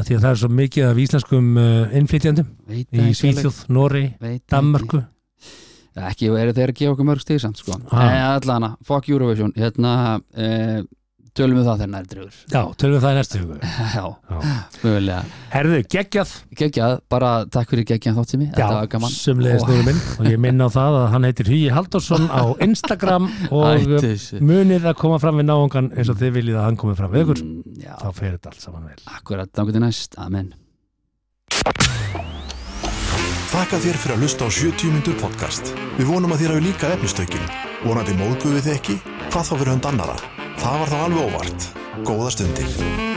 Speaker 1: að því að það er svo mikið af íslenskum uh, innflytjandum
Speaker 3: veit það
Speaker 1: í
Speaker 3: ekki alveg.
Speaker 1: Svíþjóð, Norri,
Speaker 3: Veit það ekki.
Speaker 1: Danmörku
Speaker 3: Já, Ekki, eru þeir að gefa okkur mörg stíðsamt, sko
Speaker 1: Ha.
Speaker 3: Nei, allan að, fuck Eurovision Hérna, e, tölum við það þegar nærdröfur
Speaker 1: Já, tölum við það í næstu hugur
Speaker 3: (laughs) Já,
Speaker 1: Já.
Speaker 3: mögulega
Speaker 1: Herðu, geggjað
Speaker 3: Geggjað, bara takk fyrir geggjað þátt sem ég Þetta var gaman
Speaker 1: sumleðis núna minn og ég minna á það að hann heitir Hugi Halldórsson
Speaker 3: (laughs)
Speaker 1: á Instagram og uh,
Speaker 3: og
Speaker 1: munið að koma fram við náungan eins og þið viljið að hann komi fram við
Speaker 3: Mm.
Speaker 1: ykkur
Speaker 3: Já,
Speaker 1: þá fer þetta allt saman vel
Speaker 3: akkurat, þangur til næst, amen
Speaker 2: Þakka þér fyrir að hlusta á 70 myndur podcast. Við vonum að þér hafi líka efnistökin. Vonandi móðguðu þið ekki? Hvað þá fyrir hund annara? Það var þá alveg óvart. Góða stundir.